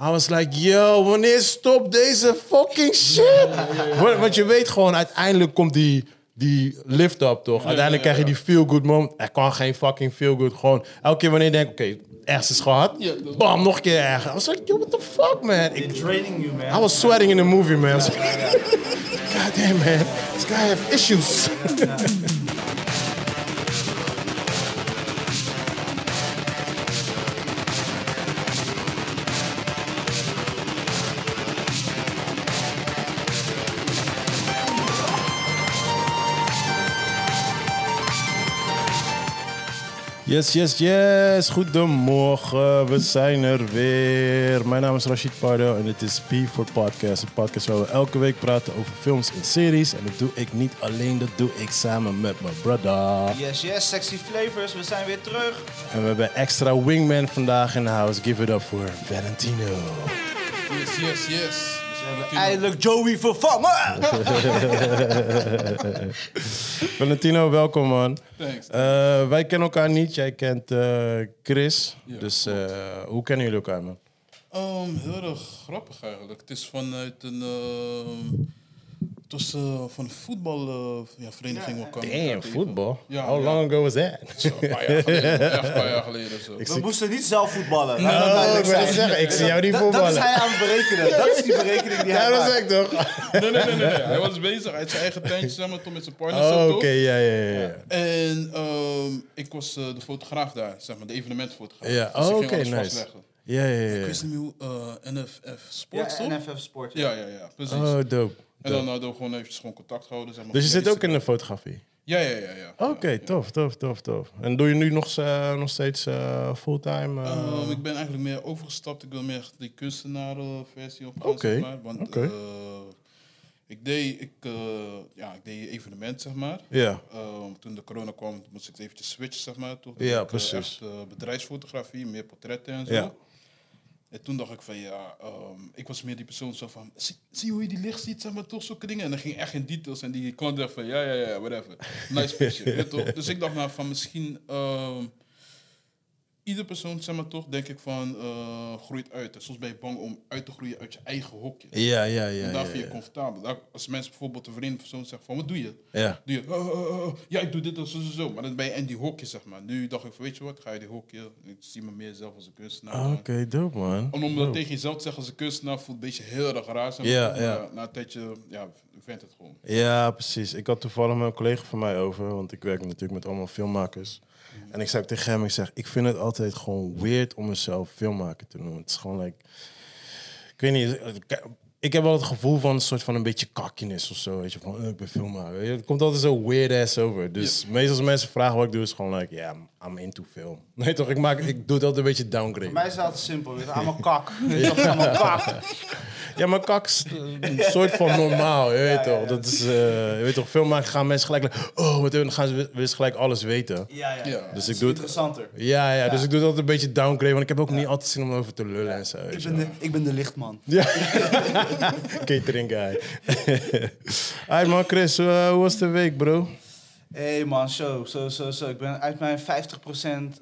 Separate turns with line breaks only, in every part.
I was like, yo, wanneer stopt deze fucking shit? Want, want je weet gewoon, uiteindelijk komt die, die lift up, toch? Uiteindelijk krijg je die feel-good moment. Er kan geen fucking feel-good. Gewoon elke keer wanneer je denkt, oké, ergens is gehad.
Ja, dat-
Bam, nog een keer erger. I was like, yo, what the fuck, man? Ik,
Training you, man.
I was sweating in the movie, man. I was like, God damn, man. This guy have issues. Yes, yes, yes. Goedemorgen, we zijn er weer. Mijn naam is Rashid Pardo en dit is P for Podcast. Een podcast waar we elke week praten over films en series. En dat doe ik niet alleen, dat doe ik samen met mijn brother.
Yes, yes, sexy flavors, we zijn weer terug.
En we hebben extra wingman vandaag in de house. Give it up voor Valentino.
Yes, yes, yes. Dus
Eindelijk Joey vervangen!
Valentino, welkom man.
Thanks.
Eh, wij kennen elkaar niet, jij kent eh, Chris.
Ja,
dus eh, hoe kennen jullie elkaar man?
Ehm, heel erg grappig eigenlijk. Het is vanuit een... ehm, het was eh, van een voetbalvereniging. ja,
Damn, voetbal.
Ja,
How
ja.
long ago was that?
Een paar jaar geleden. Echt een paar jaar geleden zo.
We moesten niet zelf voetballen.
Oh,
Laten we duidelijk
ik wil het
zijn.
zeggen, ik zie jou niet
Dat, dat is
voetballen.
hij aan het berekenen. Dat is die berekening die
Ja,
hij
dat
maakt.
zeg ik toch?
Nee, nee, nee, nee, nee. Hij was bezig uit zijn eigen tentje samen toen met zijn partner.
Oh,
zo,
Oké,
toch?
ja, ja, ja, ja.
En ehm, ik was eh, de fotograaf daar, zeg maar, de evenementfotograaf.
Ja,
Dus ik
oh,
ging
oké,
alles
nice.
vastleggen.
Ja, ja, ja.
Ik
ja.
wist niet hoe eh, NFF Sports,
Ja,
toch?
NFF Sport.
Ja, ja, ja, precies.
Oh, dope.
en dan hadden we gewoon eventjes gewoon contact gehouden. Zeg maar,
Dus je
via
zit ook in
Instagram.
de fotografie?
Ja, ja, ja. ja.
Oké,
Ja.
tof, tof, tof, tof. En doe je nu nog, eh, nog steeds eh, fulltime? eh?
Ehm, ik ben eigenlijk meer overgestapt. Ik wil meer echt die kunstenarenversie op gaan,
Oké,
zeg maar. Want
oké.
eh, ik, deed, ik, eh, ja, ik deed evenement, zeg maar.
Ja.
Ehm, toen de corona kwam, moest ik eventjes switchen, zeg maar. Toch?
Ja,
Ik, eh,
precies.
echt, eh, bedrijfsfotografie, meer portretten en zo.
Ja.
En toen dacht ik van ja, ehm, ik was meer die persoon zo van, zie, zie hoe je die licht ziet, zeg maar, toch zulke dingen. En dan ging echt in details en die klant dacht van ja, ja, ja, whatever. Nice picture, weet je toch? Dus ik dacht nou van misschien, ehm, ieder persoon, zeg maar toch, denk ik van, eh, groeit uit. En soms ben je bang om uit te groeien uit je eigen hokje.
Ja, ja, ja.
En daar
ja,
vind je
ja.
comfortabel. Daar- Als mensen bijvoorbeeld een vreemde persoon zeggen van, wat doe je?
Ja.
Doe je, oh, oh, oh, oh, ja, ik doe dit en zo, zo, zo. Maar dan ben je in die hokje, zeg maar. Nu dacht ik van, weet je wat, ga je die hokje. Ik zie me meer zelf als een kunstenaar.
Ah, Oké, dope man.
En om dat tegen jezelf te zeggen als een kunstenaar voelt een beetje heel erg raar. zeg maar.
Ja,
Maar
ja.
Na een tijdje, ja, je vindt het gewoon.
Ja, precies. Ik had toevallig met een collega van mij over, want ik werk natuurlijk met allemaal filmmakers. En ik zei ook tegen hem, ik zeg, ik vind het altijd gewoon weird om mezelf filmmaker te noemen. Het is gewoon like, ik weet niet, ik- ik heb wel het gevoel van een soort van een beetje kakkiness of zo, weet je, van eh, ik ben filmmaker. Weet je, Het komt altijd zo weird ass over. Dus meestal als mensen vragen wat ik doe, is gewoon like, ja, I'm into film. Nee toch, ik, maak, ik doe het altijd een beetje downgrade.
Mij is het altijd simpel. weet je. Aan mijn kak. Aan mijn kak.
Ja, maar kak is een soort van normaal, je weet toch? Dat is, eh, je weet toch, veel maken gaan mensen gelijk, like, oh, wat doen we?" dan gaan ze wi- willen ze gelijk alles weten.
Ja, ja.
Ja.
Dus
Dat
ik
is
doe het,
interessanter.
ja, ja, dus ik doe het altijd een beetje downgrade, want ik heb ook niet altijd zin om over te lullen en zo.
Ik
weet je
ben, de, ik ben de lichtman.
wel. Catering guy. Hi man, Chris, eh, hoe was de week, bro?
Hé hey man, zo, zo, zo, zo. Ik ben uit mijn 50%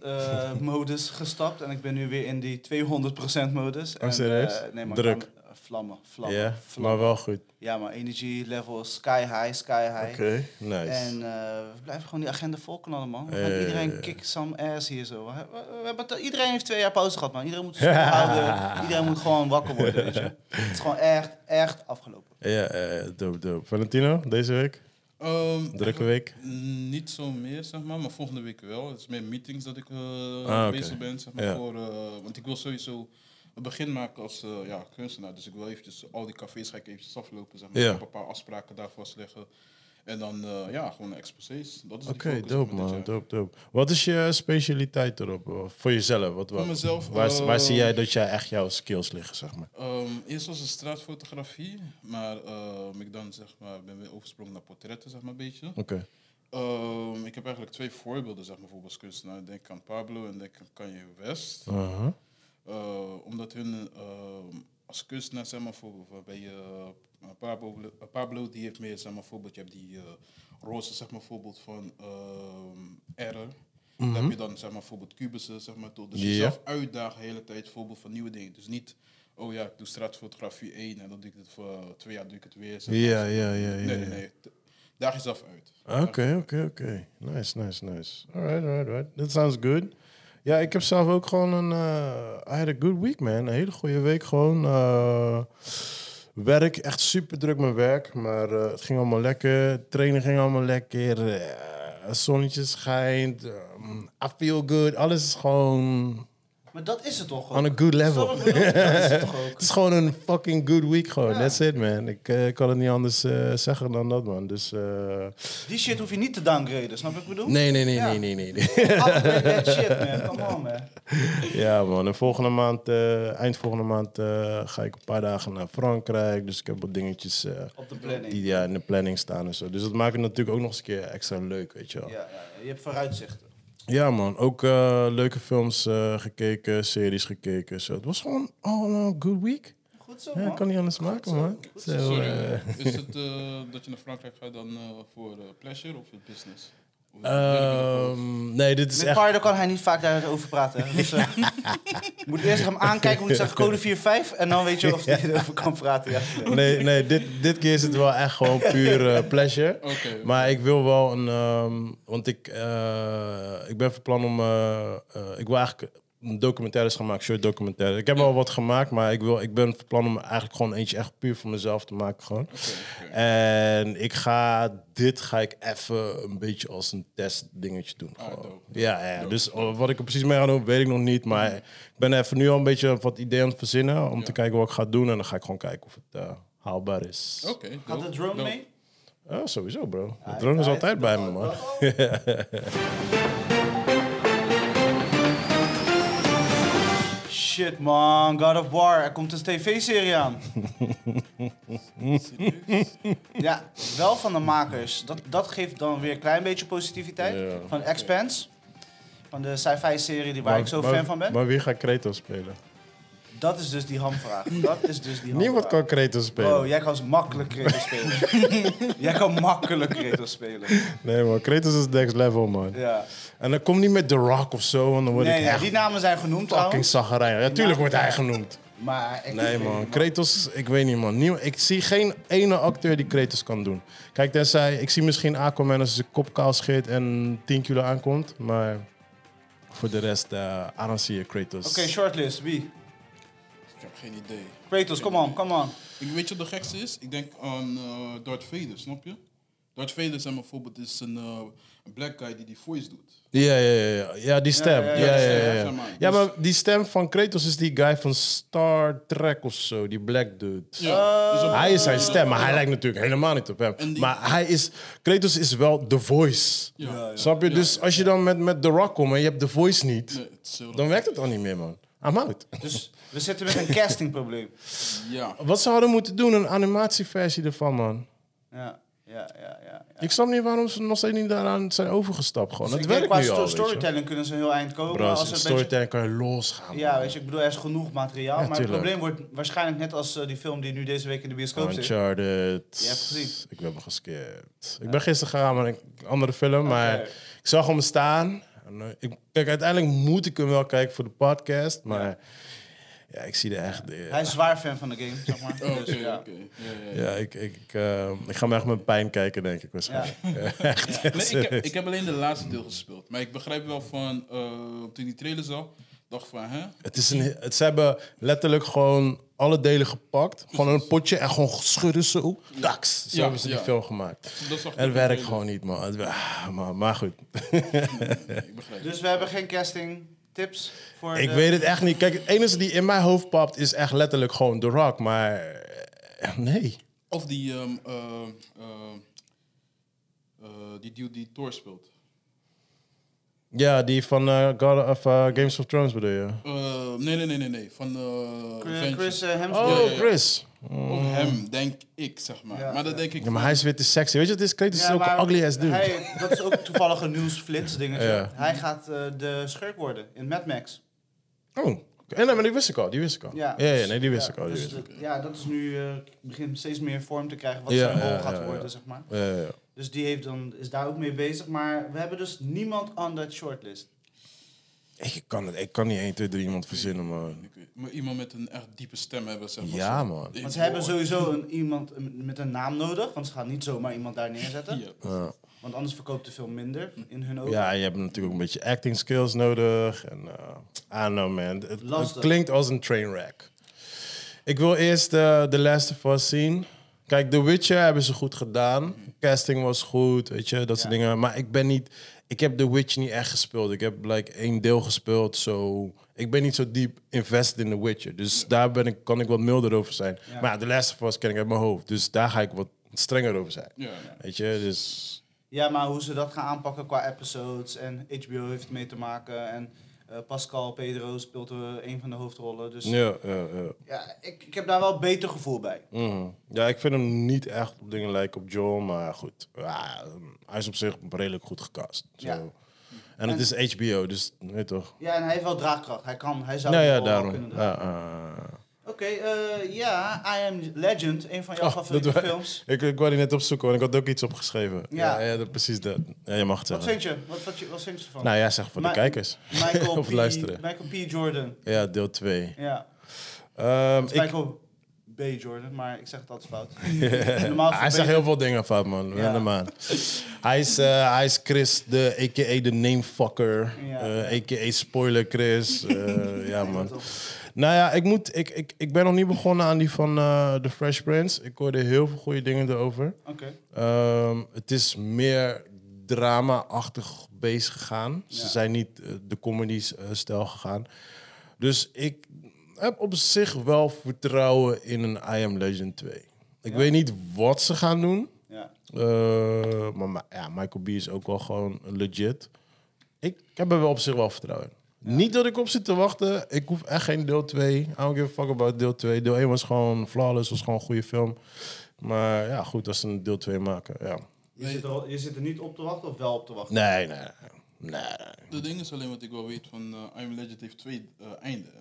eh, modus gestapt en ik ben nu weer in die 200% modus. En,
Oh, serieus?
eh, nee, maar
Druk.
ik kan- eh, vlammen,
Ja,
vlammen,
maar
vlammen.
wel goed.
Ja, maar energy level sky high, sky high.
Nice.
En eh, we blijven gewoon die agenda volknallen, man. We gaan
Eh.
Iedereen kick some ass hier zo. We, we- we hebben het- iedereen heeft twee jaar pauze gehad, man. Iedereen moet school houden. Iedereen moet gewoon wakker worden, weet je. Het is gewoon echt, echt afgelopen.
Ja, eh, dope, dope. Valentino, deze week?
Ehm,
Drukke week?
Mm, Niet zo meer, zeg maar, maar volgende week wel. Het is meer meetings dat ik eh,
Ah, oké.
bezig ben, zeg maar.
Ja.
Voor, eh, want ik wil sowieso een begin maken als eh, ja, kunstenaar. Dus ik wil eventjes al die cafés ga ik eventjes aflopen, zeg maar.
Ja.
Ik heb een paar afspraken daar vastleggen. En dan, eh, ja, gewoon exposés. Dat is die
Oké,
focus, zeg
dope
maar, dit
man,
jaar.
dope, dope. Wat is je specialiteit erop? eh, Voor jezelf? Wat, wat?
Voor mezelf,
Waar,
eh,
waar zie jij dat jij echt jouw skills liggen, zeg maar?
Ehm, eerst was het straatfotografie, maar ehm, ik dan, zeg maar, ben weer oversprongen naar portretten, zeg maar, een beetje.
Oké.
Ehm, ik heb eigenlijk twee voorbeelden, zeg maar, bijvoorbeeld als kunstenaar. Denk aan Pablo en denk aan Kanye West.
Aha.
Eh, omdat hun ehm, als kunstenaar, zeg maar, voor, voor- bij je Pablo, eh, Pablo, die heeft meer, zeg maar, voorbeeld, je hebt die eh, roze, zeg maar, voorbeeld van ehm Error. Dan heb je dan, zeg maar, bijvoorbeeld Cubussen, zeg maar, toch. Dus
Mhm. Ja.
jezelf uitdagen de hele tijd, voorbeeld van nieuwe dingen. Dus niet oh ja, ik doe straatfotografie 1 en dan doe ik het voor eh, twee jaar doe ik het weer. zeg maar.
Ja, ja, ja. ja,
Nee, nee,
ja.
nee. T- Daag jezelf uit.
Oké, oké, oké. Nice, nice, nice. Alright, alright, alright. That sounds good. Ja, ik heb zelf ook gewoon een... eh, I had a good week, man. Een hele goede week gewoon. Eh, werk, echt super druk mijn werk. Maar eh, het ging allemaal lekker. Trainen ging allemaal lekker. Eh, zonnetje schijnt. ehm, I feel good. Alles is gewoon
Maar dat is het toch ook.
on a good level.
Snap je wat ik bedoel? Dat is het toch ook.
Het is gewoon een fucking good week gewoon.
Ja.
That's it, man. Ik eh, kan het niet anders eh, zeggen dan dat, man. Dus... eh,
Die shit hoef je niet te downgraden, snap je wat ik bedoel?
Nee, nee, nee,
Ja.
nee, nee, nee, nee.
Upgrade that shit, man. Come on, man.
Ja, man. En volgende maand, eh, eind volgende maand, eh, ga ik een paar dagen naar Frankrijk. Dus ik heb wat dingetjes eh,
Op de planning.
die ja, in de planning staan en zo. Dus dat maakt het natuurlijk ook nog eens een keer extra leuk, weet je wel. Ja,
Ja, ja, je hebt vooruitzichten.
man. Ook eh, leuke films eh, gekeken, series gekeken. Zo. Het was gewoon all in all a good week.
Goed zo,
Ja,
man.
ik kan niet anders maken, man. Zo,
Sorry.
eh,
Is het eh, dat je naar Frankrijk gaat dan eh, voor eh, pleasure of voor business? Of-
ehm, nee, dit is
Met
echt...
Pardo kan hij niet vaak daarover praten. hè. Dus, eh, je moet eerst hem aankijken, moet zeggen code 4-5. En dan weet je of hij erover kan praten. Ja, of nee.
Nee, nee dit, dit keer is het wel echt gewoon puur eh, pleasure.
Oké.
Maar ik wil wel een. ehm, want ik, eh, ik ben van plan om. eh, eh, ik wil eigenlijk documentaires gaan maken, short documentaires. Ik heb al wat gemaakt, maar ik, wil, ik ben van plan om eigenlijk gewoon eentje echt puur voor mezelf te maken. Gewoon.
Oké, oké.
En ik ga dit ga ik even een beetje als een testdingetje doen.
Ah,
gewoon.
dope. Mm-hmm.
ja, ja, dus wat ik er precies mee ga doen, weet ik nog niet. Maar ik ben even nu al een beetje wat ideeën aan het verzinnen om te kijken wat ik ga doen. En dan ga ik gewoon kijken of het eh, haalbaar is.
Oké, dope,
Had de drone
dope.
mee?
Oh, sowieso, bro. De drone is altijd bij me, man.
Shit, man. God of War. Er komt een tv-serie aan. ja, wel van de makers. Dat, dat geeft dan weer een klein beetje positiviteit.
Ja.
Van Expanse. Van de sci-fi-serie die waar
Maar-
ik zo
maar-
fan van ben.
Maar wie gaat Kratos spelen?
dat is dus die hamvraag. Dat is dus die hamvraag.
Niemand kan Kratos spelen.
Oh, jij kan makkelijk Kratos spelen. jij kan makkelijk Kratos spelen.
Nee, man. Kratos is next level, man.
Ja.
En dan kom niet met The Rock of zo, want dan word
Nee,
ik
ja,
echt
die namen zijn genoemd
fucking
trouwens.
zaggerijn. Ja, tuurlijk wordt hij genoemd.
Maar ik
Nee, man. Kratos, ik weet niet, man. Niemand- ik zie geen ene acteur die Kratos kan doen. Kijk, tenzij... Ik zie misschien Aquaman als hij zijn kop kaal scheert en 10 kilo aankomt. Maar voor de rest, eh I don't see a Kratos.
Oké, shortlist. Wie?
Ik heb geen idee.
Kratos, come on, come on.
Ik weet je wat de gekste is? Ik denk aan eh Darth Vader, snap je? Darth Vader zijn bijvoorbeeld is een, eh, een black guy die die voice doet.
Ja, ja, ja, ja. Ja, die stem. Ja,
ja,
ja,
ja,
ja.
die
ja,
stem,
ja.
zeg maar.
Ja,
Dus-
maar die stem van Kratos is die guy van Star Trek of zo. Die black dude.
dus
Eh,
op-
Hij is zijn stem, maar hij lijkt natuurlijk helemaal niet op hem.
En die-
Maar hij is... Kratos is wel The Voice.
Ja. Ja, ja.
Snap je? dus als je dan met, met The Rock komt en je hebt The Voice niet...
Nee, het is heel
dan werkt het al niet meer, man. I'm out.
Dus we zitten met een castingprobleem.
Ja.
Wat zouden we moeten doen? Een animatieversie ervan, man.
Ja, ja, ja, ja. ja.
Ik snap niet waarom ze nog steeds niet daaraan zijn overgestapt. Gewoon.
Dus
het
ik denk,
werkt
qua
nu
sto-
al, weet je.
storytelling kunnen ze een heel eind komen.
Bro,
maar
als
als
in
het een beetje,
storytelling kan je losgaan.
ja,
man.
weet je, ik bedoel, er is genoeg materiaal. maar het
tuurlijk.
probleem wordt waarschijnlijk net als eh, die film die nu deze week in de bioscoop zit.
Uncharted.
Je hebt gezien.
Ik ben me geskipt. Ik ben gisteren gegaan met een andere film, maar
Oké.
ik zag hem staan. En, eh, ik, kijk, uiteindelijk moet ik hem wel kijken voor de podcast, maar ja, ik zie er echt. eh,
Hij is zwaar fan van de game, zeg maar.
Oh, Oké,
Dus, ja.
oké. Ja, ja, ja.
ja, ik, ik, ik, eh, ik ga hem echt met pijn kijken, denk ik waarschijnlijk. Echt.
Nee, ik, heb, ik heb alleen de laatste deel gespeeld. Maar ik begrijp wel van, eh, toen ik die trailer zag, dacht van, hè?
Het is een, het, ze hebben letterlijk gewoon alle delen gepakt. Gewoon een potje en gewoon schudden zo. Dax. Zo
Ja,
hebben ze die
ja.
film gemaakt.
Dat zag ik
Het
ook
werkt
wel.
gewoon niet, man. Het, wer- ah, man. Maar goed.
Nee, ik begrijp het.
dus we hebben geen casting tips voor
Ik
de...
weet het echt niet. Kijk, het enige die in mijn hoofd papt is echt letterlijk gewoon The Rock. Maar eh, nee.
Of die, ehm, eh, eh, eh, die dude die Thor speelt.
Ja, die van eh, God of, eh, Games of Thrones bedoel je?
Eh, nee, nee, nee, nee, nee. Van eh
Chris, Chris eh,
Oh,
Hemsworth.
ja, ja.
Chris. Mm.
Of hem, denk ik, zeg maar.
Ja,
maar dat denk ik.
Ja, maar hij is weer te sexy. Weet je, het is Kratos is ook
maar
een ugly ass dude.
Hij, dat is ook toevallig een nieuwsflits dingetje.
Ja.
Hij gaat eh, de schurk worden in Mad Max.
Oh, oké. nee, maar die wist ik al. Die wist ik al. Ja,
Ja.
ja, nee, die wist
ja,
ik al. Die
dus
wist ik.
dat- ja, dat is nu eh, begint steeds meer vorm te krijgen wat
Ja,
zijn rol
ja,
gaat
ja, ja.
worden, zeg maar.
al. Ja, ja, ja.
Dus die heeft dan, is daar ook mee bezig. Maar we hebben dus niemand aan dat shortlist.
Ik kan, het, ik kan niet 1, 2, 3 iemand verzinnen, man.
Ik weet- Maar iemand met een echt diepe stem hebben, zeg maar.
Ja,
zo.
man.
Ik
Want ze hebben
hoor-
sowieso een, iemand met een naam nodig. Want ze gaan niet zomaar iemand daar neerzetten.
Ja.
Ja.
Want anders verkoopt de film minder in hun ogen.
Ja, je hebt natuurlijk ook een beetje acting skills nodig. En, eh I don't know, man. Het- Het,
Lastig.
klinkt als een trainwreck. Ik wil eerst eh, The Last of Us zien. Kijk, The Witcher hebben ze goed gedaan. Casting was goed, weet je, dat soort
Ja.
dingen. Maar ik ben niet... Ik heb The Witcher niet echt gespeeld. Ik heb like, één deel gespeeld, zo... Ik ben niet zo diep invested in The Witcher. Dus daar ben ik, kan ik wat milder over zijn.
Ja.
Maar The Last of Us ken ik uit mijn hoofd. Dus daar ga ik wat strenger over zijn.
Ja, ja.
Weet je, dus...
Ja, maar hoe ze dat gaan aanpakken qua episodes en HBO heeft mee te maken en eh, Pascal Pedro speelt eh, een van de hoofdrollen. Dus ja,
Ja, ja, ja.
ik, ik heb daar wel beter gevoel bij.
Mhm. Ja, ik vind hem niet echt op dingen lijken op Joel, maar goed. Ja, hij is op zich redelijk goed gecast. Zo.
Ja.
En het is HBO, dus weet toch?
Ja, en hij heeft wel draagkracht. Hij kan, hij zou
Nou
die
ja,
rol wel
daarom.
kunnen dragen.
Ja, eh,
Oké, eh, ja, I Am Legend, een van jouw
Oh,
favoriete
dat wij-
films.
ik, ik wou die net opzoeken, want ik had ook iets opgeschreven.
Ja.
Ja, ja, dat- precies dat. Ja, je mag het
Wat
zeggen.
vind je? Wat, wat, je- wat vind je ervan?
Nou ja, zeg voor
Maar-
de kijkers.
Michael,
of
P,
luisteren.
Michael P. Jordan.
Ja, deel 2.
Ja,
ik,
Michael B. Jordan, maar ik zeg het altijd fout. Normaal
hij zegt heel veel dingen fout, man.
Ja.
Ren hem aan. Hij is, eh, hij is Chris, de, a.k.a. de namefucker.
Ja.
eh, a.k.a. spoiler Chris. Eh, ja, man.
man.
Nou ja, ik, moet, ik, ik, ik ben nog niet begonnen aan die van eh The Fresh Prince. Ik hoorde heel veel goede dingen erover.
Oké.
Ehm, het is meer drama-achtig bezig gegaan.
Ja.
Ze zijn niet eh, de comedy-stijl gegaan. Dus ik heb op zich wel vertrouwen in een I Am Legend 2. Ik
Ja.
weet niet wat ze gaan doen.
Ja.
Eh, maar ma- ja, Michael B. is ook wel gewoon legit. Ik, ik heb er wel op zich wel vertrouwen in. Niet dat ik op zit te wachten. Ik hoef echt geen deel 2. I don't give a fuck about deel 2. Deel 1 was gewoon flawless. was gewoon een goede film. Maar ja, goed, als ze een deel 2 maken. Ja.
Je zit, er, al- je zit er niet op te wachten of wel op te wachten?
Nee, nee, nee.
De ding is alleen wat ik wel weet van eh, I Am Legend heeft twee eh, einden. hè.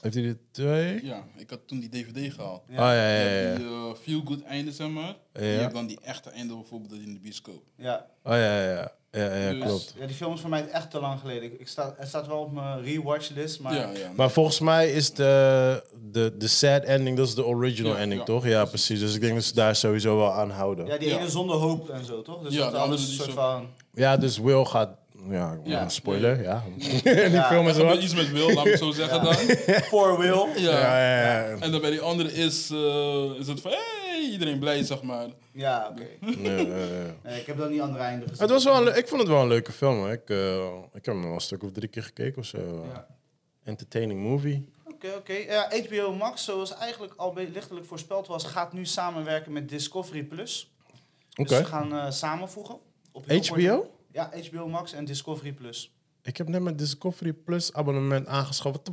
Heeft hij de 2?
Ja, ik had toen die DVD gehaald.
Oh ja, ja,
Je
ja.
hebt
ja.
die eh, feel good einde, zeg maar. En je
Ja.
hebt dan die echte einde bijvoorbeeld in de bioscoop.
Ja.
Oh ja, ja, ja. Ja, ja,
Dus-
klopt.
ja, die film is voor mij echt te lang geleden. Ik, ik sta, het staat wel op mijn rewatch list, maar
ja, ja.
Maar volgens mij is de, de, de sad ending, dat is de original
Ja,
ending,
ja.
toch? Ja, precies. Dus ik denk dat ze daar sowieso wel aan houden.
ja die
Ja.
ene zonder hoop en zo, toch? Dus
Ja,
dat
de
alles
andere
een
die
soort
zo-
van...
Ja, dus Will gaat. Ja,
Ja.
spoiler, ja. die
Ja,
film
Er
is
gebeurt
wat.
iets met Wil, laat ik het zo zeggen dan.
For Will.
Ja.
Ja, ja, ja.
En dan bij die andere is, eh, is het van, hey, iedereen blij, zeg maar.
Ja, oké.
Nee, nee, nee.
Nee, ik heb dan die andere einde gezien.
Het was wel een le- ik vond het wel een leuke film. Hoor. Ik, eh, ik heb hem wel een stuk of drie keer gekeken of zo.
Ja.
Entertaining movie.
Oké, oké. Ja, HBO Max, zoals eigenlijk al be- lichtelijk voorspeld was, gaat nu samenwerken met Discovery+. Plus. Dus
Oké.
ze gaan eh, samenvoegen. Op heel korte-
HBO?
Ja, HBO Max en Discovery+. Plus.
Ik heb net mijn Discovery Plus abonnement aangeschaft. Wat de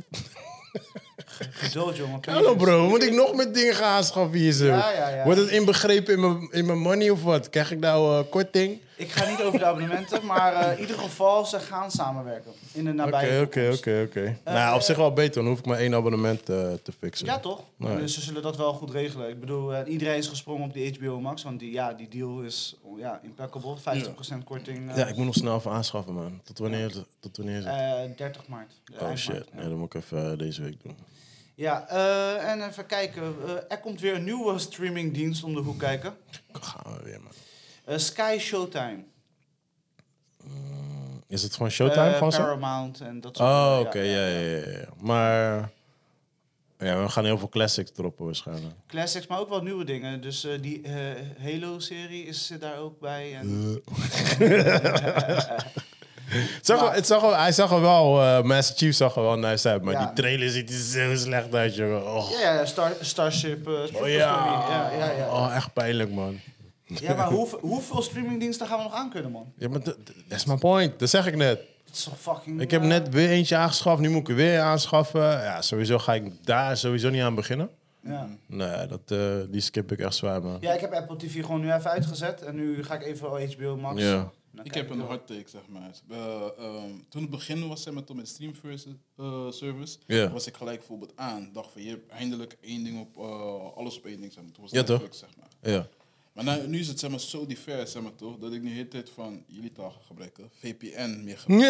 Geduld, jongen.
f- Hallo bro, moet ik nog met dingen gaan aanschaffen hier zo?
Ja, ja, ja.
Wordt het inbegrepen in mijn, in mijn money of wat? Krijg ik nou eh, korting?
Ik ga niet over de abonnementen, maar eh, in ieder geval, ze gaan samenwerken. In de nabije
Oké, oké,
toekomst.
oké, oké. Nou, op zich wel beter. Dan hoef ik maar één abonnement eh, te fixen.
Eh, Ja, toch?
Nee.
Dus ze zullen dat wel goed regelen. Ik bedoel, eh, iedereen is gesprongen op die HBO Max, want die, ja, die deal is oh, ja, impeccable. 50% korting eh,
Ja, ik moet nog snel even aanschaffen, man. Tot wanneer, tot wanneer is het?
eh, 30 maart. eh,
Oh
eind
shit,
maart,
nee, dat moet ik even eh, deze week doen.
Ja, eh, en even kijken. Eh, er komt weer een nieuwe streamingdienst om de hoek kijken.
Dan Gaan we weer, man.
Eh, Sky Showtime.
Is het van Showtime
Eh,
gewoon zo?
Paramount en dat soort
Oh,
dingen,
oké, ja, ja, ja, ja. Maar ja, we gaan heel veel classics droppen waarschijnlijk.
Classics, maar ook wel nieuwe dingen. Dus eh, die eh, Halo-serie is zit daar ook bij. En,
Het zag, er- het zag, er- hij zag er wel, eh Master Chief zag er wel nice uit, maar
Ja.
die trailer ziet er zo slecht uit, jongen. Oh,
Ja, ja, Star, Starship. eh,
oh
Trooper
ja.
Story. ja, ja, ja.
Oh, echt pijnlijk, man.
Ja, maar hoeveel, hoeveel streamingdiensten gaan we nog aan kunnen, man?
Ja, maar dat dat is mijn point. Dat zeg ik net.
Dat is toch fucking...
Ik heb
eh,
net weer eentje aangeschaft, nu moet ik er weer aanschaffen. Ja, sowieso ga ik daar sowieso niet aan beginnen.
Ja.
Nee, dat, eh, die skip ik echt zwaar, man.
ja, ik heb Apple TV gewoon nu even uitgezet. En nu ga ik even HBO Max.
Ja.
En dan
Ik
kijk
heb een
wel.
hard take, zeg maar. Eh, ehm, toen het begin was, zeg maar, toen met stream first, eh, service,
Ja.
was ik gelijk bijvoorbeeld aan. Dacht van, je hebt eindelijk één ding op, eh, alles op één ding, zeg maar. Toen was
Ja, toch?
Netflix, zeg maar.
Ja.
Maar nou, nu is het zeg maar, zo divers, zeg maar, toch? Dat ik nu de hele tijd van jullie taal ga gebruiken. VPN meer gebruik.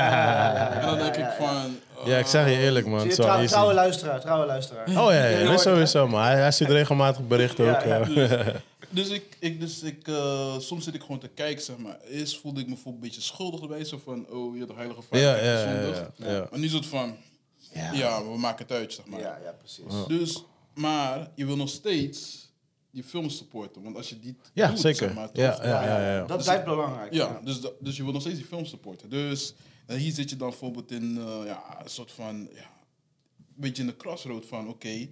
Ja.
En dan denk ik van... eh,
ja, ik zeg je eerlijk, man. Het
Dus je
is wel
trouw,
easy.
trouwe luisteraar, trouwe luisteraar.
Oh ja, ja,
Je
dat
hoort-
is sowieso, maar hij, hij stuurt regelmatig berichten
Ja,
ook.
ja.
eh.
Dus ik, ik, dus ik eh, soms zit ik gewoon te kijken, zeg maar. Eerst voelde ik me bijvoorbeeld een beetje schuldig erbij. Zo van, oh, je de heilige vader
Ja,
ik
ja,
heb
ja,
gezondigd.
ja, ja.
Maar nu is het van, ja. we maken het uit, zeg maar.
Ja, ja, precies.
Dus, maar je wil nog steeds die film supporten. Want als je die
Ja,
doet,
zeker.
zeg maar, toch?
Ja, ja, ja, ja.
Dat blijft belangrijk.
Ja, dus, da- dus je wil nog steeds die film supporten. Dus en hier zit je dan bijvoorbeeld in eh, ja, een soort van... Ja, een beetje in de crossroad van, oké...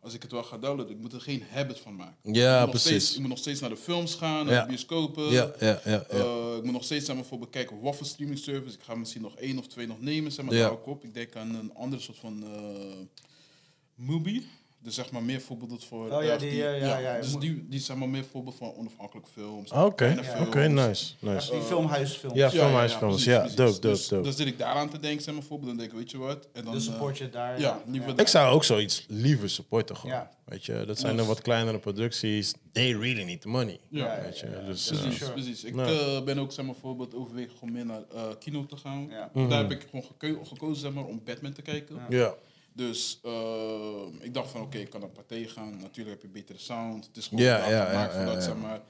als ik het wel ga downloaden, ik moet er geen habit van maken. Ik
Ja,
moet nog
precies.
steeds- ik moet nog steeds naar de films gaan, naar
Ja.
de bioscopen.
Ja, ja, ja, ja.
Eh, ik moet nog steeds zeg maar, voor bekijken wat voor streaming service. Ik ga misschien nog één of twee nog nemen. Zeg maar,
Ja.
daar hou ik op. Ik denk aan een andere soort van eh movie. Dus zeg maar meer voorbeeld voor...
Oh ja,
eh,
die, ja, ja, ja,
Dus
moet-
die, die zijn maar meer voorbeeld van onafhankelijke films.
Ah, Oké,
kleine
oké, nice,
Dus
nice.
die filmhuisfilms.
Ja. filmhuisfilms. Ja,
precies,
dope,
precies.
dope,
dus,
dope.
Dan zit ik daaraan te denken, zeg maar, voorbeeld. Dan denk ik, weet je wat? En dan,
Dus
eh,
support je daar.
ja, liever
Ik zou ook zoiets liever supporten gewoon.
Ja.
Weet je, dat zijn dan wat kleinere producties. They really need the money.
Ja.
Weet je, dus... eh,
Precies,
Sure.
precies. Ik
Nou.
eh, ben ook zeg maar, bijvoorbeeld overwegen om meer naar eh, kino te gaan.
Ja.
Mhm.
Daar heb ik gewoon geke- gekozen zeg maar, om Batman te kijken.
ja.
Dus eh, ik dacht van oké, ik kan naar Pathé gaan. Natuurlijk heb je betere sound. Het is gewoon
Ja,
ja,
ja,
gemaakt
ja,
voor
ja,
dat,
ja.
zeg maar.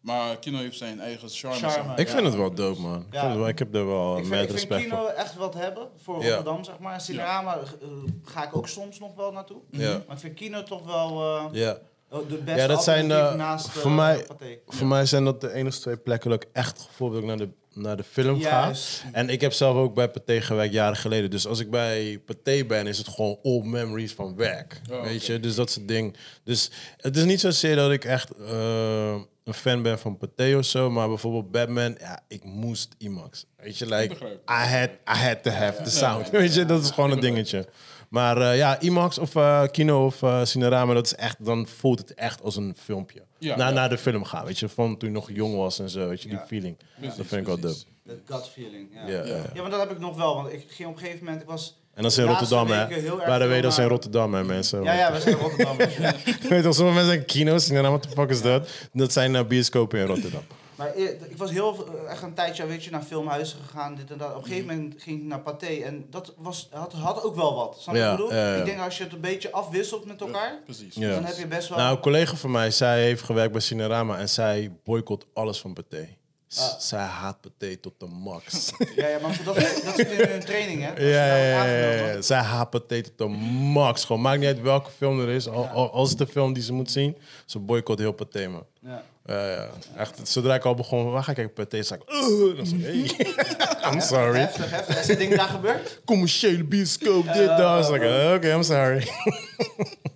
Maar kino heeft zijn eigen charme.
Charme,
zeg maar.
Ik
Ja.
vind het wel dope, man. Ik,
Ja.
vind het wel, ik heb er wel
Ik
eh,
vind,
mad
ik vind
respect
Kino
voor.
echt wat hebben voor
Ja.
Rotterdam, zeg maar. Cinerama eh, ga ik ook soms nog wel naartoe.
Ja.
Maar ik vind Kino toch wel eh,
Ja.
de beste
Ja, dat zijn...
alternatief
eh,
naast eh,
voor, mij,
Pathé.
voor mij zijn dat de enige twee plekken dat ik echt gevoel heb dat ik naar de, naar de film
Juist.
ga. En ik heb zelf ook bij Pathé gewerkt jaren geleden. Dus als ik bij Pathé ben, is het gewoon all memories van werk.
Oh,
weet
oké.
je, dus dat soort ding. Dus het is niet zozeer dat ik echt eh, een fan ben van Pathé of zo. Maar bijvoorbeeld Batman, ja, ik moest IMAX. Weet je, like, I
begrijp.
had, I had to have the sound. Weet je, dat is gewoon een dingetje. Maar eh, ja, IMAX of eh, Kino of eh Cinerama, dat is echt, dan voelt het echt als een filmpje.
Ja,
na,
ja.
naar de film gaan, weet je, van toen je nog jong was en zo, weet je, die feeling.
Precies,
dat vind ik wel dope.
precies.
Dat gut feeling, ja.
Ja, ja.
Ja, maar dat heb ik nog wel, want ik ging op een gegeven moment, ik was...
En dat is
de
in
laatste
Rotterdam, hè?
weken heel erg
By the
veel
way, dat is in
naar-
Rotterdam, hè, mensen.
Ja, ja, we zijn in Rotterdam. Dus, eh,
Weet je, sommige mensen zijn kino's, Cinerama, what the fuck is dat? Dat zijn eh, bioscopen in Rotterdam.
Maar e- ik was heel, echt een tijdje weet je, naar filmhuizen gegaan, dit en dat. Op een
Mm.
gegeven moment ging ik naar Pathé en dat was, had, had ook wel wat. Snap je
Ja,
wat ik bedoel?
ja, ja.
Ik denk als je het een beetje afwisselt met elkaar,
Precies.
Ja.
Dus dan heb je best wel...
Nou, een collega van mij, zij heeft gewerkt bij Cinerama en zij boycott alles van Pathé. S-
Ah.
Zij haat Pathé tot de max.
ja, ja, maar voor dat, dat zit in hun training, hè? Als je
Ja,
daar wordt
ja, ja,
aangenomen.
ja. Zij hapen Tate tot de max. Gewoon, maakt niet uit welke film er is. Al, al- als het de film die ze moet zien, ze boycott heel Pathé, man.
Ja.
Ja, ja. Echt, zodra ik al begon, waar ga ik kijken Pathé? Zei ik, "Ugh." dan zei ik, hey. I'm sorry.
Heftig, heftig. Is dit ding daar gebeurd?
Commerciële bioscoop, dit, dat. Zei ik, "Eh, Oké, I'm sorry.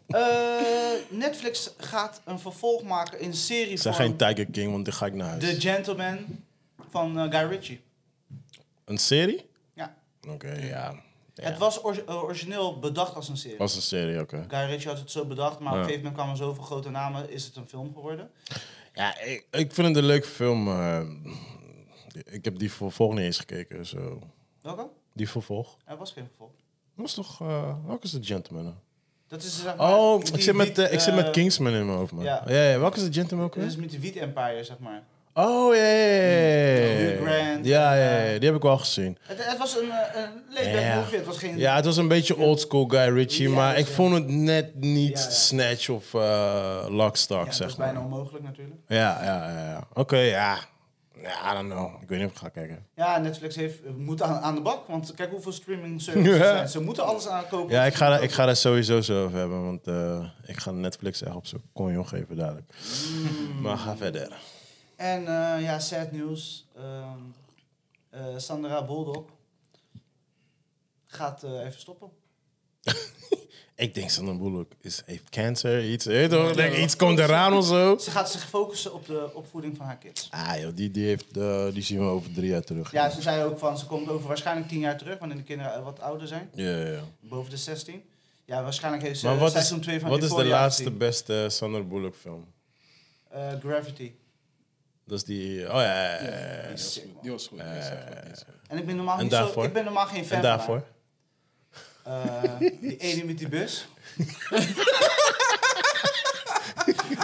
Eh, Netflix gaat een vervolg maken in serie
Ik zei
van
geen Tiger King, want dan ga ik naar
The
huis.
Gentleman van eh, Guy Ritchie.
Een serie?
Ja.
Oké, ja. Ja.
Het was ori- eh, origineel bedacht als een serie.
Was een serie, oké.
Guy Ritchie had het zo bedacht, maar
Ja.
op een gegeven moment kwamen zoveel grote namen, is het een film geworden.
Ja, ik, ik vind het een leuk film. maar ik heb die vervolg niet eens gekeken, zo.
Welke?
Die vervolg.
Er was geen vervolg.
Dat was toch... eh welke is de gentleman? hè?
Dat is zeg maar...
Oh,
die-
ik, zit met,
die-
eh, ik zit
eh,
met Kingsman in mijn hoofd, man.
ja.
Ja, ja, welke is de gentleman ook
Dit is
weer?
met de Wheat Empire, zeg maar.
Oh, ja, ja, ja, ja,
Hugh Grant,
ja,
en,
ja, ja, ja, die heb ik wel gezien.
Het, het was een, eh, een laid-back
Ja.
movie, het was geen...
Ja, het was een beetje old school Guy Ritchie,
Ja,
maar
dus,
ik
ja.
vond het net niet
Ja, ja.
Snatch of eh Lockstock,
Ja, het was
zeg maar.
bijna onmogelijk natuurlijk.
Ja, ja, ja. ja. Oké, ja. Ja, I don't know. Ik weet niet of ik ga kijken.
Ja, Netflix heeft, eh, moet aan, aan de bak, want kijk hoeveel streaming services er
Ja.
zijn. Ze moeten alles aankopen.
Ja, ik ga, daar- ik ga daar sowieso zo over hebben, want eh, ik ga Netflix echt op zijn konjon geven dadelijk.
Mm.
Maar ga verder.
En eh, ja, sad nieuws. Ehm, eh, Sandra Bulldog gaat eh, even stoppen.
Ik denk Sandra Bullock is, heeft cancer, iets. je weet toch? Ik denk,
Ja.
iets komt eraan of zo.
Ze gaat zich focussen op de opvoeding van haar kids.
Ah joh, die, die, heeft, eh, die zien we over drie jaar terug.
Ja, ze zei ook van, ze komt over waarschijnlijk tien jaar terug, wanneer de kinderen eh, wat ouder zijn.
ja, ja, ja.
Boven de 16. Ja, waarschijnlijk heeft ze
Maar wat is,
eh, seizoen 2 van
wat is de
Euphoria
laatste
gezien.
beste Sandra Bullock film?
Eh, Gravity.
Dat is die... Oh ja, ja, ja, ja.
Die was goed. Die was goed. die was echt goed, die was goed.
En ik ben normaal,
En
niet
daarvoor?
Zo, ik ben normaal geen fan
En daarvoor?
van haar. Eh, die ene met die bus.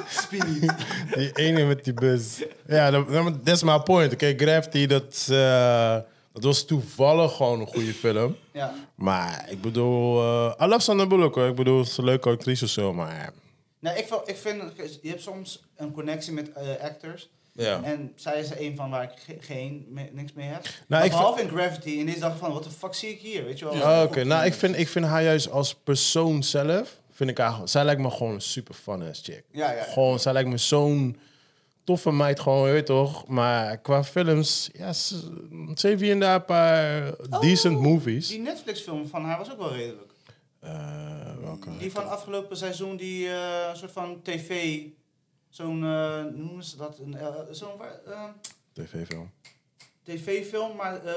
Spinny.
Die ene met die bus. Ja, dat dat- that's my point. Oké, Gravity, dat, is, eh, dat was toevallig gewoon een goede film.
Ja.
Maar ik bedoel, eh I love Sandra Bullock hoor. Ik bedoel, ze is een leuke actrice of zo, maar... eh,
Nou, ik, vo- ik vind, je hebt soms een connectie met eh, actors.
Ja.
En zij is er een van waar ik ge- geen, me- niks mee heb.
Nou,
Maar
ik
behalve in Gravity. En deze dacht ik van, wat de fuck zie ik hier? Weet je wel?
Ah, Oké, nou, ik vind, ik vind haar juist als persoon zelf, vind ik haar... gewoon- Zij lijkt me gewoon een super fun ass chick.
Ja, ja.
Gewoon, zij lijkt me zo'n toffe meid gewoon, je weet toch? Maar qua films, ja, ze, ze heeft hier en daar een paar
Oh.
decent movies.
Die Netflix film van haar was ook wel redelijk.
Eh, welke?
Die van afgelopen seizoen, die eh, soort van tv... Zo'n, eh, hoe noemen ze dat? Een, eh, zo'n waar- eh,
TV-film.
tv-film, maar eh,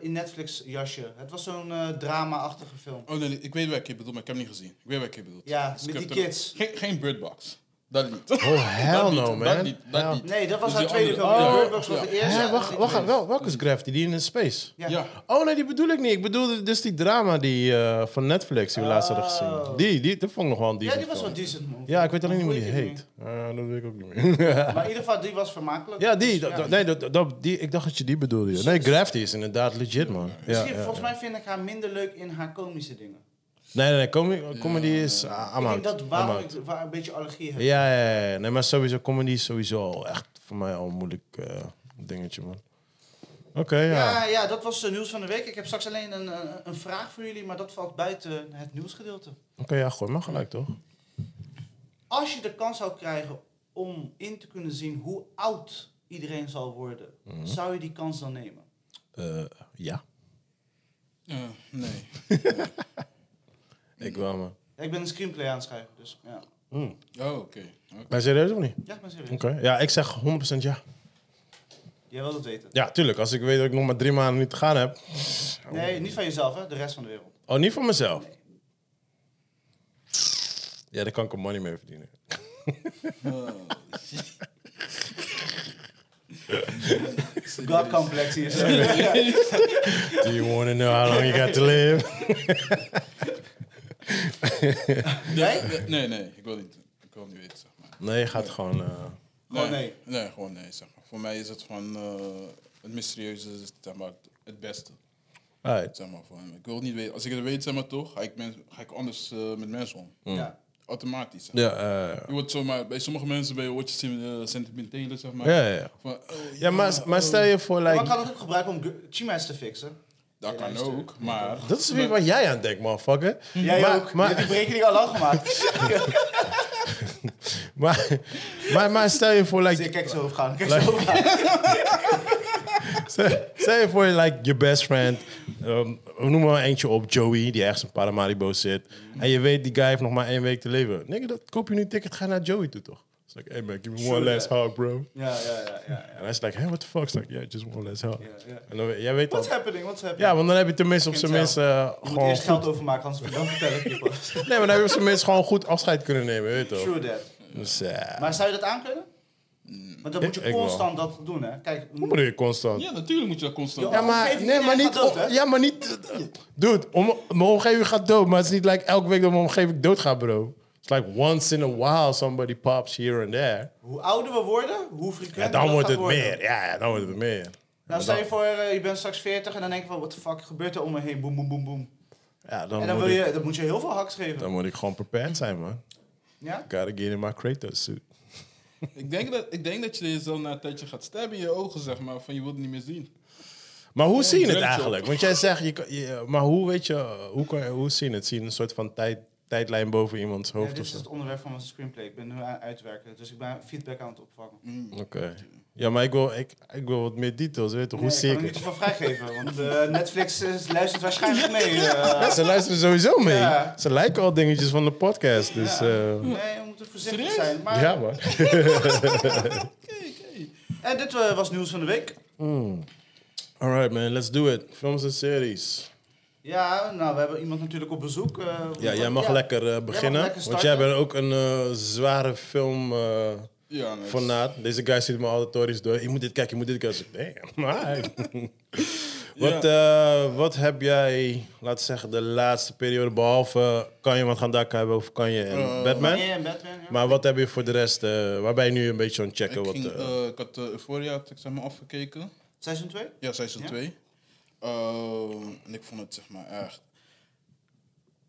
in Netflix jasje. Het was zo'n eh, drama-achtige film.
Oh nee, nee, ik weet welke je bedoelt, maar ik heb hem niet gezien. Ik weet welke je bedoelt.
Ja,
Dus ik
met
heb
die
hem-
kids.
Geen, geen Bird Box. Dat niet.
Oh, hell
dat
no,
niet,
man.
Dat niet, dat
Hell.
niet.
Nee, dat was
Dus
haar
die
tweede
andere-
film.
Oh,
Bird Box was
ja.
de eerste.
Hé,
en
wacht,
die
wacht,
tweede.
wel, welke is Gravity? Die in de space?
Ja.
Ja.
Oh nee, die bedoel ik niet. Ik bedoelde dus die drama die, eh, van Netflix die we laatst hadden gezien.
Oh.
Die, die, dat vond ik nog wel een
ja,
decent
die was wel
film.
decent movie.
Ja, ik weet alleen niet hoe die
Hoe heet
heet. Eh, dat weet ik ook niet meer.
Maar in ieder geval, die was vermakelijk.
ja, die,
Dus,
dat- dat- nee, dat, dat, die. Ik dacht dat je die bedoelde. joh. Nee, Gravity is inderdaad legit, man. Ja,
Misschien,
ja.
volgens mij vind ik haar minder leuk in haar komische dingen.
Nee, nee, nee, comedy, comedy is... ah, I'm
ik
out.
denk dat
I'm
waarom
out.
ik waar een beetje allergie heb.
Ja, ja, ja, ja. Nee, maar sowieso, comedy is sowieso al echt voor mij al een moeilijk eh, dingetje, man. Oké, ja.
Ja, ja, dat was het nieuws van de week. Ik heb straks alleen een, een, een vraag voor jullie, maar dat valt buiten het nieuwsgedeelte.
Oké, ja, gooi maar gelijk, toch?
Als je de kans zou krijgen om in te kunnen zien hoe oud iedereen zal worden,
Mhm.
zou je die kans dan nemen?
Eh, ja.
Eh, nee.
Ik wel, man.
Ja, ik ben een screenplay aan het schrijven, dus ja.
Oh, oké. Oké.
Maar serieus of niet?
Ja, ik ben serieus.
Oké. Ja, ik zeg 100% ja.
Jij wil dat weten.
Ja, tuurlijk. Als ik weet dat ik nog maar drie maanden niet te gaan heb.
Nee, niet van jezelf, hè? De rest van de wereld.
Oh, niet voor mezelf. Ja, daar kan ik er money mee verdienen.
God complex hier. zo.
Do you want to know how long you got to live?
Nee?
Nee, nee, nee, ik wil niet. Ik wil niet weten, zeg maar.
Nee, je gaat gewoon... eh,
Gewoon
Nee, gewoon nee, zeg maar. Voor mij is het gewoon eh, het mysterieuze, is, zeg maar, het beste.
uit.
Zeg maar, voor hem. Ik wil het niet weten. Als ik het weet, zeg maar, toch, ga ik, men- ga ik anders eh, met mensen om.
Ja.
Automatisch. zeg maar.
Mm. Ja, eh,
Je wordt zomaar, bij sommige mensen ben je word je sim- eh, sentimentele, zeg maar.
ja, ja, ja.
Van, oh,
Ja, maar, maar stel je voor,
Maar
like...
kan het ook gebruiken om gu- chima's te fixen?
dat kan ook, maar...
Dat is weer wat jij aan denkt, motherfucker.
Jij
maar,
ook.
Maar,
Je hebt die berekening al lang gemaakt.
maar, maar, maar stel je voor,
Dus ik
like,
kijk zo gaan. Kijk zo gaan.
stel, stel je voor, like, je best friend. ehm, we noemen maar eentje op, Joey, die ergens in Paramaribo zit. En je weet, die guy heeft nog maar één week te leven. Nigga, dat koop je nu een ticket, ga naar Joey toe, toch? It's like, hey man, give me one
Sure.
last hug, bro.
Ja, ja, ja, ja.
En hij is like, hey, what the fuck? It's like, yeah, just one last hug.
ja.
En dan, jij weet
What's
dat.
happening? What's happening?
Ja, want dan heb je tenminste op
Ik
zijn
ken het
minst
wel.
eh,
je moet
gewoon...
eerst
Goed,
geld overmaken, anders dan vertel ik je pas.
nee, maar dan heb je op zijn minst gewoon goed afscheid kunnen nemen, weet je toch?
True that.
Dus ja,
Maar zou je dat aankunnen? Want dan moet
Ik- ik
je
wel.
constant dat doen, hè? Kijk,
hoe moet je constant?
Ja, natuurlijk moet je dat constant...
Ja,
Ja,
maar,
omgeving
nee,
iedereen
maar niet.
gaat dood, hè?
ja, maar niet. Dude, om, mijn omgeving gaat dood, maar het is niet like elke week dat mijn omgeving doodgaat, bro. It's like once in a while somebody pops here and there.
hoe ouder we worden, hoe frequenter
Ja, dan
dat
wordt
gaat
het
worden.
meer. Ja, ja, dan wordt het meer.
Nou,
Maar
stel je
dan-
voor, eh, je bent straks 40 en dan denk je van, what the fuck gebeurt er om me heen? Boem, boem, boem, boem.
Ja, dan,
En dan,
moet
wil
ik,
je, dan moet je heel veel hacks geven.
dan moet ik gewoon prepared zijn, man.
Ja?
Gotta get in my Kratos suit.
Ik denk, dat, ik denk dat je jezelf na een tijdje gaat stabben in je ogen, zeg maar, van je wilt het niet meer zien.
Maar hoe zie je het
druk
eigenlijk? Want jij zegt, je, kan- je, maar hoe weet je, hoe, kan, je- hoe zie je het? Zie je een soort van tijd, tijdlijn boven iemands
Ja,
hoofd
dit
of
is
zo?
het onderwerp van mijn screenplay. Ik ben nu aan het uitwerken, dus ik ben feedback aan het opvangen.
Oké. Ja, maar ik wil, ik, ik wil wat meer details, weet je?
Nee,
hoe zie
ik
ik
kan
het?
er niet van vrijgeven, want eh, Netflix eh, luistert waarschijnlijk mee.
Ja,
eh.
ze luisteren sowieso mee.
Ja.
Ze lijken al dingetjes van de podcast. Dus, eh,
Nee, we moeten voorzichtig
Serieus?
zijn. Maar,
ja, man.
Kijk, kijk.
En dit eh, was nieuws van de week.
Alright, man, let's do it. Films en series.
Ja, nou, we hebben iemand natuurlijk op bezoek. eh,
Ja,
want-
jij mag lekker eh, beginnen.
lekker
want
starten.
jij bent ook een eh, zware film. eh,
Ja, nee,
Fanaat. Deze guy stuurt me altijd stories door. Je moet dit kijken, je moet dit kijken. Ik zeg, Damn, alright. Wat, eh, wat heb jij, laten we zeggen, de laatste periode, behalve kan je wat gaan dakken hebben over kan je en
Eh,
Batman?
Nee, en Batman. ja.
Maar wat heb je voor de rest, eh, waar ben je nu een beetje aan het
Ik,
checken? Wat,
ging,
eh,
eh, ik had eh, Euphoria had ik, zeg maar, afgekeken.
Seizoen 2?
Ja, seizoen
Ja?
2. Eh, en ik vond het zeg maar echt.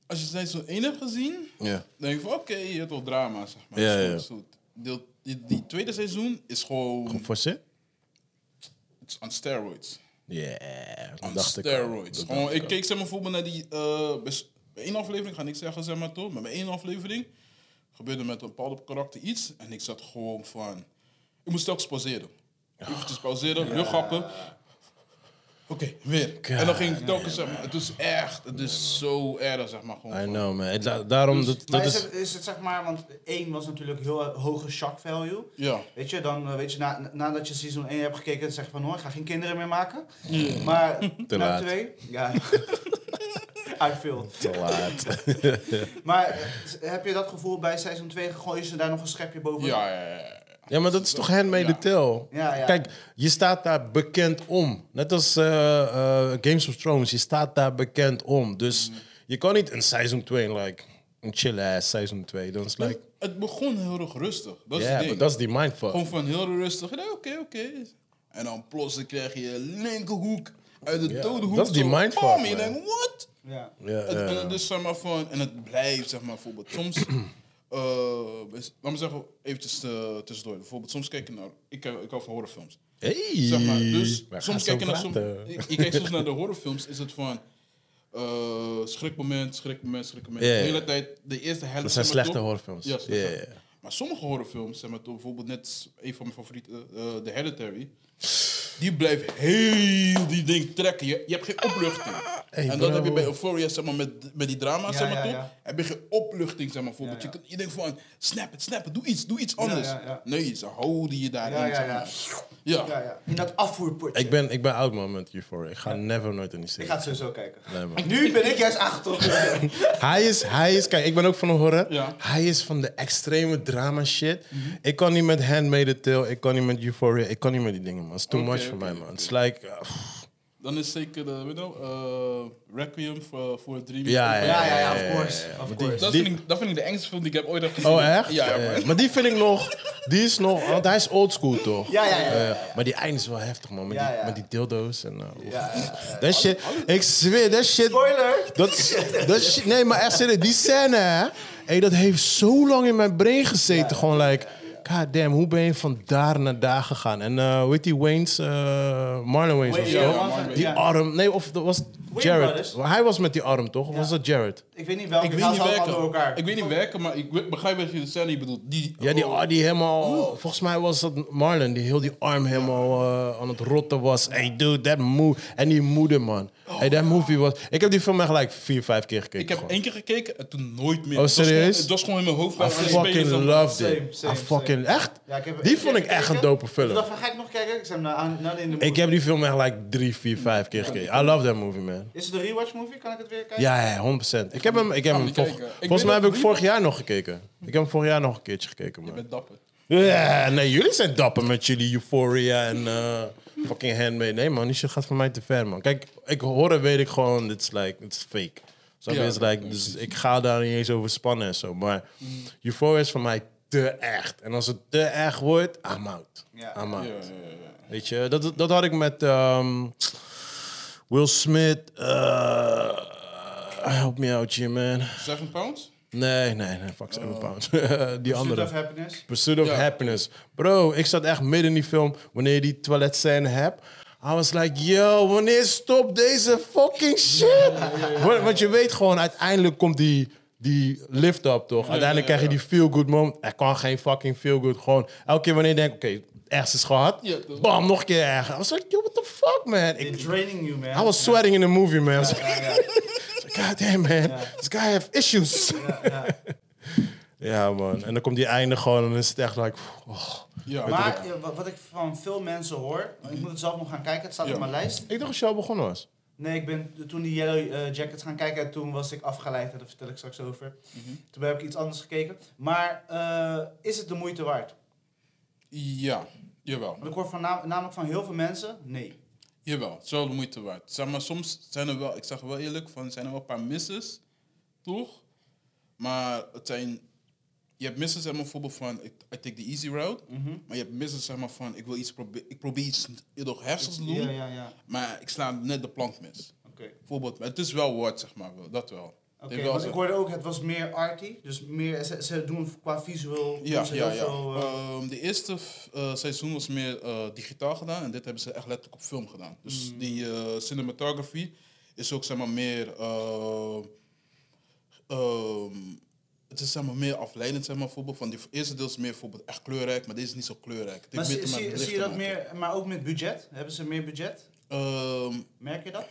Als je seizoen 1 hebt gezien,
ja.
dan denk je van oké, je hebt wel drama zeg maar.
Ja,
Het
ja,
is goed, het is goed. Deel, die, die tweede seizoen is gewoon.
Geforceerd?
het is on steroids.
Ja, dat
On
dacht ik. al.
steroids.
Dat
Gewoon,
dacht
ik
al.
keek zeg maar bijvoorbeeld naar die. eh, bes- bij één aflevering, ga ik zeggen zeg maar toch, maar bij één aflevering gebeurde met een bepaald karakter iets en ik zat gewoon van. Ik moest telkens pauzeren. Eventjes pauzeren, luchthappen. Oké, weer. En dan ging ik telkens zeg maar. Het is echt, het is zo erg zeg maar gewoon.
I
van-
know, man. Het da-
Dus-
daarom, dat,
Maar
dat
is,
is...
het, is het zeg maar, want 1 was natuurlijk heel eh, hoge shock value.
Ja.
Weet je, dan eh, weet je, na, na- nadat je seizoen 1 hebt gekeken, dan zeg je van hoor, ik ga geen kinderen meer maken. Maar na
laat.
2, ja. I feel.
Te laat.
Maar eh, heb je dat gevoel bij seizoen 2 gooi je ze daar nog een schepje boven?
Ja, ja, ja, ja.
Ja, maar dat is toch handmade
Ja.
tale?
Ja, ja.
Kijk, je staat daar bekend om. Net als eh, eh, Games of Thrones, je staat daar bekend om. Dus
Mhm.
je kan niet een seizoen 2, like, een chill-ass seizoen 2. Dan is het like,
Het begon heel erg rustig. Dat is
ja,
het
maar
ding.
dat is die mindfuck.
Gewoon van heel rustig. Nee, Oké, oké. En dan plots dan krijg je een linkerhoek uit de
Ja,
dode hoek.
dat is die
zo,
mindfuck,
bam, en je
man.
denkt, wat?
Ja.
Ja,
Het-
ja.
En het is zeg maar van, en het blijft zeg maar bijvoorbeeld soms, eh is- laat me zeggen eventjes eh, tussendoor. Bijvoorbeeld soms kijk je naar, ik, eh, ik hou van horrorfilms.
Hey,
Zeg maar, dus
we gaan
soms
zo
kijk je naar, soms,
praten.
ik, ik kijk soms naar de horrorfilms, is het van eh, schrikmoment, schrikmoment, schrikmoment.
Ja, ja.
De hele tijd, de eerste helft.
Dat zijn
zeg maar,
slechte
toch-
horrorfilms.
Ja,
Ja,
slechte.
ja, ja.
maar sommige horrorfilms, zeg maar, toch bijvoorbeeld net een van mijn favorieten, eh, eh, The Hereditary. Die blijft heel die ding trekken. Je, je hebt geen opluchting.
Hey,
en dat
bro.
heb je bij Euphoria, zeg maar, met, met die drama,
Ja,
zeg maar,
ja,
toch?
ja.
Heb je geen opluchting, zeg maar, bijvoorbeeld.
Ja, ja.
Je, kunt- je denkt van, snap het, snap het, doe iets, doe iets anders.
ja, ja.
Nee, ze houden je daarin,
Ja, ja,
zeg
ja.
maar. Ja.
Ja, ja. In dat afvoerputje.
Ik ben, ik ben oud, man, met Euphoria. Ik ga never nooit in die
Ik
serie.
ga het sowieso kijken.
Nee, man.
Nu ben ik juist aangetrokken.
Hij is, hij is, kijk, ik ben ook van de horror.
Ja.
Hij is van de extreme drama shit. Ik kan niet met Handmade Tale, ik kan niet met Euphoria, ik kan niet met die dingen, man. It's too
Oké,
much voor
oké,
mij, man.
oké.
It's like, uh, pff,
Dan is zeker, de weet je wel, eh, Requiem voor, voor het Dream.
ja, ja,
Ja, ja, ja,
ja,
of
ja,
course.
ja, ja.
Of
Maar
course.
Dat
Die-
vind, ik, dat vind ik de engste film die ik heb ooit heb gezien.
Oh, echt?
Ja,
Ja,
man.
Maar die vind ik nog, die is nog, want hij is oldschool toch?
Ja, ja, ja, ja,
Eh,
ja.
Maar die eind is wel heftig, man. Met,
Ja,
die,
ja.
met die dildo's en. eh,
Ja, ja, ja.
Dat shit, ik zweer, dat shit.
Spoiler!
Dat, is- dat shit, nee, maar echt serieus, die scène, hè? Hey, dat heeft zo lang in mijn brein gezeten. Gewoon, like, god damn, hoe ben je van daar naar daar gegaan? En eh hoe heet die Wayne's, eh, Marlon Wayne's of
Wayne,
zo?
ja,
Johansson,
man,
die
ja.
arm, nee, of dat was Jared.
Brothers.
Hij was met die arm, toch? Of was dat Jared?
Ik weet niet welke.
Ik
haal
weet niet
ze allemaal door
werken.
elkaar.
Ik weet niet werken, maar ik we- begrijp wat je de scène bedoelt. Die,
Ja, die,
oh,
die helemaal. Volgens mij was dat Marlon die heel die arm helemaal eh, aan het rotten was. Hey, dude, dat moe. En die moeder, man. Hey, dat movie was. Ik heb die film echt like vier, vijf keer gekeken.
Ik heb
gewoon.
één keer gekeken en toen nooit meer.
Oh,
Het was gewoon-
serieus?
Het was gewoon in mijn hoofd.
I
aan het spelen
fucking
zijn.
loved
Same,
it.
same,
I fucking, echt?
Ja, ik heb-
die
ik
vond
heb
ik echt een
gekeken.
dope
Ik
film.
dacht van, ga ik nog kijken? Ik zei, nou, nou in de
Ik
movie.
heb die film echt like drie, vier, vijf keer gekeken. I love that movie, man.
Is het een rewatch movie? Kan ik het weer kijken?
Ja, ja 100%. Ik heb hem, ik heb
Gaan we
hem
die
vol-
kijken? Ik
volgens
weet
mij heb
dat
ik
drie-
vorig jaar nog gekeken. Ik heb hem vorig jaar nog een keertje gekeken,
Ik
man.
ben dapper.
Ja, nee, jullie zijn dapper met jullie euphoria en eh, fucking handmade. Nee, man, die shit gaat voor mij te ver, man. Kijk, ik horen weet ik gewoon, dit is like, it's fake. Snap je?
Ja.
It's like, dus ik ga daar niet eens over spannen en zo. Maar euphoria is voor mij te echt. En als het te echt wordt, I'm out.
Ja.
I'm out.
Ja, ja, ja.
Weet je, dat, dat had ik met ehm, Will Smith. eh, help me out, je man.
Seven pounds?
Nee, nee, nee, fuck
Oh.
Seven Pounds. die
Pursuit
andere.
of Happiness.
Pursuit of
Ja.
Happiness. Bro, ik zat echt midden in die film wanneer je die toiletscène hebt. I was like, yo, wanneer stopt deze fucking shit? Want, want je weet gewoon, uiteindelijk komt die, die lift up, toch? uiteindelijk
ja, ja.
krijg je die feel-good moment. Er kan geen fucking feel-good. Gewoon elke keer wanneer je denkt, oké, ergens is gehad.
Ja, toch.
bam, nog een keer erger. I was like, yo, what the fuck, man?
They
Ik,
draining you, man.
I was sweating in the movie, man. I was
Ja,
like,
ja,
God damn, man. This guy have issues.
ja, ja.
ja, man. En dan komt die einde gewoon en dan is het echt like... oh.
Ja.
Maar eh, wa- wat ik van veel mensen hoor, ik moet het zelf nog gaan kijken, het staat
Ja.
op mijn lijst.
Ik dacht dat je al begonnen was.
Nee, ik ben toen die Yellow eh, Jackets gaan kijken en toen was ik afgeleid, en daar vertel ik straks over. Toen heb ik iets anders gekeken. Maar eh, is het de moeite waard?
ja, jawel.
Want ik hoor van, namelijk van heel veel mensen, nee.
Jawel, het is wel de moeite waard. Zeg maar, soms zijn er wel, ik zeg wel eerlijk, van, zijn er wel een paar misses, toch? Maar het zijn, je hebt misses, zeg maar, bijvoorbeeld van, ik I take the easy route.
Mhm.
Maar je hebt misses, zeg maar, van, ik wil iets proberen, ik probeer iets heel nog heftigs te doen,
Ja, ja, ja.
maar ik sla net de plank mis.
Oké.
Bijvoorbeeld, maar het is wel woord, zeg maar, wel, dat wel. Het
Oké,
heeft wel
want
zo-
ik hoorde ook, het was meer arty. Dus meer, ze, ze doen qua visueel.
Ja,
doen ze
ja,
heel
ja.
veel, eh,
Ehm, de eerste f- eh, seizoen was meer eh, digitaal gedaan en dit hebben ze echt letterlijk op film gedaan. Dus
Mm.
die eh, cinematography is ook zeg maar meer. eh, ehm, het is zeg maar meer afleidend, zeg maar bijvoorbeeld. Van die eerste deel is meer bijvoorbeeld echt kleurrijk, maar deze is niet zo kleurrijk. Het heeft
maar
meer
zie,
te maken
zie,
met
zie je
licht
dat
te maken.
meer, maar ook met budget? Hebben ze meer budget?
Ehm,
Merk je dat?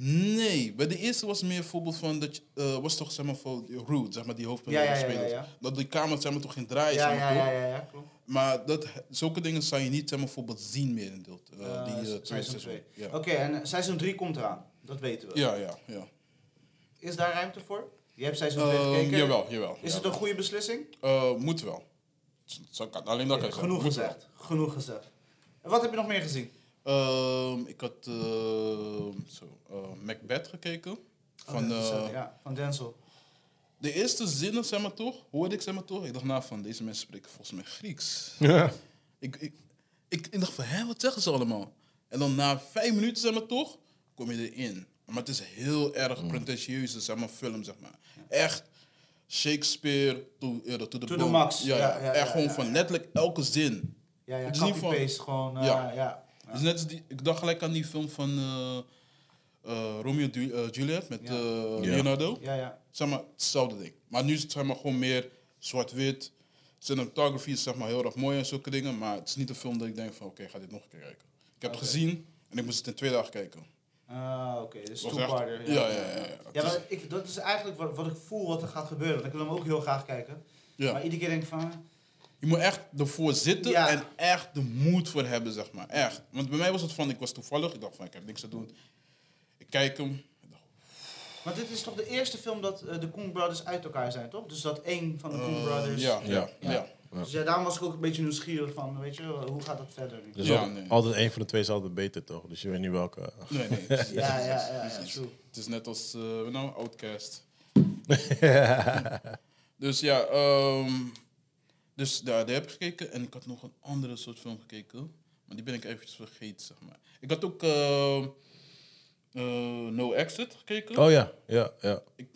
Nee, bij de eerste was meer bijvoorbeeld van dat je, eh, was toch zeg maar voor Rude, zeg maar die hoofdpersoon
Ja, ja, ja, ja,
spelers.
ja.
Dat die kamer zeg maar toch geen draai
Ja,
zeg maar,
ja,
toch?
ja, ja, ja, klopt.
Maar dat, zulke dingen zou je niet zeg maar, bijvoorbeeld zien meer in deel. eh,
Eh,
die, eh, tweede
seizoen
seizoen.
2.
Ja.
Oké, en eh, seizoen 3 komt eraan. Dat weten we.
ja, ja, ja.
Is daar ruimte voor? Je hebt seizoen 2
Ehm
gekeken.
jawel, jawel.
Is
ja.
het een goede beslissing?
Eh, moet wel. Zo kan, alleen dat kan je
Genoeg
zeggen. Moet
gezegd. Genoeg gezegd. En wat heb je nog meer gezien?
wel. Ehm, ik had ehm, zo, eh, Macbeth gekeken.
Oh,
Van,
dat is, eh,
eh,
ja, van Denzel.
De eerste zinnen, zeg maar toch, hoorde ik zeg maar toch. Ik dacht na van, deze mensen spreken volgens mij Grieks.
Ja.
Ik, ik, ik, ik dacht van, hè, wat zeggen ze allemaal? En dan na vijf minuten, zeg maar toch, kom je erin. Maar het is heel erg pretentieuze, zeg maar, film, zeg maar. Echt Shakespeare to, eh, to the,
the
bone.
max.
Ja,
Ja,
ja,
ja,
echt
ja,
gewoon
ja,
van
ja.
letterlijk elke zin.
Ja, ja,
Het is niet van-
copy-paste gewoon. eh,
Ja.
ja.
Dus net als die, ik dacht gelijk aan die film van eh, eh, Romeo en Ju- eh, Juliet met
Ja.
eh,
Ja.
Leonardo.
Ja, ja.
Zeg maar, hetzelfde ding. Maar nu is het zeg maar, gewoon meer zwart-wit. Cinematography is zeg maar, heel erg mooi en zulke dingen. Maar het is niet een film dat ik denk van, oké, ik ga dit nog een keer kijken. Ik heb
Oké.
het gezien en ik moest het in twee dagen kijken.
Ah, oké. Dus
Was
two-parter.
echt- ja, ja, ja, ja. Het
Ja,
is-
maar ik, dat is eigenlijk wat, wat ik voel wat er gaat gebeuren. Want ik wil hem ook heel graag kijken.
ja.
Maar iedere keer denk ik van...
Je moet echt ervoor zitten
Ja.
en echt de moed voor hebben, zeg maar. Echt. Want bij mij was het van, ik was toevallig. Ik dacht van, ik heb niks te doen. Ik kijk hem. Ik dacht,
Maar dit is toch de eerste film dat eh, de Coen Brothers uit elkaar zijn, toch? Dus dat één van de Coen
eh,
Brothers...
ja, ja,
Ja.
ja.
Dus ja, daarom was ik ook een beetje nieuwsgierig van, weet je, hoe gaat dat verder nu?
Dus
Ja,
al-
nee.
altijd een van de twee is altijd beter, toch? Dus je weet niet welke.
Nee, nee. precies,
Ja, ja, ja,
precies,
ja,
precies.
true.
Het is net als, eh, nou, Outcast. Dus ja, ehm, dus daar, daar heb ik gekeken. En ik had nog een andere soort film gekeken. Maar die ben ik eventjes vergeten, zeg maar. Ik had ook ehm, eh, No Exit gekeken.
Oh ja, ja, ja.
Ik-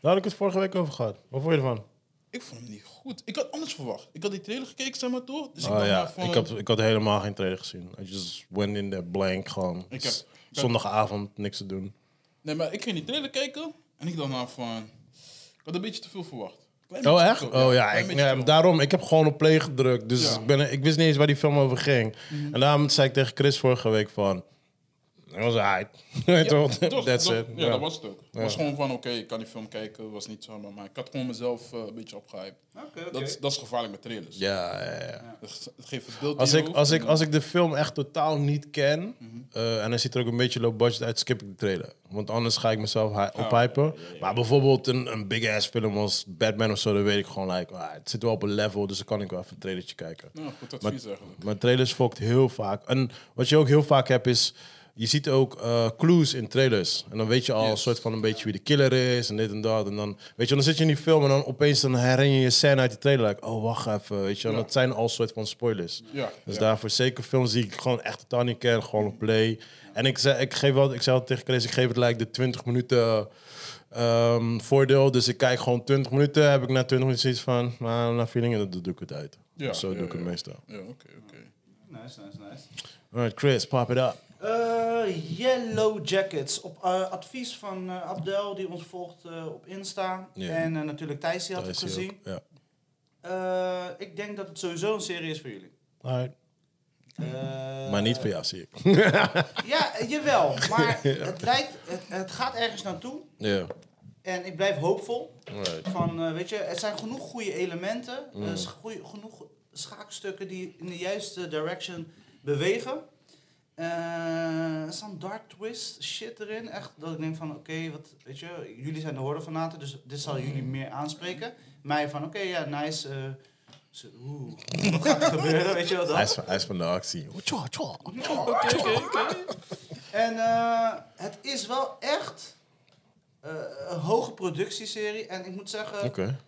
Daar had ik het vorige week over gehad. Wat vond je ervan?
Ik vond hem niet goed. Ik had anders verwacht. Ik had die trailer gekeken, zeg maar, toch? Dus
oh
dacht
ja,
maar van-
ik, had, ik had helemaal geen trailer gezien. I just went in there blank, gewoon.
Ik heb-
S- Zondagavond, niks te doen.
Nee, maar ik ging die trailer kijken. En ik dacht nou van... Ik had een beetje te veel verwacht. Klein
Oh
beetje
echt?
te veel,
Oh ja,
klein
ik,
beetje
ja,
te veel.
daarom. Ik heb gewoon op play gedrukt. Dus
Ja. Mhm.
ik, ben, ik wist niet eens waar die film over ging. En daarom zei ik tegen Chris vorige week van... Dat was hype. Toch?
Dat was-
That's
dat-
it.
Ja,
Ja.
dat was het ook. Het was gewoon van, oké, ik kan die film kijken. was niet zo, maar- maar ik had gewoon mezelf eh, een beetje opgehyped.
Oké, oké.
Dat, is- dat is gevaarlijk met trailers.
Ja, ja, ja.
Het het geeft het beeld
Als
in je
ik,
hoofd
als,
en
ik, als ik de film echt totaal niet ken
Mhm.
eh, en hij ziet er ook een beetje low budget uit, skip ik de trailer. Want anders ga ik mezelf hy- ophypen. Maar bijvoorbeeld een, een big ass film als Batman of zo, dan weet ik gewoon, like, ah, het zit wel op een level, dus dan kan ik wel even een trailertje kijken.
Nou, goed advies eigenlijk.
Maar trailers fokt heel vaak. En wat je ook heel vaak hebt is, je ziet ook eh, clues in trailers. En dan weet je al een
Yes.
soort van een beetje wie de killer is en dit en dat. En dan, weet je, dan zit je in die film en dan opeens dan herinner je je scène uit de trailer. Like, oh, wacht even, weet je. En
Ja.
dat zijn al soort van spoilers.
Ja,
Dus
ja.
daarvoor zeker films die ik gewoon echt totaal niet ken, gewoon op play. En ik zei, ik geef wel, ik zei al tegen Chris, ik geef het like de 20 minuten ehm, voordeel. Dus ik kijk gewoon 20 minuten, heb ik na 20 minuten zoiets van, nou, na feeling, en dan doe ik het uit.
Ja,
Zo
ja,
doe ik het
ja.
meestal.
Ja, oké, oké.
Nice, nice, nice.
Alright, Chris, pop it up.
Eh, Yellow Jackets. Op eh, advies van eh, Abdel, die ons volgt eh, op Insta.
Ja.
En eh, natuurlijk Thijs, die had het
Daar is hij
gezien.
ook, Ja.
Eh, ik denk dat het sowieso een serie is voor jullie.
Alright.
Eh,
Maar niet voor jou, zie ik.
Ja, eh, jawel. Maar het, lijkt, het, het gaat ergens naartoe.
Ja.
En ik blijf hoopvol.
Alright.
Van, eh, weet je, er zijn genoeg goede elementen. eh, sch- goeie- genoeg schaakstukken die in de juiste direction bewegen. Eh, er staan dark twist shit erin. Echt dat ik denk van, oké, wat, weet je, jullie zijn de horrorfanaten, dus dit zal jullie meer aanspreken. Mij van, oké, ja, nice. eh, Zo, Oeh, wat gaat er gebeuren? Weet je wel
Hij
dat?
is van, hij is van de actie. Tja, tja.
En eh, het is wel echt eh, een hoge productieserie. En ik moet zeggen,
Oké.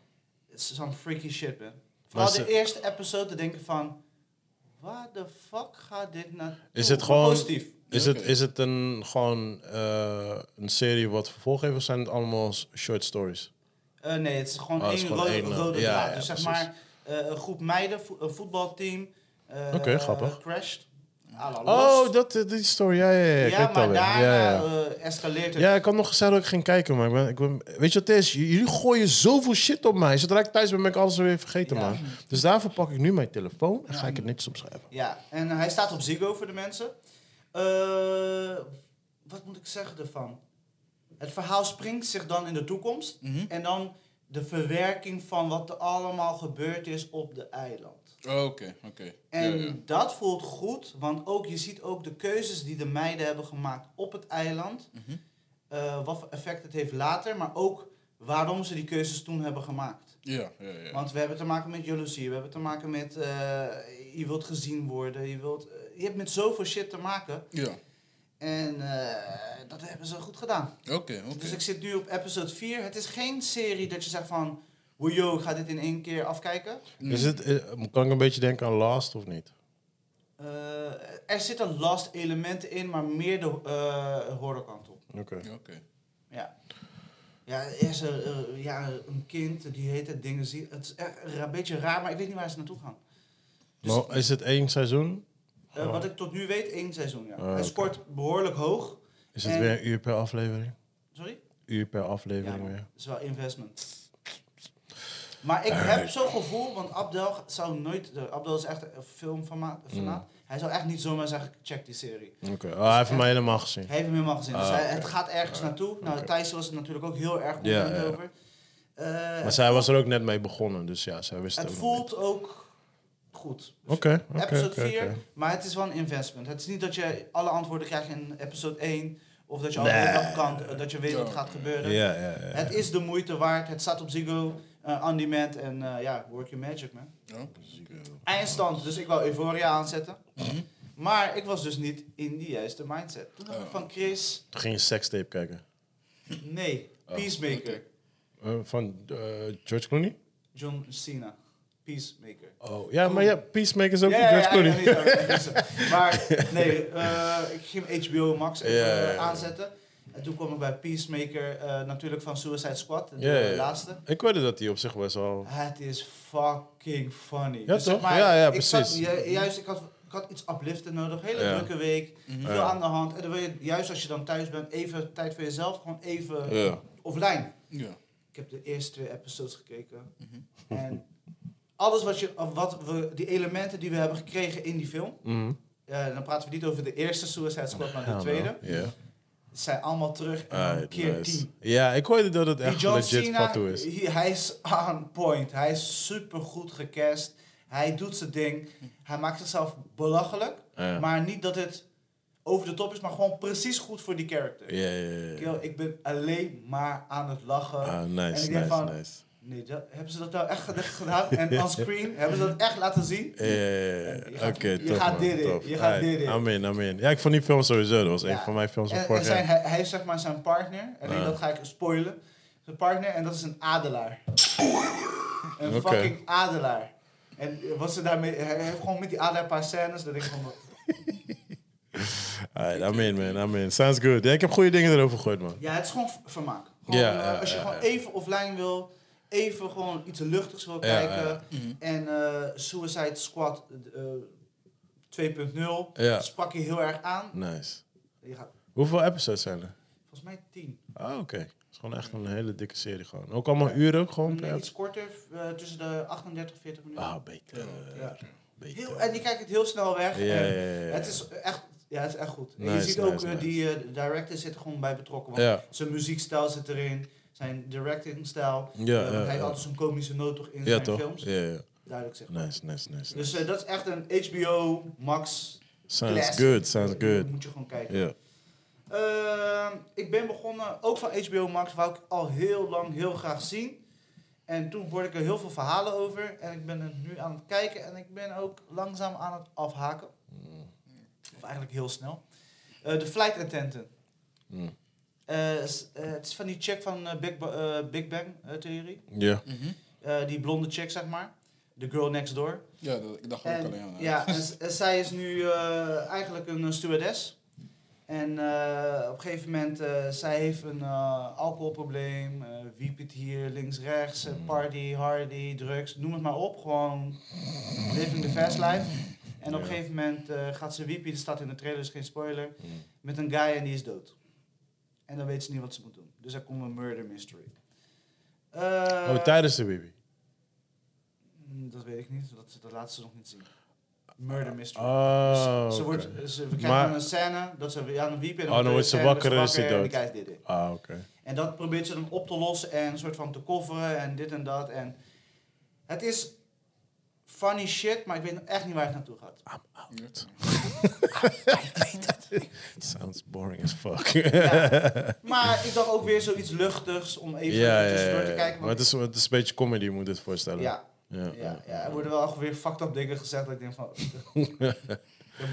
het is zo'n freaky shit, man.
Maar
Vooral
is
de
het-
eerste episode te denken van... Waar de fuck gaat dit naartoe?
Is het
Maar
gewoon-
Positief.
Is
Oké.
het, is het een, gewoon eh, een serie wat vervolg heeft of zijn het allemaal s- short stories?
Eh, nee, het is gewoon
Oh, het
één
is gewoon
rode,
één, eh,
rode
ja,
draad.
ja,
dus zeg
precies.
maar eh, een groep meiden, vo- een voetbalteam. eh,
Oké, grappig.
Crashed. à la
Oh,
Lost.
dat, eh, die story. Ja, ja, ja. Ik
ja,
weet het
maar
alweer.
daarna
ja, ja.
eh, escaleert het.
Ja, ik had nog gezegd dat ik ging kijken, maar ik ben, ik ben- weet je wat het is? J- Jullie gooien zoveel shit op mij. Zodra ik thuis ben, ben ik alles weer vergeten,
Ja.
man. Dus daarvoor pak ik nu mijn telefoon en ga ik het netjes opschrijven.
Ja, en hij staat op Ziggo voor de mensen. Eh, wat moet ik zeggen ervan? Het verhaal springt zich dan in de toekomst.
Mhm.
En dan de verwerking van wat er allemaal gebeurd is op de eiland.
Oh, Oké, oké. Ja,
En
ja.
dat voelt goed, want ook, je ziet ook de keuzes die de meiden hebben gemaakt op het eiland.
Mhm.
eh, wat voor effect het heeft later, maar ook waarom ze die keuzes toen hebben gemaakt.
Ja, ja, ja.
Want we hebben te maken met jaloezie, we hebben te maken met eh, je wilt gezien worden, je, wilt, eh, je hebt met zoveel shit te maken.
Ja,
En eh, dat hebben ze goed gedaan.
oké,
Dus
oké.
ik zit nu op episode 4. Het is geen serie dat je zegt van, "Wow, yo, ik ga dit in één keer afkijken.
Is het, eh, kan ik een beetje denken aan Last of niet?
Eh, er zitten last elementen in, maar meer de eh horrorkant op.
Oké.
Oké.
Ja. Ja, er is een, eh, ja, een kind die heet het dingen zien. Het is echt een beetje raar, maar ik weet niet waar ze naartoe gaan. Dus-
Maar is het één seizoen?
Eh, wat ik tot nu weet, één seizoen. Ja.
Ah,
Hij
Oh. oké.
scoort behoorlijk hoog.
Is het
En-
weer een uur per aflevering?
Sorry?
Uur per
Ja,
aflevering
man,
weer.
dat is wel investment. Maar ik heb zo'n gevoel, want Abdel zou nooit... de- Abdel is echt een filmfanaat.
Mm.
fanaat. Hij zou echt niet zomaar zeggen, check die serie.
Oké. Oh, hij heeft
Ja.
mij helemaal gezien.
Hij heeft hem helemaal gezien. Dus
Ah,
hij-
oké.
het gaat ergens naartoe. Nou,
oké.
Thijs was er natuurlijk ook heel erg
Ja,
content
ja, ja.
over. Eh,
Maar zij was er ook net mee begonnen, dus ja, zij wist
het
ook nog niet.
voelt ook goed.
Oké, oké,
episode
oké.
4,
oké.
maar het is wel een investment. Het is niet dat je alle antwoorden krijgt in episode 1. Of dat je al
Nee.
weet wat kan, eh, dat je weet wat
Ja.
gaat gebeuren.
Ja, ja, ja.
Het is de moeite waard. Het staat op Ziggo, eh, on demand en eh, ja, work your magic man.
Oké.
Eindstand, dus ik wou Euphoria aanzetten.
Mhm.
Maar ik was dus niet in de juiste mindset. Toen dacht ik
Oh.
van Chris,
Toen ging je sekstape kijken.
nee,
Oh,
Peacemaker.
Eh, van eh, George Clooney?
John Cena, Peacemaker.
Oh, ja, maar ja, Peacemaker is ook
Ja,
van
ja,
George
ja,
Clooney.
ja, ja, ja, ja, ja. Maar nee, eh, ik ging HBO Max even
Ja, ja, ja.
eh, aanzetten. En toen kwam ik bij Peacemaker, eh, natuurlijk van Suicide Squad, de
Ja, ja, ja.
laatste.
Ik weet dat hij op zich best wel...
Het is fucking funny. Dus
Ja,
zeg
toch? Ja, ja,
ik zat
precies.
ju- juist, ik had, ik had iets upliften nodig. Hele
Ja.
drukke week,
Mhm.
veel
Ja.
aan de hand. En dan wil je, juist als je dan thuis bent, even tijd voor jezelf, gewoon even
Ja.
offline.
Ja.
Ik heb de eerste twee episodes gekeken.
Mhm.
En alles wat je, of wat we, die elementen die we hebben gekregen in die film,
Mhm.
eh, dan praten we niet over de eerste Suicide Squad, maar de tweede,
Ja.
zijn allemaal terug en dan
Alright,
keer
nice.
tien.
Ja, ik hoorde dat het
Die
echt
John
legit
Cena,
fatsoen is.
hij- hij is on point. Hij is super goed gecast. Hij doet zijn ding. Hij maakt zichzelf belachelijk.
Ja.
Maar niet dat het over de top is, maar gewoon precies goed voor die character.
Ja, ja, ja, ja.
Yo, ik ben alleen maar aan het lachen.
Ah,
En
nice,
ik denk
nice,
van-
nice.
Nee, dat, hebben ze dat nou echt echt gedaan? En on screen hebben ze dat echt laten zien?
Ja, ja,
Je
ja.
gaat-
Oké,
je
tof,
gaat
man,
dit in,
tof.
je gaat
Alright,
dit in.
Amen, amen. Ja, ik vond die film sowieso. Dat was
Ja.
een van mijn films van
En, en
vorig jaar.
zijn, hij, hij heeft zeg maar zijn partner, en
Ja.
dat ga ik spoilen. Zijn partner, en dat is een adelaar. een
Oké.
fucking adelaar. En eh, wat ze daarmee, hij heeft gewoon met die adelaar een paar scènes, dat ik gewoon, wat-
Alright, amen, man, amen. Sounds good. Ja, ik heb goede dingen erover gegooid, man.
ja, het is gewoon v- vermaak. Gewoon,
Ja,
eh,
ja,
als je
ja,
gewoon
ja.
even offline wil, even gewoon iets luchtigs wil
Ja,
kijken.
ja.
En eh, Suicide Squad eh, 2.0
Ja.
sprak je heel erg aan.
Nice.
Je gaat
Hoeveel episodes zijn er?
volgens mij 10.
Ah, oké. Het is gewoon echt een hele dikke serie gewoon. Ook allemaal uren ook gewoon.
Nee,
per
iets korter, eh, tussen de 38 en 40 minuten.
Ah, beter.
Ja.
beter.
Heel, en die kijkt het heel snel weg.
Ja, ja,
En
ja, ja.
Het is echt, ja, het is echt goed. En je
Nice,
ziet ook
nice,
eh,
nice.
die eh, director zit er gewoon bij betrokken. Want
Ja,
zijn muziekstijl zit erin, zijn directingstijl.
Ja,
Eh,
ja,
want hij heeft
ja.
altijd zo'n komische noot toch in
ja
zijn
toch?
films.
Ja, ja.
Duidelijk zeg.
Nice, nice, nice.
Dus eh, dat is echt een HBO Max.
Sounds
classic.
good, sounds good.
Moet je gewoon kijken.
Ja.
Ehm, Eh, ik ben begonnen, ook van HBO Max, wou ik al heel lang heel graag zien. En toen hoorde ik er heel veel verhalen over. En ik ben er nu aan het kijken. En ik ben ook langzaam aan het afhaken.
Mm,
Of eigenlijk heel snel. Eh, De flight attendant.
mm.
Eh, s- eh, het is van die check van eh, Big, Ba- eh, Big Bang eh, Theorie.
Ja.
Mhm.
Eh, die blonde check, zeg maar. The girl next door.
Ja, dat, ik dacht ook
En,
alleen aan. eh,
ja, en, s- en zij is nu eh, eigenlijk een eh, stewardess. En eh, op een gegeven moment, eh, zij heeft een eh, alcoholprobleem. eh wiep het hier, links, rechts.
Mm.
eh, party, hardy, drugs, noem het maar op. Gewoon living the fast life. En op een
Ja.
gegeven moment eh, gaat ze wiepie, dat staat in de trailer, is geen spoiler.
Mm.
Met een guy en die is dood. En dan weet ze niet wat ze moet doen. Dus er komt een murder mystery. Eh,
Oh, tijdens de baby.
Mm, Dat weet ik niet, dat, dat laat ze nog niet zien. Murder mystery.
Oh,
Ze- ze
oké.
wordt, ze, we krijgen
Maar-
dan een scène dat ze aan het wiepen en
Oh, dan wordt ze wakker en is
en
ze
die
dood.
guy is dit, dit.
Ah, oké.
En dat probeert ze dan op te lossen en een soort van te coveren en dit en dat. En het is funny shit, maar ik weet echt niet waar het naartoe gaat.
Sounds boring as fuck.
Ja. Maar ik dacht ook weer zoiets luchtigs om even
ja, ja,
tussendoor
ja.
te kijken.
Maar het is, het is een beetje comedy, moet je dit voorstellen.
ja,
ja,
ja, ja, er worden wel echt weer fucked up dingen gezegd dat ik denk van... Ja,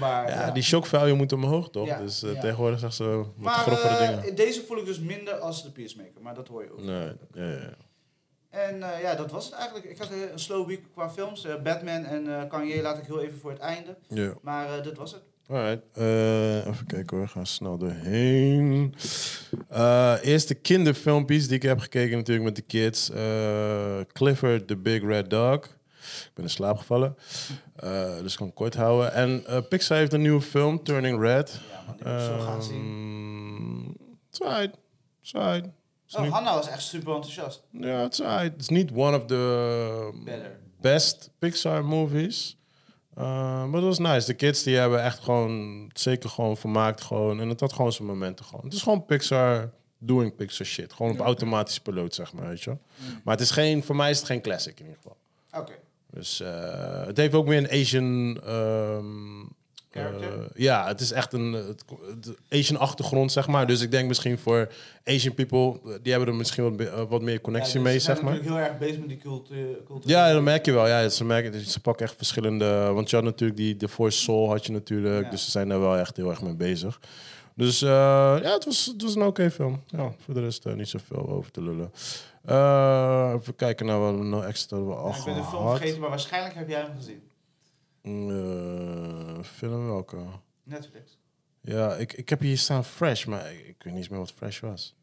maar,
Ja, die shock value moet omhoog, toch?
Ja,
Dus eh,
ja.
tegenwoordig zegt ze wat
maar
grotere
eh,
dingen.
deze voel ik dus minder als de Peacemaker, maar dat hoor je ook.
Nee, ja, ja.
En eh, ja, dat was het eigenlijk. Ik had eh, een slow week qua films. Eh, Batman en eh, Kanye laat ik heel even voor het einde.
ja.
Maar eh, dat was het.
Alright. Eh, even kijken hoor, gaan snel doorheen. Eh eerste kinderfilmpjes die ik heb gekeken natuurlijk met de kids. Eh, Clifford the Big Red Dog. Ik ben in slaap gevallen. Eh, dus ik kan het kort houden. En eh, Pixar heeft een nieuwe film, Turning Red.
Ja, man, die moet ik zo
Ehm,
gaan zien.
Side. Side.
Oh, Hanna was echt super enthousiast.
Ja, het is alright. Het is niet one of the um,
Better.
best Pixar movies. Eh, Maar dat was nice. De kids die hebben echt gewoon, zeker gewoon vermaakt gewoon. En het had gewoon zijn momenten gewoon. Het is gewoon Pixar doing Pixar shit. Gewoon op automatisch piloot, zeg maar, weet je wel. Maar het is geen, voor mij is het geen classic in ieder geval.
Oké.
Dus eh, het heeft ook meer een Asian... ehm,
Character?
eh, ja, het is echt een eh, het- het- Asian-achtergrond, zeg maar. Dus ik denk misschien voor Asian people... eh, die hebben er misschien wat, be- eh, wat meer
Ja,
connectie
dus
mee,
ze zijn
zeg maar.
natuurlijk heel erg bezig met die cultuur. cultuur
Ja, dat merk je wel. Ja, ze, merken, dus ze pakken echt verschillende... Want je had natuurlijk die The Force Soul, had je natuurlijk.
Ja.
Dus ze zijn daar wel echt heel erg mee bezig. Dus eh, ja, het was, het was een oké film. Ja, voor de rest eh, niet zoveel over te lullen. Eh, even kijken naar wat we nou extra hebben we al
Ja, ik ben de film
gehad.
vergeten, maar waarschijnlijk heb jij hem gezien.
Eh, film welke?
Netflix.
Ja, ik, ik heb hier staan Fresh, maar ik, ik weet niet eens meer wat Fresh was.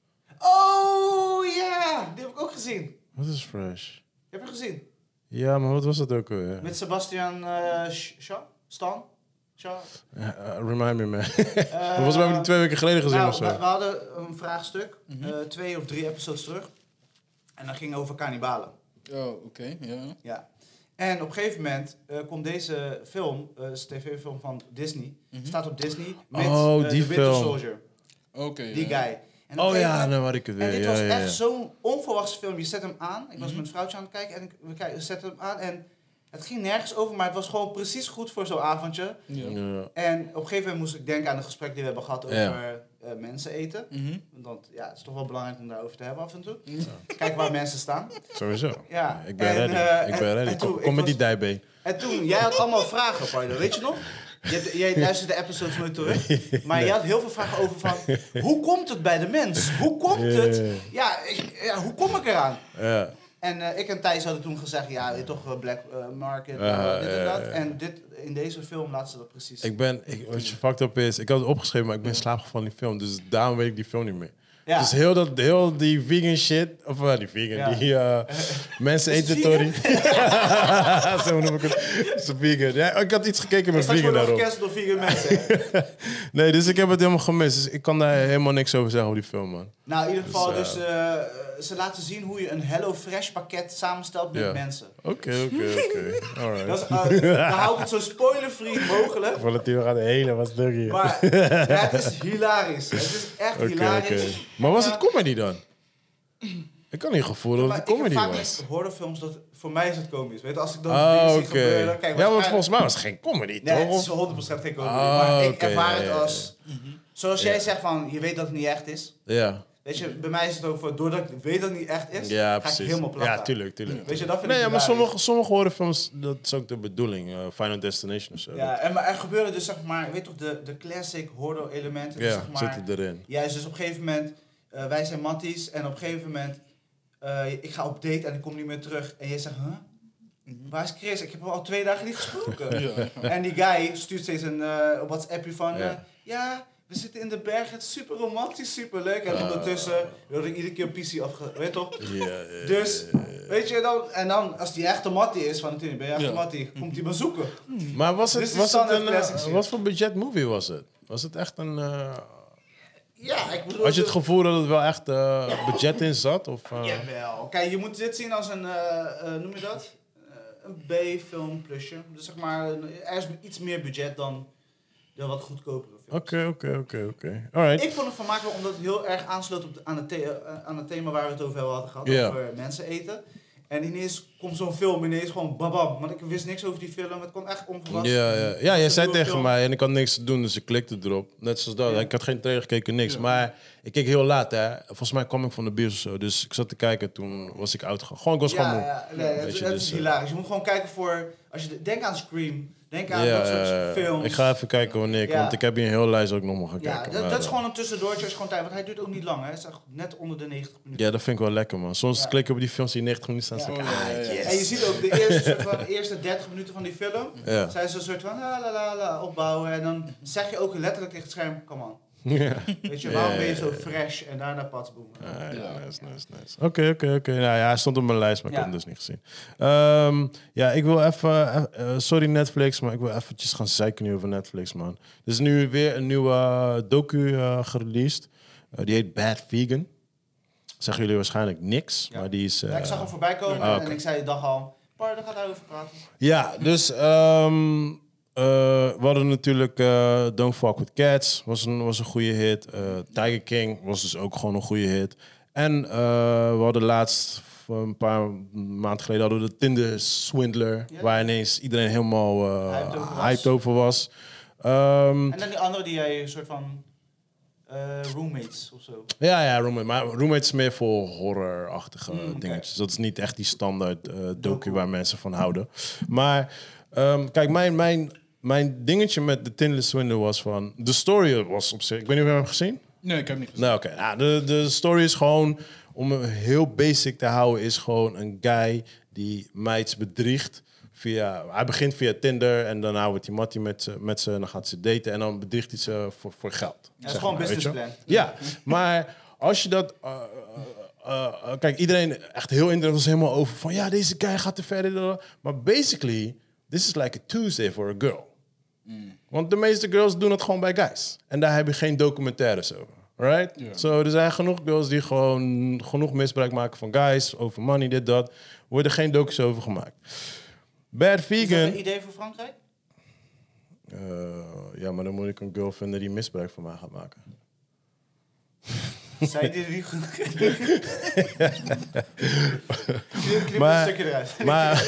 Oh ja, die heb ik ook gezien.
Wat is Fresh?
Heb je gezien?
Ja, maar wat was dat ook alweer?
Met Sebastian eh Sh- Shaw? Stan? Shaw?
Ja, eh, remind me, man.
Eh,
Volgens mij heb ik die twee weken geleden gezien
Nou,
of zo.
we, we hadden een vraagstuk, eh, twee of drie episodes terug. En dat ging over kannibalen.
Oh, oké. ja.
Ja. En op een gegeven moment eh, komt deze film, eh is een tv-film van Disney,
Mhm.
staat op Disney met
Oh,
eh,
die
The Winter
film.
Soldier,
Oké.
die
ja.
guy. En op
Oh
een
ja,
gegeven moment-
nou had ik het
en
weer.
dit
Ja,
was
ja, ja.
echt zo'n onverwachts film. Je zet hem aan, ik was met
Mhm.
mijn vrouwtje aan het kijken en ik, we kijk, zetten hem aan en het ging nergens over, maar het was gewoon precies goed voor zo'n avondje.
Ja.
Ja.
En op een gegeven moment moest ik denken aan het gesprek die we hebben gehad over
Ja.
eh, mensen eten.
Mhm.
Want ja, het is toch wel belangrijk om daarover te hebben af en toe. Kijk waar mensen staan.
Sowieso.
Ja.
Ik ben
En,
ready.
eh,
ik ben
en-
ready.
en
kom
toen-
kom
ik
met die
was-
dijbeen.
En toen, jij had allemaal vragen, Pardo, weet je nog? Je hebt- jij luistert de episodes nooit terug. Maar je had heel veel vragen over van... Hoe komt het bij de mens? Hoe komt
Ja,
het?
ja, ja.
Ja, ik- ja, hoe kom ik eraan?
Ja.
En eh, ik en Thijs hadden toen gezegd... Ja, weet je toch eh, black eh, market,
Ja,
eh, dit en
ja,
dat.
ja.
En dit, in deze film laten ze dat precies
Ik ben, ik, wat je fucked up is, ik had het opgeschreven, maar ik ben in slaap gevallen in die film. Dus daarom weet ik die film niet meer.
Ja.
Dus heel, dat, heel die vegan shit, of eh, die vegan,
Ja.
die eh, mensen
Is het
eten Tory. Zo noem ik het. Is het vegan. Ja, ik had iets gekeken met
Straks
vegan
worden we
daarop.
gecast door vegan mensen. hè?
Nee, dus ik heb het helemaal gemist. Dus ik kan daar helemaal niks over zeggen over die film, man.
nou, in ieder geval,
Dus,
dus, eh, eh, ze laten zien hoe je een Hello Fresh pakket samenstelt met
Ja.
mensen.
Oké, oké, oké.
Dat
Alright.
is, eh, dan hou ik het zo spoiler-free mogelijk.
Volatiel gaat de hele was druk hier.
Maar ja, het is hilarisch. Het is echt
Oké,
hilarisch.
oké. Maar was
Ja.
het comedy dan? Ik kan niet gevoel dat
Maar
het
ik heb
comedy
vaak
was.
met horrorfilms dat voor mij is het komisch. Weet je, als ik dan
Oh,
dingen
oké.
zie gebeuren, kijk
Ja, want
waarschijnlijk-
volgens mij was het geen comedy,
Nee, het
toch?
is 100% geen comedy.
Ah,
maar ik
oké,
ervaar
ja,
het
ja,
als... Zoals jij
Ja.
zegt van, je weet dat het niet echt is.
Ja.
Weet je, bij mij is het ook van, doordat ik weet dat het niet echt is,
Ja,
ga ik
precies.
helemaal plat.
Ja,
aan.
tuurlijk, tuurlijk.
Weet je, dat vind
Nee,
ik
ja, maar
hilarisch.
sommige, sommige horrorfilms, dat is ook de bedoeling. eh, Final Destination of zo.
Ja, en maar er gebeuren dus zeg maar, weet toch, de, de classic horror elementen.
Ja,
dus, zeg maar,
zitten erin.
Juist, dus op een gegeven moment, eh, wij zijn matties en op een gegeven moment, eh, ik ga op date en ik kom niet meer terug. En jij zegt, huh? Waar is Chris? Ik heb hem al twee dagen niet gesproken.
Ja.
En die guy stuurt steeds een eh WhatsAppje van, eh,
Ja.
ja. we zitten in de bergen, het is super romantisch, super leuk. En
Ah.
ondertussen word ik iedere keer PC afge... Weet toch?
Ja, ja, ja,
Dus,
ja, ja.
weet je dan, en dan als die echte mattie is van natuurlijk, ben je echte
Ja.
mattie, komt hij me zoeken.
Maar was
Dus Dit
het, was
is
het
standaard
een... eh,
classic shit.
wat voor budget movie was het? Was het echt een... eh,
Ja, ik bedoel... dus-
had je het
de-
gevoel dat het wel echt eh, budget in zat? Of, eh,
Jawel. Kijk, je moet dit zien als een, eh, eh, noem je dat? Eh, een B-film plusje. Dus zeg maar, een- er is iets meer budget dan de wat goedkopere film.
Oké, oké, oké, oké. Alright.
Ik vond het vermakelijk omdat het heel erg aansloot op de- aan, het the- eh, aan het thema waar we het over hadden gehad,
Ja.
over mensen eten. En ineens komt zo'n film ineens gewoon babam, want ik wist niks over die film, het kwam echt onverwacht.
Ja, ja. ja, jij
Ik
zei
bedoel,
tegen
film-
mij en ik had niks te doen, dus ik klikte erop. Net zoals dat.
Ja.
Ik had geen trailer gekeken, niks. Maar ik keek heel laat, hè. Volgens mij kwam ik van de bios of zo. Dus ik zat te kijken, toen was ik oud gegaan. Gewoon, ik was gewoon
Ja,
moe.
ja, nee, het,
Weet je,
het
dus,
is
eh,
hilarisch. Je moet gewoon kijken voor, als je de- denk aan Scream, denk aan
ja,
dat soort
ja, ja.
films.
Ik ga even kijken wanneer ik,
Ja.
want ik heb hier een hele lijst ook nog maar gaan
Ja,
kijken.
dat,
maar,
dat is
eh,
gewoon een tussendoortje als je gewoon tijd, want hij duurt ook niet lang, hè. Het is echt net onder de 90 minuten.
Ja, dat vind ik wel lekker, man. Soms
Ja.
klik ik op die films die 90 minuten staan.
Oh,
Ah,
Ja.
ja, ja, ja.
En je ziet ook de eerste, soort van, eerste 30 minuten van die film,
Ja.
zijn ze een soort van la la la la opbouwen en dan zeg je ook letterlijk tegen het scherm, come on.
Ja.
Weet je, waarom
Ja,
ben je
ja,
zo fresh en daarna pas boemen?
Ah,
Ja.
Nice, nice, nice. Oké, oké, oké. Nou ja, hij stond op mijn lijst, maar ik
Ja.
heb hem dus niet gezien. Ehm, ja, ik wil even... eh, eh, sorry Netflix, maar ik wil eventjes gaan zeiken nu over Netflix, man. Er is nu weer een nieuwe eh, docu eh, gereleased. Eh, die heet Bad Vegan. Zeggen jullie waarschijnlijk niks,
Ja.
maar die is... eh,
Ja, ik zag hem voorbij komen
Ah, oké.
en ik zei de dag al, Par, daar gaat hij over praten.
Ja, dus ehm, eh, we hadden natuurlijk eh, Don't Fuck With Cats, was een, was een goede hit. Eh, Tiger King was dus ook gewoon een goede hit. En eh, we hadden laatst, van een paar maanden geleden, hadden we de Tinder Swindler.
Ja.
Waar ineens iedereen helemaal eh,
Hyped over was.
hyped over was. Ehm,
En dan die andere die jij een soort van eh, roommates of zo.
ja, ja, Roommate. Maar Roommate is meer voor horrorachtige
Mm, oké.
dingetjes. Dat is niet echt die standaard eh docu waar mensen van houden. Maar ehm, kijk, mijn, mijn, mijn dingetje met de Tinless Window was van... De story was op zich... Ik weet niet of je hem hebt gezien?
Nee, ik heb niet gezien.
Nou, oké. Nou, de, de story is gewoon, om hem heel basic te houden, is gewoon een guy die meids bedriegt. Via, hij begint via Tinder en daarna wordt hij mattie met, ze- met ze en dan gaat ze daten. En dan bedriegt hij ze voor, voor geld.
is
zeg
gewoon
maar, weet je wel.
businessplan.
Ja, maar als je dat... eh, eh, eh, kijk, iedereen echt heel internet was helemaal over van... Ja, deze guy gaat te verder. Maar basically, this is like a Tuesday for a girl.
Mm.
Want de meeste girls doen het gewoon bij guys. En daar heb je geen documentaires over. Right?
Ja.
So, er zijn genoeg girls die gewoon genoeg misbruik maken van guys, over money, dit, dat. Worden geen docu's over gemaakt. Bad
Is dat
Vegan.
een idee voor Frankrijk?
Eh, ja, maar dan moet ik een girl vinden die misbruik van mij gaat maken.
Zijn die niet goed? Knip- Knip
Maar-
een stukje eruit.
maar,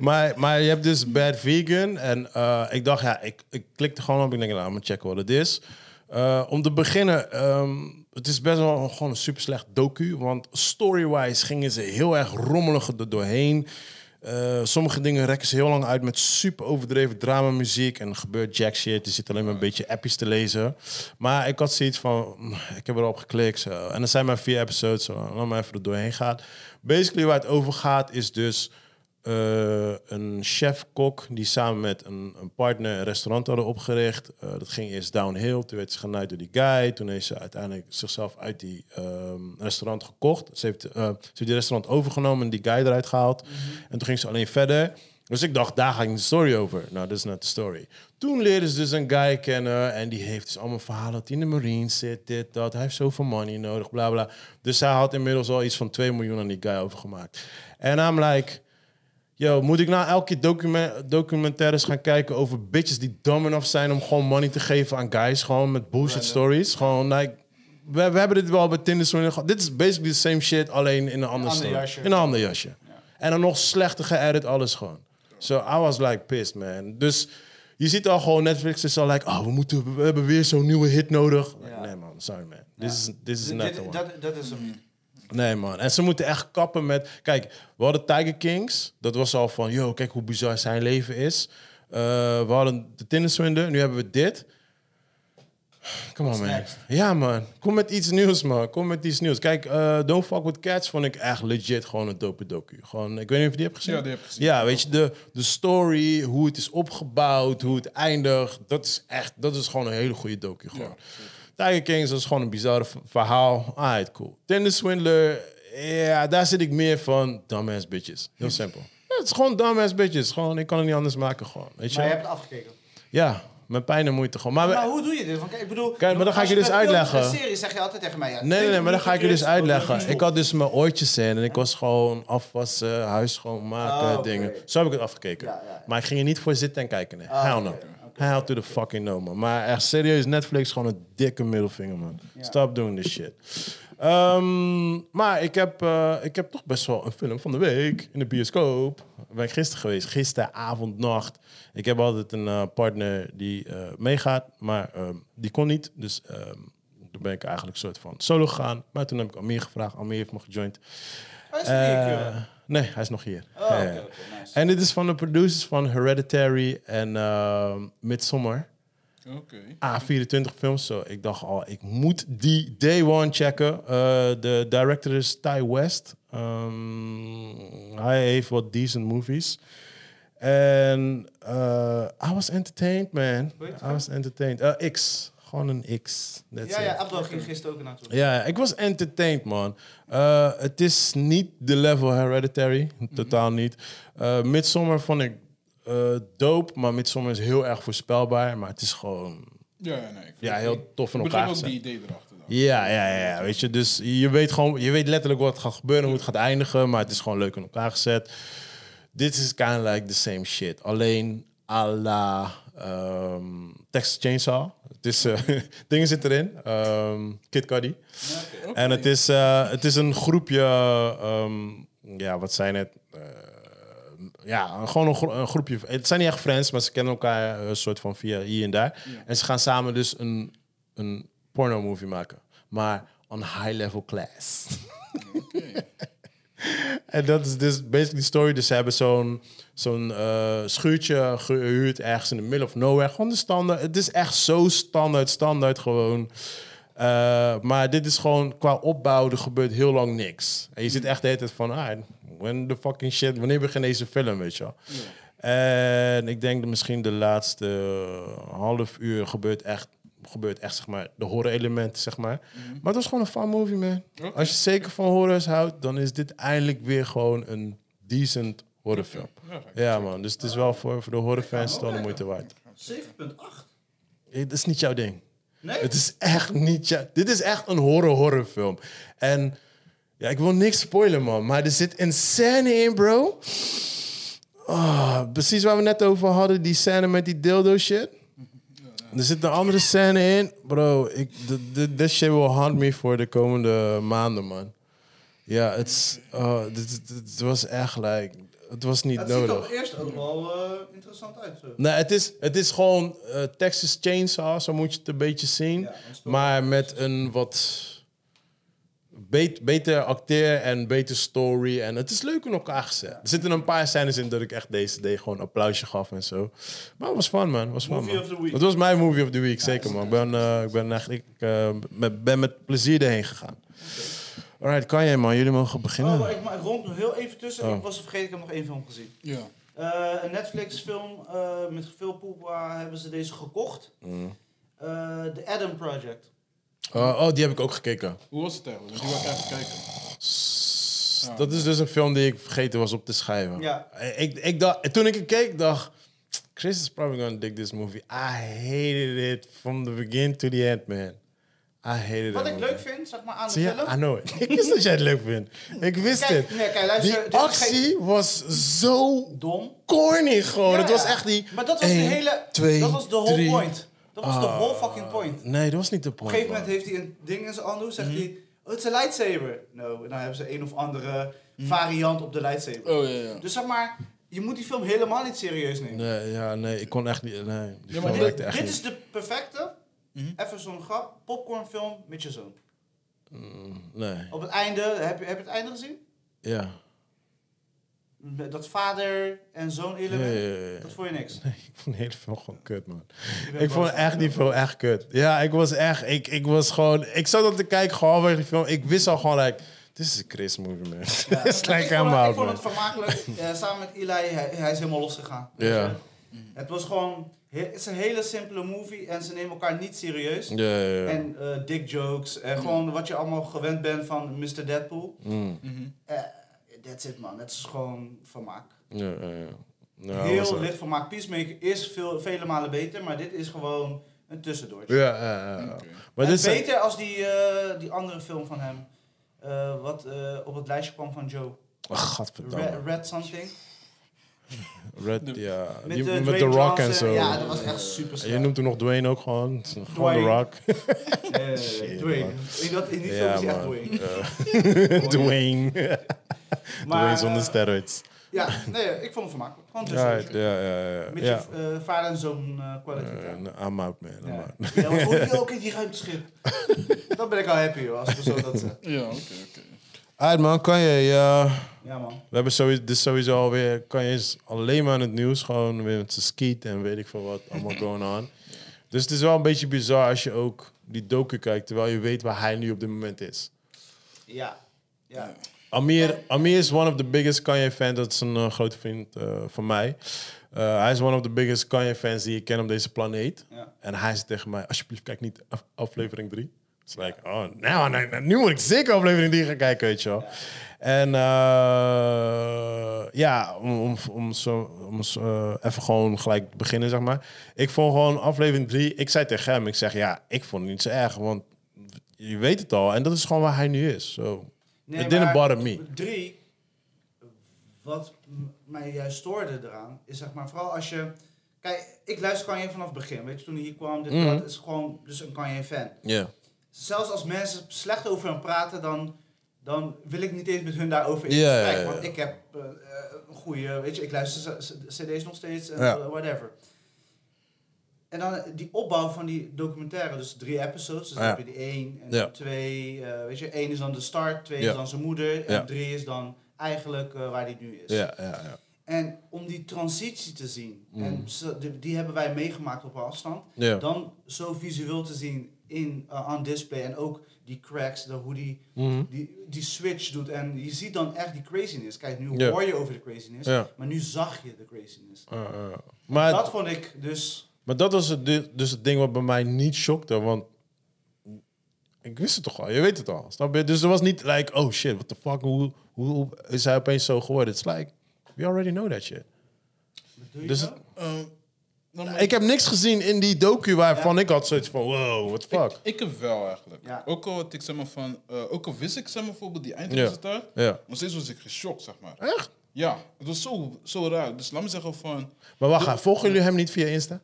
maar, maar je hebt dus Bad Vegan. En eh, ik dacht, ja, ik, ik klikte gewoon op. Ik denk, nou, ik moet checken wat het is. Eh, om te beginnen, ehm, het is best wel een- gewoon een super slecht docu. Want story-wise gingen ze heel erg rommelig er doorheen. Eh, sommige dingen rekken ze heel lang uit met super overdreven dramamuziek. En er gebeurt jack shit. Je zit alleen maar een beetje appjes te lezen. Maar ik had zoiets van, mm, ik heb erop geklikt. Zo. En er zijn maar vier episodes. Zo. Laat maar even er doorheen gaan. Basically waar het over gaat is dus eh, een chef-kok die samen met een, een partner een restaurant hadden opgericht. Eh, dat ging eerst downhill. Toen werd ze genaaid door die guy. Toen heeft ze uiteindelijk zichzelf uit die ehm, restaurant gekocht. Ze heeft, eh, ze heeft die restaurant overgenomen en die guy eruit gehaald. En toen ging ze alleen verder. Dus ik dacht, daar ging de story over. Nou, dat is not the story. Toen leerden ze dus een guy kennen en die heeft dus allemaal verhalen dat hij in de Marines zit, dit, dat. Hij heeft zoveel money nodig, bla bla. Dus hij had inmiddels al iets van 2 miljoen aan die guy overgemaakt. En I'm like, Yo, moet ik nou elke keer document, documentaires gaan kijken over bitches die dom enough zijn om gewoon money te geven aan guys? Gewoon met bullshit stories. Gewoon, like, we, we hebben dit wel bij Tinder. Swindler gehad. Dit is basically the same shit, alleen in een ander
ander
story.
jasje.
In een ander jasje. En dan nog slechter geëdit, alles gewoon. So I was like pissed, man. Dus je ziet al gewoon, Netflix is al like, oh, we, moeten, we hebben weer zo'n nieuwe hit nodig. Like,
Ja.
Nee man, sorry man. This is, this is not
Dit-
the one.
dat, dat is hem niet.
Nee, man. En ze moeten echt kappen met... Kijk, we hadden Tiger Kings. Dat was al van, yo, kijk hoe bizar zijn leven is. Eh, we hadden de Tinderswinder. Nu hebben we dit. Kom on, man.
next?
Ja, man. Kom met iets nieuws, man. Kom met iets nieuws. Kijk, eh, Don't Fuck With Cats vond ik echt legit gewoon een dope docu. Gewoon, ik weet niet of je die hebt gezien.
Ja, die heb ik gezien.
Ja, weet je, de, de story, hoe het is opgebouwd, hoe het eindigt. Dat is echt, dat is gewoon een hele goede docu. Gewoon. Tiger Kings, dat is gewoon een bizarre v- verhaal. Alright, cool. Tinder Swindler, ja, daar zit ik meer van dumbass bitches. Heel simpel. Ja, het is gewoon dumbass bitches. Gewoon, ik kan het niet anders maken gewoon. Weet je?
Maar je hebt Nou, het afgekeken.
Ja, met pijn en moeite gewoon. Maar, we-
Maar hoe doe je dit? Want kijk, ik bedoel,
Kijk, maar dan ga
als
ik je
bij
dus
films
uitleggen.
En series zeg je altijd tegen mij. Ja,
Nee, nee, nee, maar dan ga ik je dus uitleggen. Ik
kan
had dus mijn oortjes in en ik was gewoon afwassen, huis schoonmaken,
Ah, oké.
dingen. Zo heb ik het afgekeken.
Ja, ja, ja.
Maar ik ging er niet voor zitten en kijken. Nee.
Ah,
Hell
oké,
no.
oké,
Hell to the fucking no, man. Maar echt serieus, Netflix gewoon een dikke middelvinger, man.
Ja.
Stop doing this shit. Ehm, maar ik heb, eh, ik heb toch best wel een film van de week in de bioscoop. Daar ben ik gisteren geweest. Gisteravond, nacht. Ik heb altijd een eh, partner die eh, meegaat, maar ehm, die kon niet. Dus ehm toen ben ik eigenlijk soort van solo gegaan. Maar toen heb ik Amir gevraagd. Amir heeft me gejoind. Eh, nee, hij is nog hier.
Oh,
Ja, ja.
oké, oké, nice.
En dit is van de producers van Hereditary en ehm Midsommar.
Oké.
A24 films. Zo, ik dacht al, ik moet die day one checken. Eh, de director is Ty West. Ehm, hij heeft wat decent movies. En eh, I was entertained, man.
Hoe heet het?
I was entertained. Eh, X. Gewoon een X. That's
Ja, ja,
it.
Abdel ging gisteren ook er naartoe.
eh, Ja, ik was entertained, man. Eh, het is niet de level Hereditary. Totaal niet. Eh Midsommar vond ik eh dope, maar Midsommar is heel erg voorspelbaar. Maar het is gewoon
Ja, ja, nee. Ik
ja, heel tof in
Ik begrijp
elkaar
ook
gezet.
die idee erachter dan.
Ja, ja, ja, ja, weet je. Dus je weet gewoon, je weet letterlijk wat gaat gebeuren, hoe het gaat eindigen, maar het is gewoon leuk in elkaar gezet. Dit is kind of like the same shit. Alleen à la ehm Texas Chainsaw. Het is, eh, dingen zitten erin. Ehm Kid Cudi.
Oké.
En het is, eh, het is een groepje, ehm, ja, wat zijn het? Eh, ja, gewoon een, gro- een groepje. Het zijn niet echt friends, maar ze kennen elkaar eh, een soort van via hier en daar. En ze gaan samen dus een, een porno-movie maken. Maar on high level class.
Oké.
En dat is dus basically de story. Dus ze hebben zo'n zo'n eh, schuurtje gehuurd ergens in de middle of nowhere. Gewoon de standaard. Het is echt zo standaard, standaard gewoon. Eh, maar dit is gewoon qua opbouw, er gebeurt heel lang niks. En je zit echt de hele tijd van, ah, when the fucking shit, wanneer begint deze film, weet je wel? En ik denk dat misschien de laatste half uur gebeurt echt, gebeurt echt zeg maar, de horror-elementen, zeg maar. Maar het was gewoon een fun movie, man.
Mhm. Oké.
Als je zeker van horrors houdt, dan is dit eindelijk weer gewoon een decent horrorfilm.
Ja, ga ik
Ja, man. Dus het is wel voor, voor de horrorfans dan de moeite waard.
7,8?
Het is niet jouw ding.
Nee?
Het is echt niet. Ja, dit is echt een horror-horrorfilm. En ja, ik wil niks spoilen, man. Maar er zit een scène in, bro. Ah, precies waar we net over hadden, die scène met die dildo shit. Er zit een andere scène in. Bro, ik, d- d- this shit will haunt me voor de komende maanden, man. Ja, het is- ah, dit- dit- dit was echt, like... Het was niet
Het ziet
nodig.
er eerst ook wel eh, interessant uit. zo.
Nou, het is, het is gewoon eh, Texas Chainsaw, zo moet je het een beetje zien.
Ja, een story.
maar met een wat bet- beter acteer en beter story. En het is leuk in elkaar gezet. Er zitten een paar scènes in dat ik echt deze deed gewoon een applausje gaf en zo. Maar het was fun, man. Het was fun,
Movie
man.
of the week.
Het was mijn movie of the week, zeker, man. Ik ben, eh, ik ben, echt, ik, eh, ben- ben met plezier erheen gegaan. Alright, kan jij, man. Jullie mogen beginnen.
Oh, maar ik ma- rond nog heel even tussen.
Oh.
Ik was vergeten, ik heb nog één film gezien.
Ja.
Eh, een Netflix-film eh, met veel poepa hebben ze deze gekocht.
Mm.
Eh, The Adam Project.
Eh, oh, die heb ik ook gekeken.
Hoe was het eigenlijk? Want die wil ik even kijken.
S- Dat is dus een film die ik vergeten was op te schrijven. Eh,
Ja.
Ik, ik dacht, toen ik het keek, dacht Chris is probably gonna dig this movie. I hated it from the begin to the end, man. I hated it.
Wat ik leuk vind, zeg maar, aan de
Zie je?
film...
I know it. ik wist dat jij het leuk vindt. Ik wist
Kijk,
het.
nee, kijk, luister, dit
die
is
actie was zo
Dom.
corny gewoon.
Ja,
het was
ja.
echt die...
Maar dat was
één,
de hele...
twee,
dat was de whole
drie. Ah. Oh
point. Dat was de whole fucking point. Op
Nee, dat was niet de point.
een gegeven moment
man.
heeft hij een ding in zijn handen.
Mhm.
Zegt hij, oh, het is een lightsaber. Nou, en dan hebben ze een of andere
Mhm.
variant op de lightsaber.
Eh.
Oh, ja, ja.
Dus zeg maar, je moet die film helemaal niet serieus nemen.
Nee, ja, nee, ik kon echt niet... Nee, die
Ja, maar
film
dit-
werkte
Dit
echt niet.
is de perfecte, even zo'n grap, popcornfilm met je zoon.
Mm, nee.
Op het einde, heb je, heb je het einde gezien?
Ja.
Dat vader en zoon
Ja, ja,
element,
ja, ja.
dat vond je niks.
Nee, ik vond heel veel gewoon kut, man.
bent
Ik vond
boos.
echt die film echt kut. Ja, ik was echt... Ik, ik was gewoon... Ik zat aan te kijken, gewoon weg die film. Ik wist al gewoon, like... Dit is een Chris movie, man. Het
Ja,
is like
maar ik vond het-
helemaal
Ik vond
man.
het vermakelijk. Eh, samen met Eli, hij, hij is helemaal losgegaan.
Ja. Mhm.
Het was gewoon... he- Het is een hele simpele movie en ze nemen elkaar niet serieus.
Ja, Mhm. ja, ja.
En eh, dick jokes. En gewoon wat je allemaal gewend bent van Mr. Deadpool.
Mm,
Mhm.
Eh, that's it, man. Het is gewoon vermaak.
ja, ja, ja. Nou, was
Heel
het.
licht vermaak. Peacemaker is veel, vele malen beter, maar dit is gewoon een tussendoortje.
Ja, ja, ja.
Oké.
Maar
en
dit is...
beter als die, eh, die andere film van hem. eh, wat eh, op het lijstje kwam van Joe.
Ach,
Red,
Oh, godverdamme.
Red Something.
Red, ja.
Met,
Die-
eh,
Met
Dwayne
The Rock en
Johnson.
zo.
Ja, dat was echt super
Je
slecht.
noemt hem nog Dwayne ook gewoon. Gewoon The
Dwayne.
Rock.
Nee, nee, nee, nee,
Shit,
Eh, Dwayne.
man.
In, dat, in die film is hij echt Dwayne.
Eh, Dwayne. Dwayne zonder
eh,
steroids.
Ja, nee, ik vond het vermakelijk. Gewoon
Ja,
tussen.
ja, ja. ja.
Met
ja.
je eh, vader en zoon eh quality.
Eh,
time.
no, I'm out, man. I'm
ja.
out.
Ja, want hoe je ook in die ruimteschip. Dan ben ik al happy hoor, als we zo dat zegt.
Ja, oké, oké.
Alright, man, kan je... eh,
Ja man.
we hebben sowieso, dit is sowieso alweer... Kan je eens alleen maar in het nieuws gewoon weer met zijn skiet en weet ik veel wat allemaal going on. Dus het is wel een beetje bizar als je ook die docu kijkt... terwijl je weet waar hij nu op dit moment is.
Ja. Ja.
Amir, Amir is one of the biggest Kanye fans. Dat is een eh, grote vriend eh, van mij. Eh, hij is one of the biggest Kanye fans die ik ken op deze planeet.
Ja.
En hij zei tegen mij, alsjeblieft kijk niet af- aflevering 3. Dus like, oh, nou, nou, nou, nu moet ik zeker aflevering 3 gaan kijken, weet je wel. En eh, ja, om, om, om, zo, om zo, eh, even gewoon gelijk te beginnen, zeg maar. Ik vond gewoon aflevering 3, ik zei tegen hem, ik zeg ja, ik vond het niet zo erg, want je weet het al. En dat is gewoon waar hij nu is. So, it didn't
maar
bother me.
Drie, wat m- mij juist stoorde eraan, is zeg maar vooral als je... Kijk, ik luister Kanye vanaf het begin. Weet je, toen hij hier kwam, dit en
Mhm.
dat, is gewoon dus een Kanye fan.
Ja.
Zelfs als mensen slecht over hem praten, dan, dan wil ik niet eens met hun daarover in
Ja, ja,
gesprek.
ja, ja.
Want ik heb eh, eh, een goede, weet je, ik luister z- z- cd's nog steeds en
Ja.
eh, whatever. En dan eh, die opbouw van die documentaire, dus drie episodes. Dus dan
Ja.
heb je die één en
Ja.
twee. eh, weet je, één is dan de start, twee
Ja.
is dan zijn moeder. En
Ja.
drie is dan eigenlijk eh, waar die nu is.
Ja, ja, ja.
En om die transitie te zien,
Mm.
en ze- die, die hebben wij meegemaakt op afstand
Ja.
dan zo visueel te zien in eh, on display en ook die cracks, de, hoe die,
Mhm.
die, die switch doet. En je ziet dan echt die craziness. Kijk, nu
Ja.
hoor je over de craziness,
Ja.
maar nu zag je de craziness.
Eh, eh. Maar,
dat vond ik dus.
maar dat was het, du- dus het ding wat bij mij niet shockte, want ik wist het toch al, je weet het al. Snap je? Dus er was niet like, oh shit, what the fuck, hoe, hoe, hoe is hij opeens zo geworden? It's like, we already know that shit.
Wat doe je
Dus-
nou?
Ehm, dan maar-
Ik heb niks gezien in die docu waarvan ik had zoiets van, wow, what the fuck.
Ik heb wel eigenlijk.
Ja.
Ook al had ik zeg maar van, eh, ook al wist ik zeg maar bijvoorbeeld die eindresultaat,
Ja.
nog steeds was ik geschokt zeg maar.
Echt?
Ja, het was zo, zo raar. Dus laat me zeggen van,
Maar wacht, even, volgen jullie hem niet via Insta?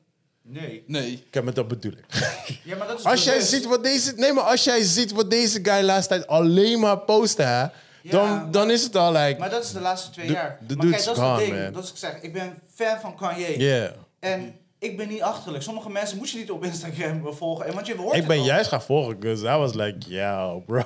Nee.
nee,
Ik heb met dat bedoel ik.
Ja, maar dat is
Als jij
bewust.
ziet wat deze, nee, maar als jij ziet wat deze guy laatst tijd alleen maar posten, hè, dan, dan is het al like,
Maar dat is de laatste twee
De-
jaar.
de
maar kijk,
dude's
dat is het
gone,
ding.
man.
Dat is wat ik zeg. Ik ben fan van Kanye.
yeah.
En ik ben niet achterlijk. Sommige mensen moet je niet op Instagram volgen. En want je hoort
Ik
het
ben
al.
juist gaan volgen, because I was like, yo, bro.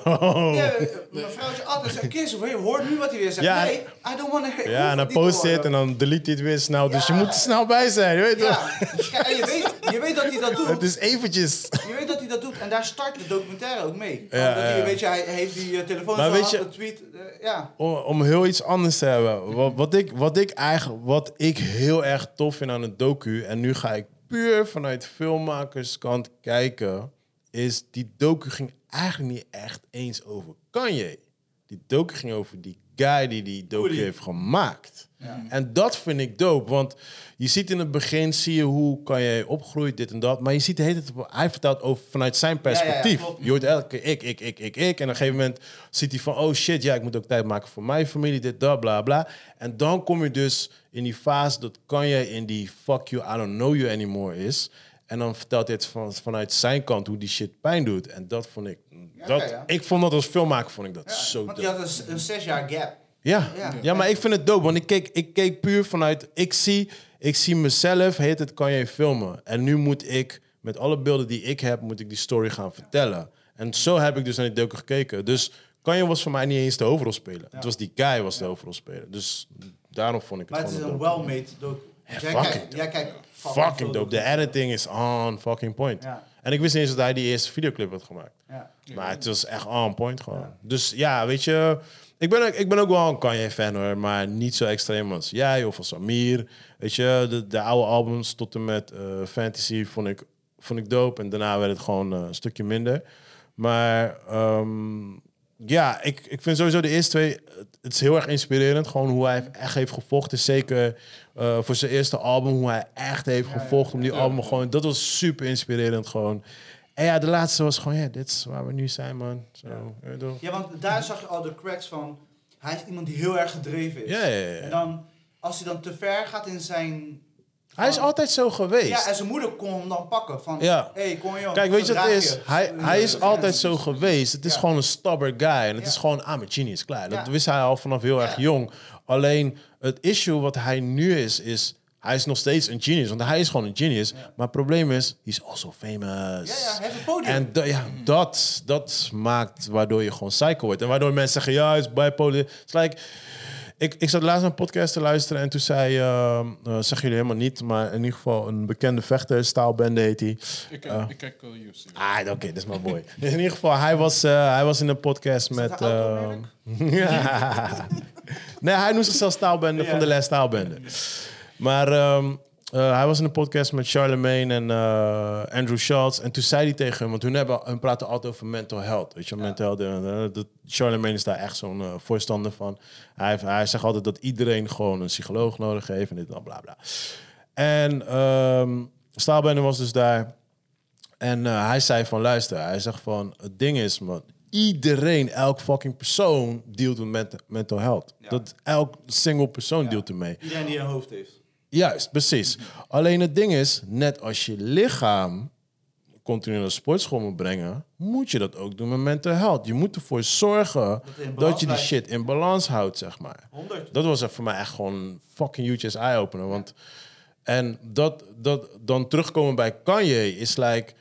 Ja, mijn vrouwtje altijd zegt, Chris, hoor je hoort nu wat hij weer zegt.
Oh. Ja,
nee, I don't want to hear
Ja, en dan post je het en dan delete je het weer snel. Dus je
Ja.
moet er snel bij zijn, je weet je
Ja, kijk, en je weet, je weet dat hij dat
Het
doet.
is eventjes.
Je weet dat hij dat doet. En daar start de documentaire ook mee.
Ja,
Omdat hij,
ja.
weet je, hij heeft die eh, telefoon
Maar
maar
weet je-
de tweet. eh, ja.
Om, om heel iets anders te hebben. Wat, wat, ik, wat, ik eigenlijk, wat ik heel erg tof vind aan het docu... en nu ga ik puur vanuit filmmakerskant kijken... is die docu ging eigenlijk niet echt eens over Kanye. Die docu ging over die guy die die docu
Oeli.
heeft gemaakt.
Ja.
En dat vind ik dope, want je ziet in het begin... zie je hoe Kanye opgroeit, dit en dat... maar je ziet de hele tijd... hij vertelt over, vanuit zijn perspectief.
klopt.
Je hoort elke keer ik, ik, ik, ik, ik. En op een gegeven moment ziet hij van, oh shit, ja, ik moet ook tijd maken voor mijn familie, dit, dat, bla, bla. En dan kom je dus in die fase dat kan je in die fuck you, I don't know you anymore is. En dan vertelt hij het van, vanuit zijn kant hoe die shit pijn doet. En dat vond ik, dat,
ja, ja.
ik vond dat als filmmaker, vond ik dat
Ja,
zo
Want
dope.
hij had een, s- een zes jaar gap.
Ja.
Ja.
Ja. maar ik vind het dope, want ik keek, ik keek puur vanuit... Ik zie, ik zie mezelf, heet het, kan je filmen. En nu moet ik, met alle beelden die ik heb, moet ik die story gaan vertellen. En En zo heb ik dus naar die docu gekeken. Dus Kanye was voor mij niet eens de hoofdrolspeler. Het was die guy was de hoofdrolspeler. Dus daarom vond ik het
Maar het is
gewoon
een
docu.
well-made docu. Dus jij
fucking
kijkt- Jij kijkt
Fucking dope. De editing is on fucking point.
Ja.
En ik wist niet eens dat hij die eerste videoclip had gemaakt.
Ja.
Maar het was echt on point gewoon. Dus ja, weet je... Ik ben, ook- ik ben ook wel een Kanye-fan hoor, maar niet zo extreem als jij of als Samir. Weet je, de, de oude albums tot en met eh, Fantasy vond ik, vond ik dope. En daarna werd het gewoon eh, een stukje minder. Maar ehm, ja, ik, ik vind sowieso de eerste twee... Het, het is heel erg inspirerend, gewoon hoe hij echt heeft gevochten. Zeker eh, voor zijn eerste album, hoe hij echt heeft gevochten om die album gewoon... Dat was super inspirerend gewoon. En ja, de laatste was gewoon, ja, dit is waar we nu zijn, man. Zo, je weet toch?
Ja, want daar zag je al de cracks van. Hij is iemand die heel erg gedreven is.
Ja, ja, ja.
En dan, als hij dan te ver gaat in zijn.
Hij is altijd zo geweest.
Ja, en zijn moeder kon hem dan pakken. Van,
Ja.
hey, kom joh.
Kijk, weet je wat het
gedraag
is?
je.
Hij, hij is altijd zo geweest. Het is
Ja.
gewoon een stubborn guy. En het
Ja.
is gewoon, ah, mijn genius, klaar. Dat
Ja.
wist hij al vanaf heel erg jong. Alleen, het issue wat hij nu is, is... Hij is nog steeds een genius, want hij is gewoon een genius. Maar het probleem is, hij is also famous.
Ja, ja, hij heeft een podium. Mm.
En da- ja, dat, dat maakt waardoor je gewoon psycho wordt. En waardoor mensen zeggen, ja, hij is bipolar. It's like, ik, ik zat laatst een podcast te luisteren en toen zei, ehm eh, zeg jullie helemaal niet, maar in ieder geval een bekende vechter, Staalbende heet hij.
Ik kijk, ik kijk wel UFC.
Ah, oké, dat is maar mooi. in ieder geval, hij was, eh, hij was in een podcast met...
een auto,
ehm, ja. nee, hij noemt zichzelf Staalbende van de Les Staalbende. Maar ehm, eh, hij was in een podcast met Charlemagne en eh, Andrew Schultz. En toen zei hij tegen hem, want hun, hebben, hun praten altijd over mental health. Weet je, mental health. eh, eh, dat, Charlemagne is daar echt zo'n eh, voorstander van. Hij, heeft- hij zegt altijd dat iedereen gewoon een psycholoog nodig heeft en dit en dat, bla bla. En ehm Staalbende was dus daar. En eh, hij zei van, luister, hij zegt van, het ding is, man, iedereen, elk fucking persoon dealt met ment- mental health. Dat elk single persoon dealt ermee.
Iedereen die een hoofd heeft.
Juist, precies. Alleen het ding is, net als je lichaam continu naar de sportschool moet brengen, moet je dat ook doen met mental health. Je moet ervoor zorgen
het in
dat,
balans
je die
blijft.
shit in balans houdt, zeg maar.
100.
Dat was echt voor mij echt gewoon een fucking huge ass eye-opener. Want, en dat, dat dan terugkomen bij Kanye is like,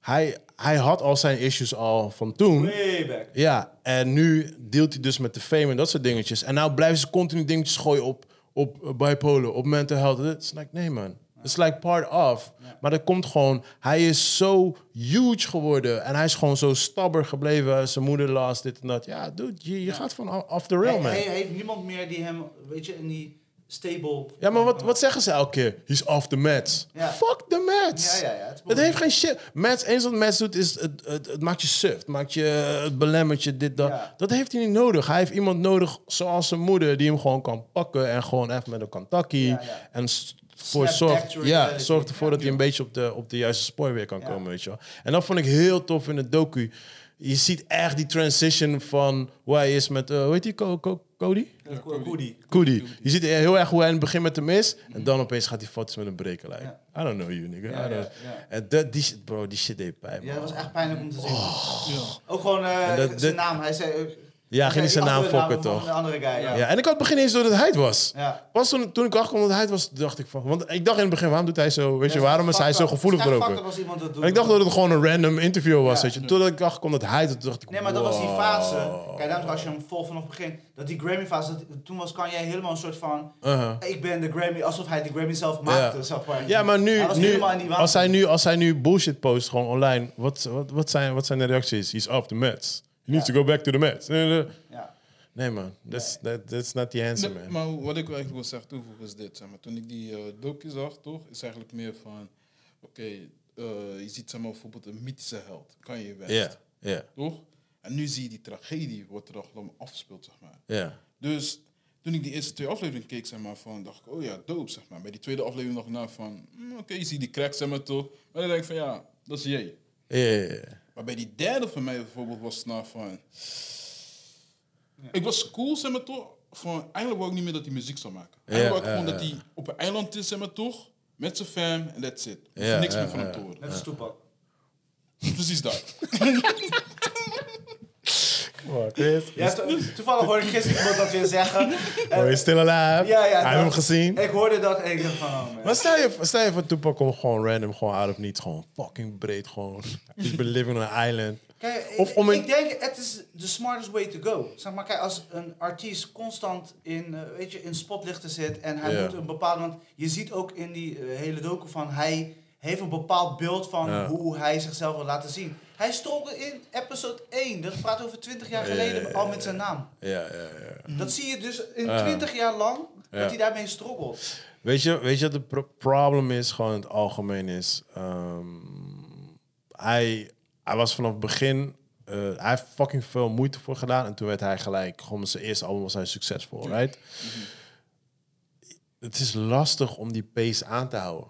hij, hij had al zijn issues al van toen.
Way back.
Ja, en nu deelt hij dus met de fame en dat soort dingetjes. En nou blijven ze continu dingetjes gooien op, op eh, bipolar, op mental health. Het is like, nee man. It's like part of. Maar dat komt gewoon... Hij is zo huge geworden. En hij is gewoon zo stubber gebleven. Zijn moeder last, dit en dat. Ja, dude, je, je gaat van off the rail,
Hij,
man.
hij heeft niemand meer die hem, weet je, in die stable.
Ja, maar wat, wat zeggen ze elke keer? He's off the mats.
Ja.
Fuck the mats.
Ja, ja, ja, het is
het heeft geen shit. Mats, eens wat mats doet, is het, het, het maakt je suf. Het maakt je, het belemmert je, dit, dat.
Ja.
Dat heeft hij niet nodig. Hij heeft iemand nodig zoals zijn moeder, die hem gewoon kan pakken en gewoon even met een kantakkie.
Ja, ja.
En s- voor
Snap back
zorgt,
to
ja,
reality.
zorgt ervoor dat hij een beetje op de, op de juiste spoor weer kan
Ja.
komen, weet je wel. En dat vond ik heel tof in het docu. Je ziet echt die transition van hoe hij is met, eh hoe heet die, Co- Co- Cody?
Ja, Goody.
Koedi. Je ziet heel erg hoe hij in het begin met hem is. En dan opeens gaat hij foto's met hem breken. Like, I don't know you, nigga. I don't-
ja, ja.
En dat, die, shit- bro, die shit deed pijn, man.
Ja,
Ja,
dat was echt pijnlijk om te zien.
Ja.
Ook gewoon eh,
Oh. En dat- dat-
zijn naam. Hij zei. ook- hij
ging
zei
niet zijn
die
naam fokken,
andere namen van
toch?
De andere guy, ja.
en ik had het begin eens door dat hij het was.
Ja.
Pas toen, toen ik achterkwam dat hij het was, dacht ik van... Want ik dacht in het begin, waarom doet hij zo... Weet je, waarom is hij zo gevoelig erover?
was iemand dat doet.
En ik dacht dat het gewoon een random interview was,
Ja.
weet je. Totdat ik achterkwam dat hij het was, dacht ik...
Nee, maar dat was die
wow.
fase. Kijk, daarom als je hem volgt vanaf het begin. Dat die Grammy-fase, dat- toen was Kanye helemaal een soort van...
Uh-huh.
Ik ben de Grammy, alsof hij de Grammy zelf maakte. Zeg maar.
Ja, maar nu,
Hij was
nu
helemaal in die waan.
als, hij nu, als hij nu bullshit post gewoon online, wat, wat, wat, zijn, wat zijn de reacties? He's off the Mets. He needs
Ja.
to go back to the Mets. Nee, nee, nee.
Ja.
Nee, man, that's, that, that's not the answer,
Nee,
man.
maar hoe- wat ik wel echt wil zeggen toevoegen is dit. Zeg maar. Toen ik die eh docu zag, toch, is eigenlijk meer van... Oké, eh, je ziet zeg maar, bijvoorbeeld een mythische held. Kan je best.
Ja, ja,
Toch? En nu zie je die tragedie wat er allemaal afspeelt, zeg maar.
ja.
Dus toen ik die eerste twee afleveringen keek, zeg maar, van, dacht ik, oh ja, dope, zeg maar. Bij die tweede aflevering nog na van, mm, oké, je ziet die cracks, zeg maar, toch. Maar dan denk ik van, ja, dat is jij.
Ja, ja, ja.
Maar bij die derde van mij bijvoorbeeld was het nou van... Ik was cool, zeg maar toch. Van, eigenlijk wou ik niet meer dat hij muziek zou maken. Eigenlijk wou ik
ja,
gewoon
ja.
dat hij op een eiland is, zeg maar toch. Met zijn fam en that's it. Ik hoef
Ja,
niks
ja,
meer van
ja.
hem te horen.
Net als Toepak.
Precies dat.
Oh, Chris.
Ja, to- toevallig hoorde ik gisteren iemand dat weer zeggen. Eh,
Oh, he's still alive.
ja, ja.
Hij heeft
dat-
hem gezien.
Ik hoorde dat en ik dacht van, oh man.
Maar stel je, stel je voor Tupac komt gewoon random, gewoon out of niets, gewoon fucking breed, gewoon. He's been living on an island.
Kijk,
Of
ik-
om
ik
een-
denk, het is the smartest way to go. Zeg maar, kijk, als een artiest constant in, eh, weet je, in spotlichten zit en hij
Ja.
moet een bepaald... Want je ziet ook in die eh, hele docu van, hij heeft een bepaald beeld van
Ja.
hoe hij zichzelf wil laten zien. Hij stond in episode 1, dat praat over 20 jaar
Ja,
geleden,
ja, ja,
al
ja,
met zijn naam.
Ja, ja, ja.
Dat zie je dus in
Ja.
20 jaar lang, dat
Ja.
hij daarmee struggelt.
Weet je, weet je wat het pro- probleem is? Gewoon in het algemeen is. ehm, hij, hij was vanaf het begin. eh, hij heeft fucking veel moeite voor gedaan. En toen werd hij gelijk. Gewoon met zijn eerste album was hij succesvol, right? Het is lastig om die pace aan te houden.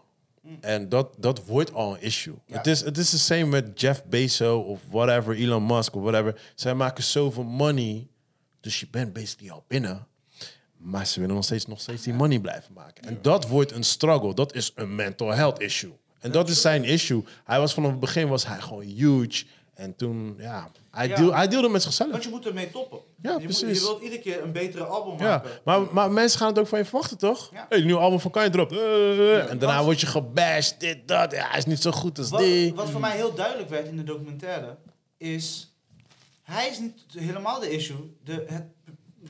En dat, dat wordt al een issue.
Mm. Ja.
Het is het is the same met Jeff Bezos of whatever, Elon Musk of whatever. Zij maken zoveel money. Dus je bent basically al binnen. Maar ze willen nog steeds, nog steeds die money blijven maken. En dat wordt een struggle. Dat is een mental health issue. En dat is zijn issue. Hij was vanaf het begin was hij gewoon huge. En toen, ja, hij,
Ja.
Deal, hij deelde met zichzelf.
Want je moet ermee toppen.
Ja,
je, moet-
precies.
je wilt iedere keer een betere album
Ja,
maken.
maar, maar mensen gaan het ook van je verwachten, toch?
Ja.
Hey, nieuw album van Kanye erop. eh. en daarna
want-
word je gebashed, dit, dat. Ja, hij is niet zo goed als
Wat,
die.
wat voor mij heel duidelijk werd in de documentaire is. Hij is niet helemaal de issue. De, het,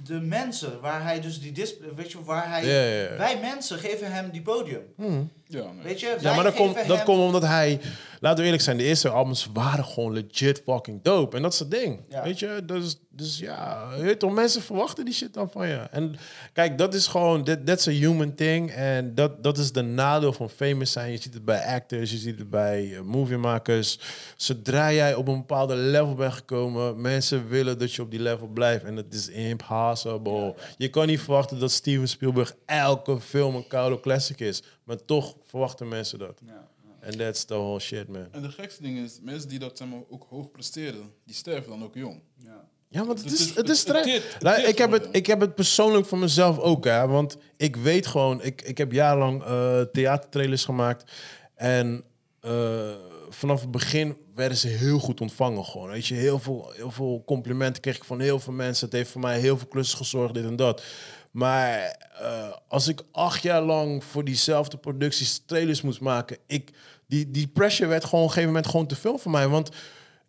de mensen waar hij dus die display. Weet je, waar hij.
Ja, ja, ja.
Wij mensen geven hem die podium.
Hm.
Ja, nee.
Weet je?
Ja,
wij
maar dat
geven
komt
hem-
dat komt omdat hij... Laten we eerlijk zijn, de eerste albums waren gewoon legit fucking dope. En dat is het ding.
Ja.
Weet je? Dus, dus ja, je weet toch, mensen verwachten die shit dan van je. En kijk, dat is gewoon... That, that's a human thing. En dat, dat is de nadeel van famous zijn. Je ziet het bij actors, je ziet het bij eh, moviemakers. Zodra jij op een bepaalde level bent gekomen... mensen willen dat je op die level blijft. En dat is impossible. Je kan niet verwachten dat Steven Spielberg elke film een koude classic is. Maar toch verwachten mensen dat.
Ja, ja.
And that's the whole shit, man.
En de gekste ding is, mensen die dat zeg maar, ook hoog presteren, die sterven dan ook jong.
ja.
Ja, want het
Het
is, het
is-
is
het- het
strijd.
teert- het
Nou,
teert
ik, heb
gewoon
het,
wel.
ik heb het persoonlijk voor mezelf ook, hè. Want ik weet gewoon... Ik, ik heb jarenlang eh theatertrailers gemaakt. En eh, vanaf het begin werden ze heel goed ontvangen gewoon. Weet je, heel veel, heel veel complimenten kreeg ik van heel veel mensen. Het heeft voor mij heel veel klussen gezorgd, dit en dat. Maar eh, als ik acht jaar lang voor diezelfde producties trailers moest maken... Ik, die, die pressure werd gewoon op een gegeven moment gewoon te veel voor mij. Want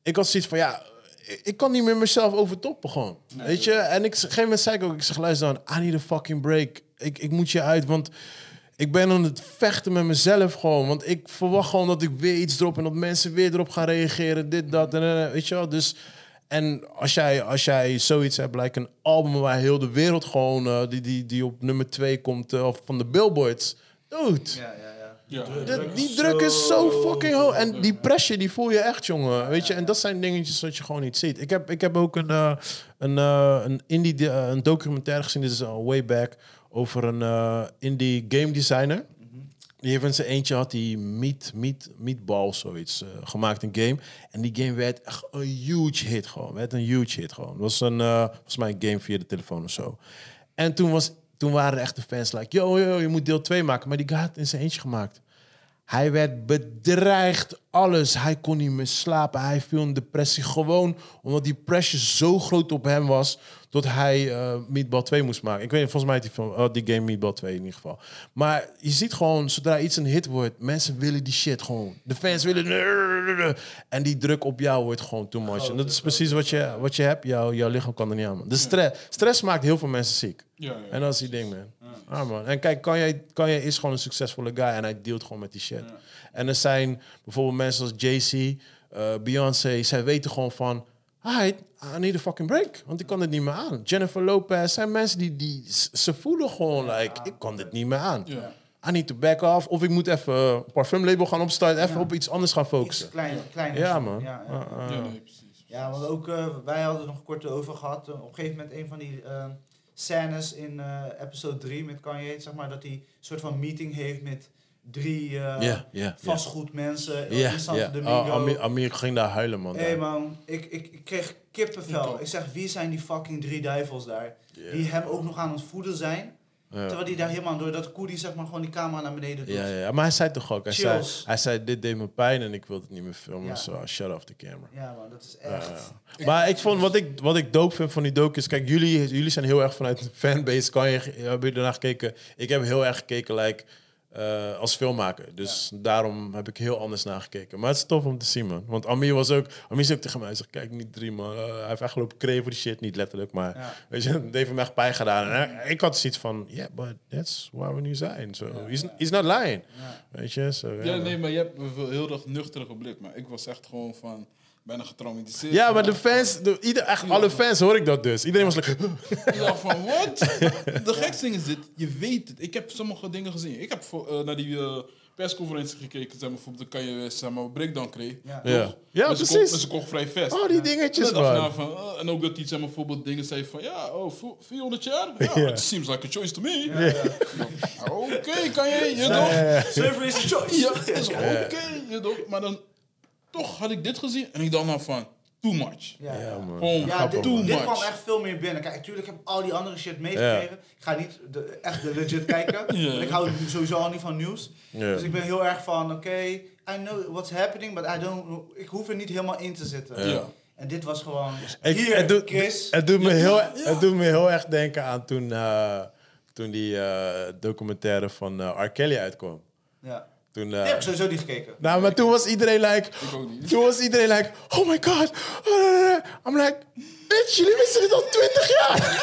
ik had zoiets van, ja, ik- ik kan niet meer mezelf overtoppen gewoon. weet je? En ik, op een gegeven moment zei ik ook, ik zeg, luister dan, I need a fucking break. Ik, ik moet je uit, want ik ben aan het vechten met mezelf gewoon. Want ik verwacht gewoon dat ik weer iets drop en dat mensen weer erop gaan reageren. Dit, dat en eh, weet je wel. Dus, en als jij, als jij zoiets hebt, lijkt een album waar heel de wereld gewoon, eh, die, die, die op nummer twee komt eh, of van de billboards. Dude,
ja, ja, ja.
Ja.
Druk.
de- die druk is zo fucking hoog. En die pressure, die voel je echt, jongen. Weet je, en dat zijn dingetjes wat je gewoon niet ziet. Ik heb, ik heb ook een, eh, een, eh, een indie de- eh, een documentaire gezien, dit is al way back, over een eh, indie game designer. Die heeft in zijn eentje had die meat, meat, meatball zoiets eh, gemaakt, een game. En die game werd echt een huge hit gewoon. Werd een huge hit gewoon. Het was een, eh, volgens mij een game via de telefoon of zo. En toen, was, toen waren echt de fans like, yo, yo, je moet deel 2 maken. Maar die guy had het in zijn eentje gemaakt. Hij werd bedreigd, alles. Hij kon niet meer slapen. Hij viel in depressie. Gewoon omdat die pressure zo groot op hem was... dat hij eh Meatball 2 moest maken. Ik weet niet, volgens mij had die, film, oh, die game Meatball 2 in ieder geval. Maar je ziet gewoon, zodra iets een hit wordt... mensen willen die shit gewoon. De fans willen... En die druk op jou wordt gewoon too much. En Oh, dat is precies wat je, wat je hebt. Jouw, jouw lichaam kan er niet aan. man. De stress, stress maakt heel veel mensen ziek.
Ja, ja.
En dat is die ding, man. Ah, man. En kijk, Kanye, Kanye is gewoon een succesvolle guy en hij dealt gewoon met die shit. En er zijn bijvoorbeeld mensen als Jay-Z, eh, Beyoncé, zij weten gewoon van... Alright, I need a fucking break, want ik kan dit niet meer aan. Jennifer Lopez, zijn mensen die, die z- ze voelen gewoon, like, ik kan dit niet meer aan.
Ja.
I need to back off, of ik moet even een parfumlabel gaan opstarten, even op iets anders gaan
Iets
focussen.
klein, kleiner.
Ja, man.
Ja, ja.
Ah, ah.
Ja, nee, precies.
Ja, want ook eh, wij hadden het nog kort over gehad. eh, op een gegeven moment een van die eh, scènes in eh, episode 3 met Kanye, zeg maar, dat hij een soort van meeting heeft met drie eh,
Ja, ja, ja.
vastgoedmensen
Ja,
in Santo
ja.
eh, Domingo.
Oh, Amir, Amir ging daar huilen, man.
Hé man, ik, ik, ik kreeg
Ik
kippenvel.
ook.
Ik zeg, wie zijn die fucking drie duivels daar?
Ja.
Die hem ook nog aan het voeden zijn.
Ja.
Terwijl die daar helemaal door dat koe die zeg maar gewoon die camera naar beneden doet.
Ja, ja, ja, maar hij zei toch ook, hij zei,
Chills.
hij zei, dit deed me pijn en ik wilde het niet meer filmen,
Ja.
so I shut off the camera.
Ja, man, dat is echt.
Maar ik vond, wat ik, wat ik dope vind van die docu is, kijk, eh, jullie, jullie zijn heel erg vanuit de fanbase, kan je, hebben jullie ernaar gekeken? Ik heb heel erg gekeken, like, eh, als filmmaker. Dus daarom heb ik heel anders nagekeken. Maar het is tof om te zien, man. Want Amir was ook, Amir zei ook tegen mij, hij zegt, kijk niet drie, man. Eh, hij heeft echt lopen kreeg voor die shit, niet letterlijk, maar
Ja.
weet je, het heeft hem echt pijn gedaan. En hij- ik had zoiets van, yeah, but that's waar we nu zijn. So, he's, he's not lying. Weet je, zo. ja,
Ja,
man.
nee, maar je hebt een heel erg nuchtere blik. Maar ik was echt gewoon van, bijna getraumatiseerd.
Ja, maar de fans, de, ieder, echt, alle fans hoor ik dat dus. Iedereen was like,
Ik dacht van, wat? De gekste ding is dit, je weet het. Ik heb sommige dingen gezien. Ik heb voor, eh, naar die eh, persconferentie gekeken, zeg maar, bijvoorbeeld de Kanye West, zeg maar, breakdown kreeg.
Ja.
Ja.
Toch?
Ja,
En ze
precies.
Kocht, en ze kocht vrij vest.
oh, die dingetjes,
En dan dacht ik
man.
na van, eh, en ook dat hij zeg maar, bijvoorbeeld dingen zei van, ja, oh, vo- 400 jaar? Ja,
Ja.
it seems like a choice to me. Ja, Oké, kan je, je toch?
Surfer is a choice.
Ja, dat is oké, je toch? Maar dan, toch had ik dit gezien en ik dacht nou van, too much.
Ja,
Ja, man.
Gewoon
Ja,
Grappig,
dit,
too
man.
dit kwam
much.
echt veel meer binnen. Kijk, natuurlijk heb ik al die andere shit meegekregen. Ik ga niet de, echt de legit kijken.
Ja.
Want ik hou sowieso al niet van nieuws.
Ja.
Dus ik ben heel erg van, oké, I know what's happening, but I don't, ik hoef er niet helemaal in te zitten.
Ja.
En dit was gewoon,
Ik-
hier,
het, doet,
Chris.
het, doet me heel,
ja.
het doet me heel erg denken aan toen, eh, toen die eh, documentaire van eh R. Kelly uitkwam.
ja.
Toen,
Die
eh,
heb ik sowieso niet gekeken.
nou, maar toen was iedereen like...
ook niet.
Toen was iedereen like, oh my god. Eh, I'm like, bitch, jullie wisten dit al twintig jaar.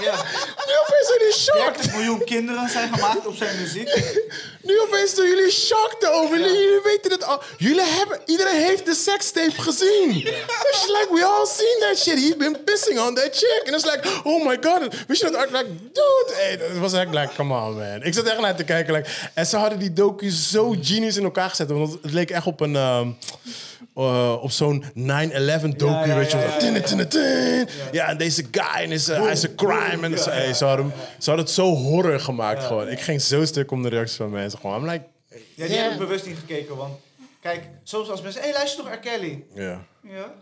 Ja.
Nu opeens zijn jullie shocked.
30 miljoen kinderen zijn gemaakt op zijn muziek.
Nu opeens zijn jullie shocked over. Jullie weten het al. Jullie hebben, iedereen heeft de sextape gezien. It's like, we all seen that shit. He's been pissing on that chick. En it's like, oh my god. We should act like, dude. Hey, dat was echt like, come on man. Ik zat echt naar te kijken. Like, en ze hadden die docu zo genius in elkaar gezet. Want het leek echt op een... ehm, eh, op zo'n 9-11 docu,
Ja, ja,
weet je wel.
ja, ja,
Tin,
ja.
tin, tin, tin. Ja, en deze guy, en is, eh, hij is een crime. En zo, hey, ze, hadden, hem- ze hadden het zo horror gemaakt gewoon. Ik ging zo stuk om de reacties van mensen. Gewoon, I'm like...
Ja, die heb ik bewust niet gekeken, want kijk, soms als mensen, hé, hey, luister nog R. Kelly.
Ja.
Ja.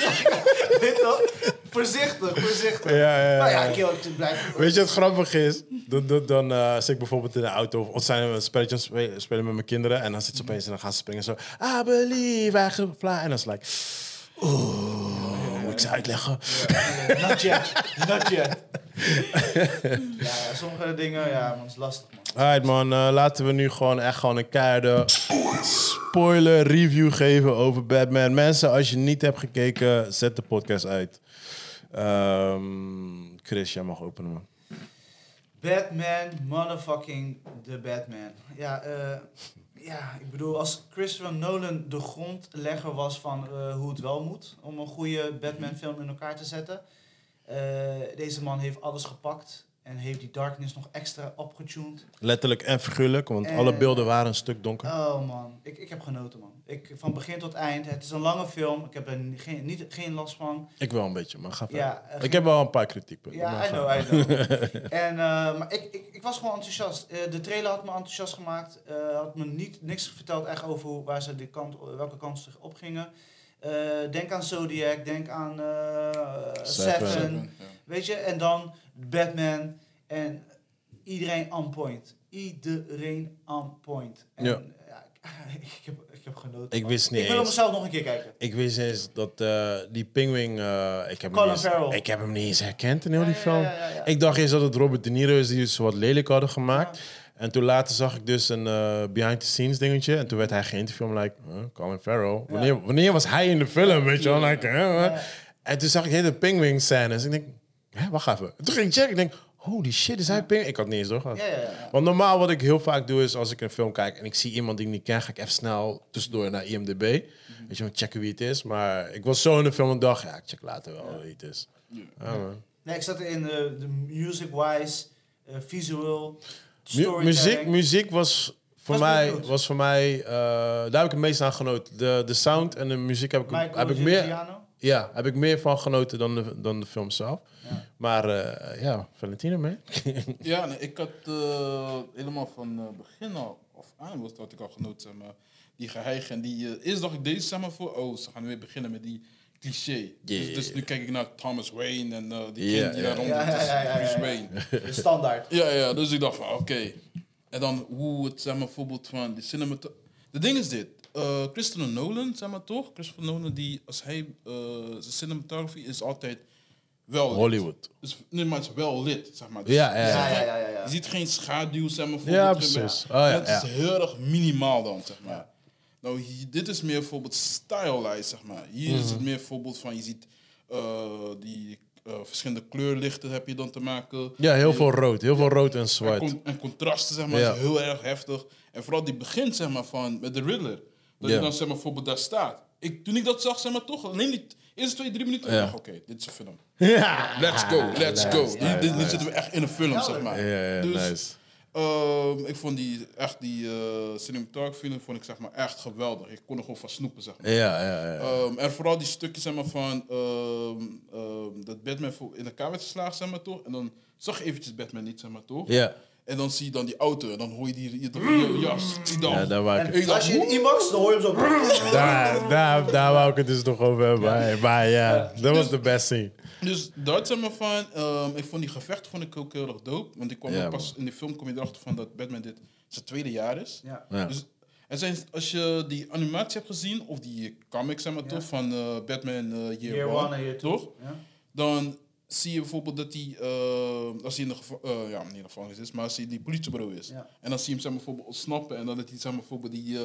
Weet je wel? Voorzichtig, voorzichtig.
Ja, ja, ja.
Maar ja, ik wil het blijven.
Weet je wat grappig is? Dan, dan, dan eh, zit ik bijvoorbeeld in de auto of- of zijn we een spelletje aan het spelen- spelen met mijn kinderen. En dan zit ze opeens en dan gaan ze springen zo. I believe I can fly. En dan is het like... Oeh, moet ik ze uitleggen?
eh, Not yet, not yet. Ja, sommige dingen, ja, man, het is lastig, man.
Alright man, eh, laten we nu gewoon echt gewoon een keiharde spoiler review geven over Batman. Mensen, als je niet hebt gekeken, zet de podcast uit. Ehm, Chris, jij mag openen man.
Batman, motherfucking de Batman. Ja, eh, ja, ik bedoel, als Christopher Nolan de grondlegger was van eh, hoe het wel moet om een goede Batman-film in elkaar te zetten. eh, deze man heeft alles gepakt en heeft die darkness nog extra opgetuned.
Letterlijk en figuurlijk, want
Eh.
alle beelden waren een stuk donker.
Oh man, ik, ik heb genoten man. Ik, van begin tot eind. Het is een lange film. Ik heb er ni- geen, niet, geen last van.
Ik wel een beetje, maar ga verder.
Ja, eh,
ik heb wel een paar kritiekpunten.
Ja,
maar
I
ga.
know, I know. en, eh, maar ik, ik, ik was gewoon enthousiast. Eh, de trailer had me enthousiast gemaakt. Eh, had me niet, niks verteld echt over hoe, waar ze de kant, welke kant ze op gingen. Eh, denk aan Zodiac, denk aan eh,
Seven.
Seven. Weet je, en dan Batman en iedereen on point. Iedereen on point. En,
Ja.
ja, ik, heb, ik heb genoten.
Ik
man.
wist niet
Ik wil hem
eens.
zelf nog een keer kijken.
Ik wist eens dat eh, die pingwing... eh, ik, heb hem
Colin
niet eens,
Farrell.
ik heb hem niet eens herkend in heel die
Ja, ja,
film.
ja, ja, ja.
Ik dacht eerst dat het Robert De Niro is die ze wat lelijk hadden gemaakt. En toen later zag ik dus een eh, behind-the-scenes dingetje. En toen werd hij geïnterviewd. I'm like, huh, Colin Farrell. Wanneer, wanneer was hij in de film? Weet je wel? Like, huh, huh? En toen zag ik hele pingwing scènes. Ik denk, hè, wacht even. Toen ging ik checken. Ik denk, holy shit, is hij pingwing? Ik had niet eens doorgehad.
Ja, ja, ja.
Want normaal wat ik heel vaak doe is als ik een film kijk en ik zie iemand die ik niet ken, ga ik even snel tussendoor naar IMDb. Weet je, wel, checken wie het is. Maar ik was zo in de film en dacht, ja, ik check later wel wie het is. Ja, man.
Nee, ik zat in eh, de, de music-wise, eh, visual,
Mu-
storytelling.
muziek, muziek was voor
Was
mij,
goed.
was voor mij eh, daar heb ik het meest aan genoten. De, de sound en de muziek heb ik,
Michael
heb ik, meer,
Giacchiano.
ja, heb ik meer van genoten dan de, dan de film zelf.
Ja.
Maar eh, ja, Valentino, man.
Ja, nee, ik had eh, helemaal van eh, begin al, of aan was dat ik al genoten, zeg maar, die geheig en die, eh, eerst dacht ik deze zeg maar voor, oh, ze gaan weer beginnen met die cliché. Dus,
Yeah.
dus nu kijk ik naar Thomas Wayne en eh, die
Ja,
kind die
ja.
daar rond,
Ja, ja,
dat is
ja, ja, ja.
Bruce Wayne.
De standaard.
Ja, ja, dus ik dacht van, oké. En dan hoe het, zeg maar, bijvoorbeeld van de cinemat... De ding is dit. eh Christopher Nolan, zeg maar toch? Christopher Nolan, die, als hij... eh, zijn cinematography is altijd wel lit.
Hollywood.
Dus, nee, maar het is wel lit, zeg maar. Dus
Ja, ja,
je ziet
ja.
Ja,
geen-
ja, ja, ja.
Je ziet geen schaduw, zeg maar. voor
Ja,
de trim.
precies. Oh, ja,
dat
ja.
is heel erg minimaal dan, zeg maar. Nou, hier- dit is meer bijvoorbeeld stylized, zeg maar. Hier is
Mhm.
het meer bijvoorbeeld van, je ziet eh, die eh, verschillende kleurlichten heb je dan te maken.
Ja, heel veel rood. Heel veel rood en
En,
zwart.
con- en contrasten, zeg maar,
Ja.
is heel erg heftig. En vooral die begint, zeg maar, van, met de Riddler.
Ja.
Dat je dan, zeg maar, bijvoorbeeld daar staat. Ik, toen ik dat zag, zeg maar, toch, alleen die t- eerste twee, drie minuten,
Ja.
dacht ik, oké, dit is een film. Let's go,
Ah,
let's go. Hier, dit- hier zitten we echt in een film, zeg maar.
Ja, ja,
Dus,
nice.
ehm, ik vond die, echt die eh cinematography film vond ik, zeg maar, echt geweldig. Ik kon er gewoon van snoepen, zeg maar.
Ja, ja, ja.
Ehm, en vooral die stukjes zeg maar, van ehm, ehm, dat Batman voor- in elkaar werd geslagen, zeg maar toch? En dan zag je eventjes Batman niet, zeg maar toch?
Ja,
En dan zie je dan die auto en dan hoor je die, die, die jas. Ik dacht,
ja daar wou ik het.
ik dacht,
Als je in IMAX, dan hoor je hem zo...
Daar, daar, daar wou ik het dus nog over hebben. Maar, maar ja, dat was de best scene.
Dus dat zeg maar van, ehm, ik vond die gevecht vond ik ook heel erg dope. Want ik kwam
Ja,
ook pas in de film kom je erachter van dat Batman dit zijn tweede jaar is.
Ja.
Ja.
Dus er zijn, als je die animatie hebt gezien, of die comic zeg maar toch, van eh, Batman eh, Year,
Year
One,
One en Year Two.
toch?
Ja.
Dan zie je bijvoorbeeld dat hij, eh, als hij in de, geva- eh, ja, niet in de gevangenis is, maar als hij in die politiebureau is.
Ja.
En dan zie je hem zeg maar, bijvoorbeeld ontsnappen en dan dat hij zeg maar, bijvoorbeeld die, eh,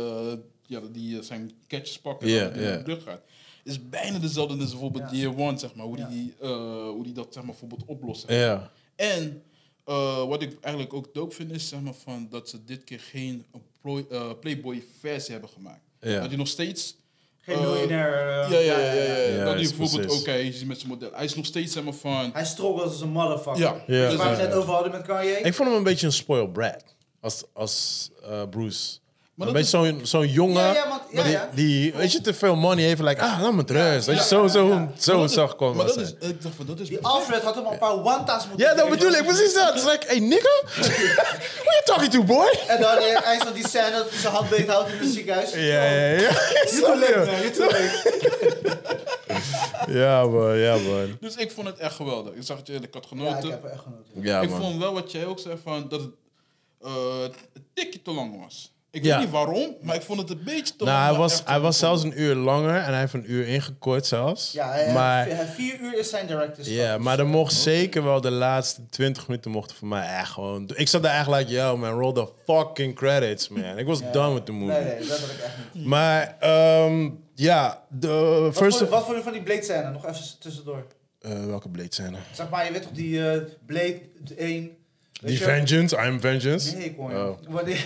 ja, dat die, eh, zijn catches pakken en
Ja,
dan dat hij
ja.
naar de brug gaat. Is bijna dezelfde als bijvoorbeeld
Ja.
Year One, zeg maar, hoe,
Ja.
die, eh, hoe die dat zeg maar, bijvoorbeeld oplost.
Ja,
En eh, wat ik eigenlijk ook dope vind is zeg maar, van, dat ze dit keer geen ploy- eh, Playboy versie hebben gemaakt.
Ja.
Dat je nog steeds...
Geen
eh,
miljonair... eh,
ja, ja, ja, ja, ja.
Ja,
dat hij
is
bijvoorbeeld
precies.
ook, hij is met zijn model. Hij is nog steeds zeg maar van...
Hij struggles als een motherfucker.
Ja. Ja,
Dus waar we
ja,
het net over hadden met Kanye.
ik vond hem een beetje een spoiled brat. Als, als eh, Bruce.
Maar
een
dat
beetje zo'n zo'n jongen
Ja, ja, want- ja,
die,
ja.
die, weet je, te veel money heeft. Like, ah, laat me met rust. Weet je, zo, zo, zo
Maar dat
zag
is-
komen.
Maar dat
zijn.
is, ik dacht van, dat is...
Die Alfred had hem al een paar wanta's moeten
Ja, dat
geven.
bedoel ik, precies dat. Het is like, hey nigga, who you talking to, boy?
En dan eh, hij is nog die scène dat hij zijn hand beethoudt in het ziekenhuis.
Ja, ja, ja.
Too late, man. Too late.
Ja, man, ja, man.
Dus ik vond het echt geweldig. Ik zag het je eerlijk, ik had
Ja, ik
genoten.
heb er echt genoten.
Ja,
ik
man.
vond wel wat jij ook zei, van, dat het eh, een tikje te lang was. Ik
Ja.
weet niet waarom, maar ik vond het een beetje te lang.
Nou, hij
maar
was,
echt
hij
wel
was zelfs een uur langer en hij heeft een uur ingekort zelfs.
Ja, hij- hij-
maar,
hij- vier uur is zijn director's
Ja, maar er mocht zeker wel de laatste 20 minuten mochten voor mij echt gewoon. Ik zat daar echt like, yo man, roll the fucking credits, man. Ik was done with the movie.
Nee, nee, dat had ik echt niet.
Maar ehm, ja, de
Wat
first
vond, je-
of...
wat vond je van die Blade scène? Nog even tussendoor.
Eh, welke Blade zijn er?
Zeg maar, je weet toch die eh, Blade 1... weet
Die
je?
Vengeance, I'm Vengeance.
Nee, ik hoor
Oh,
je. Wanneer-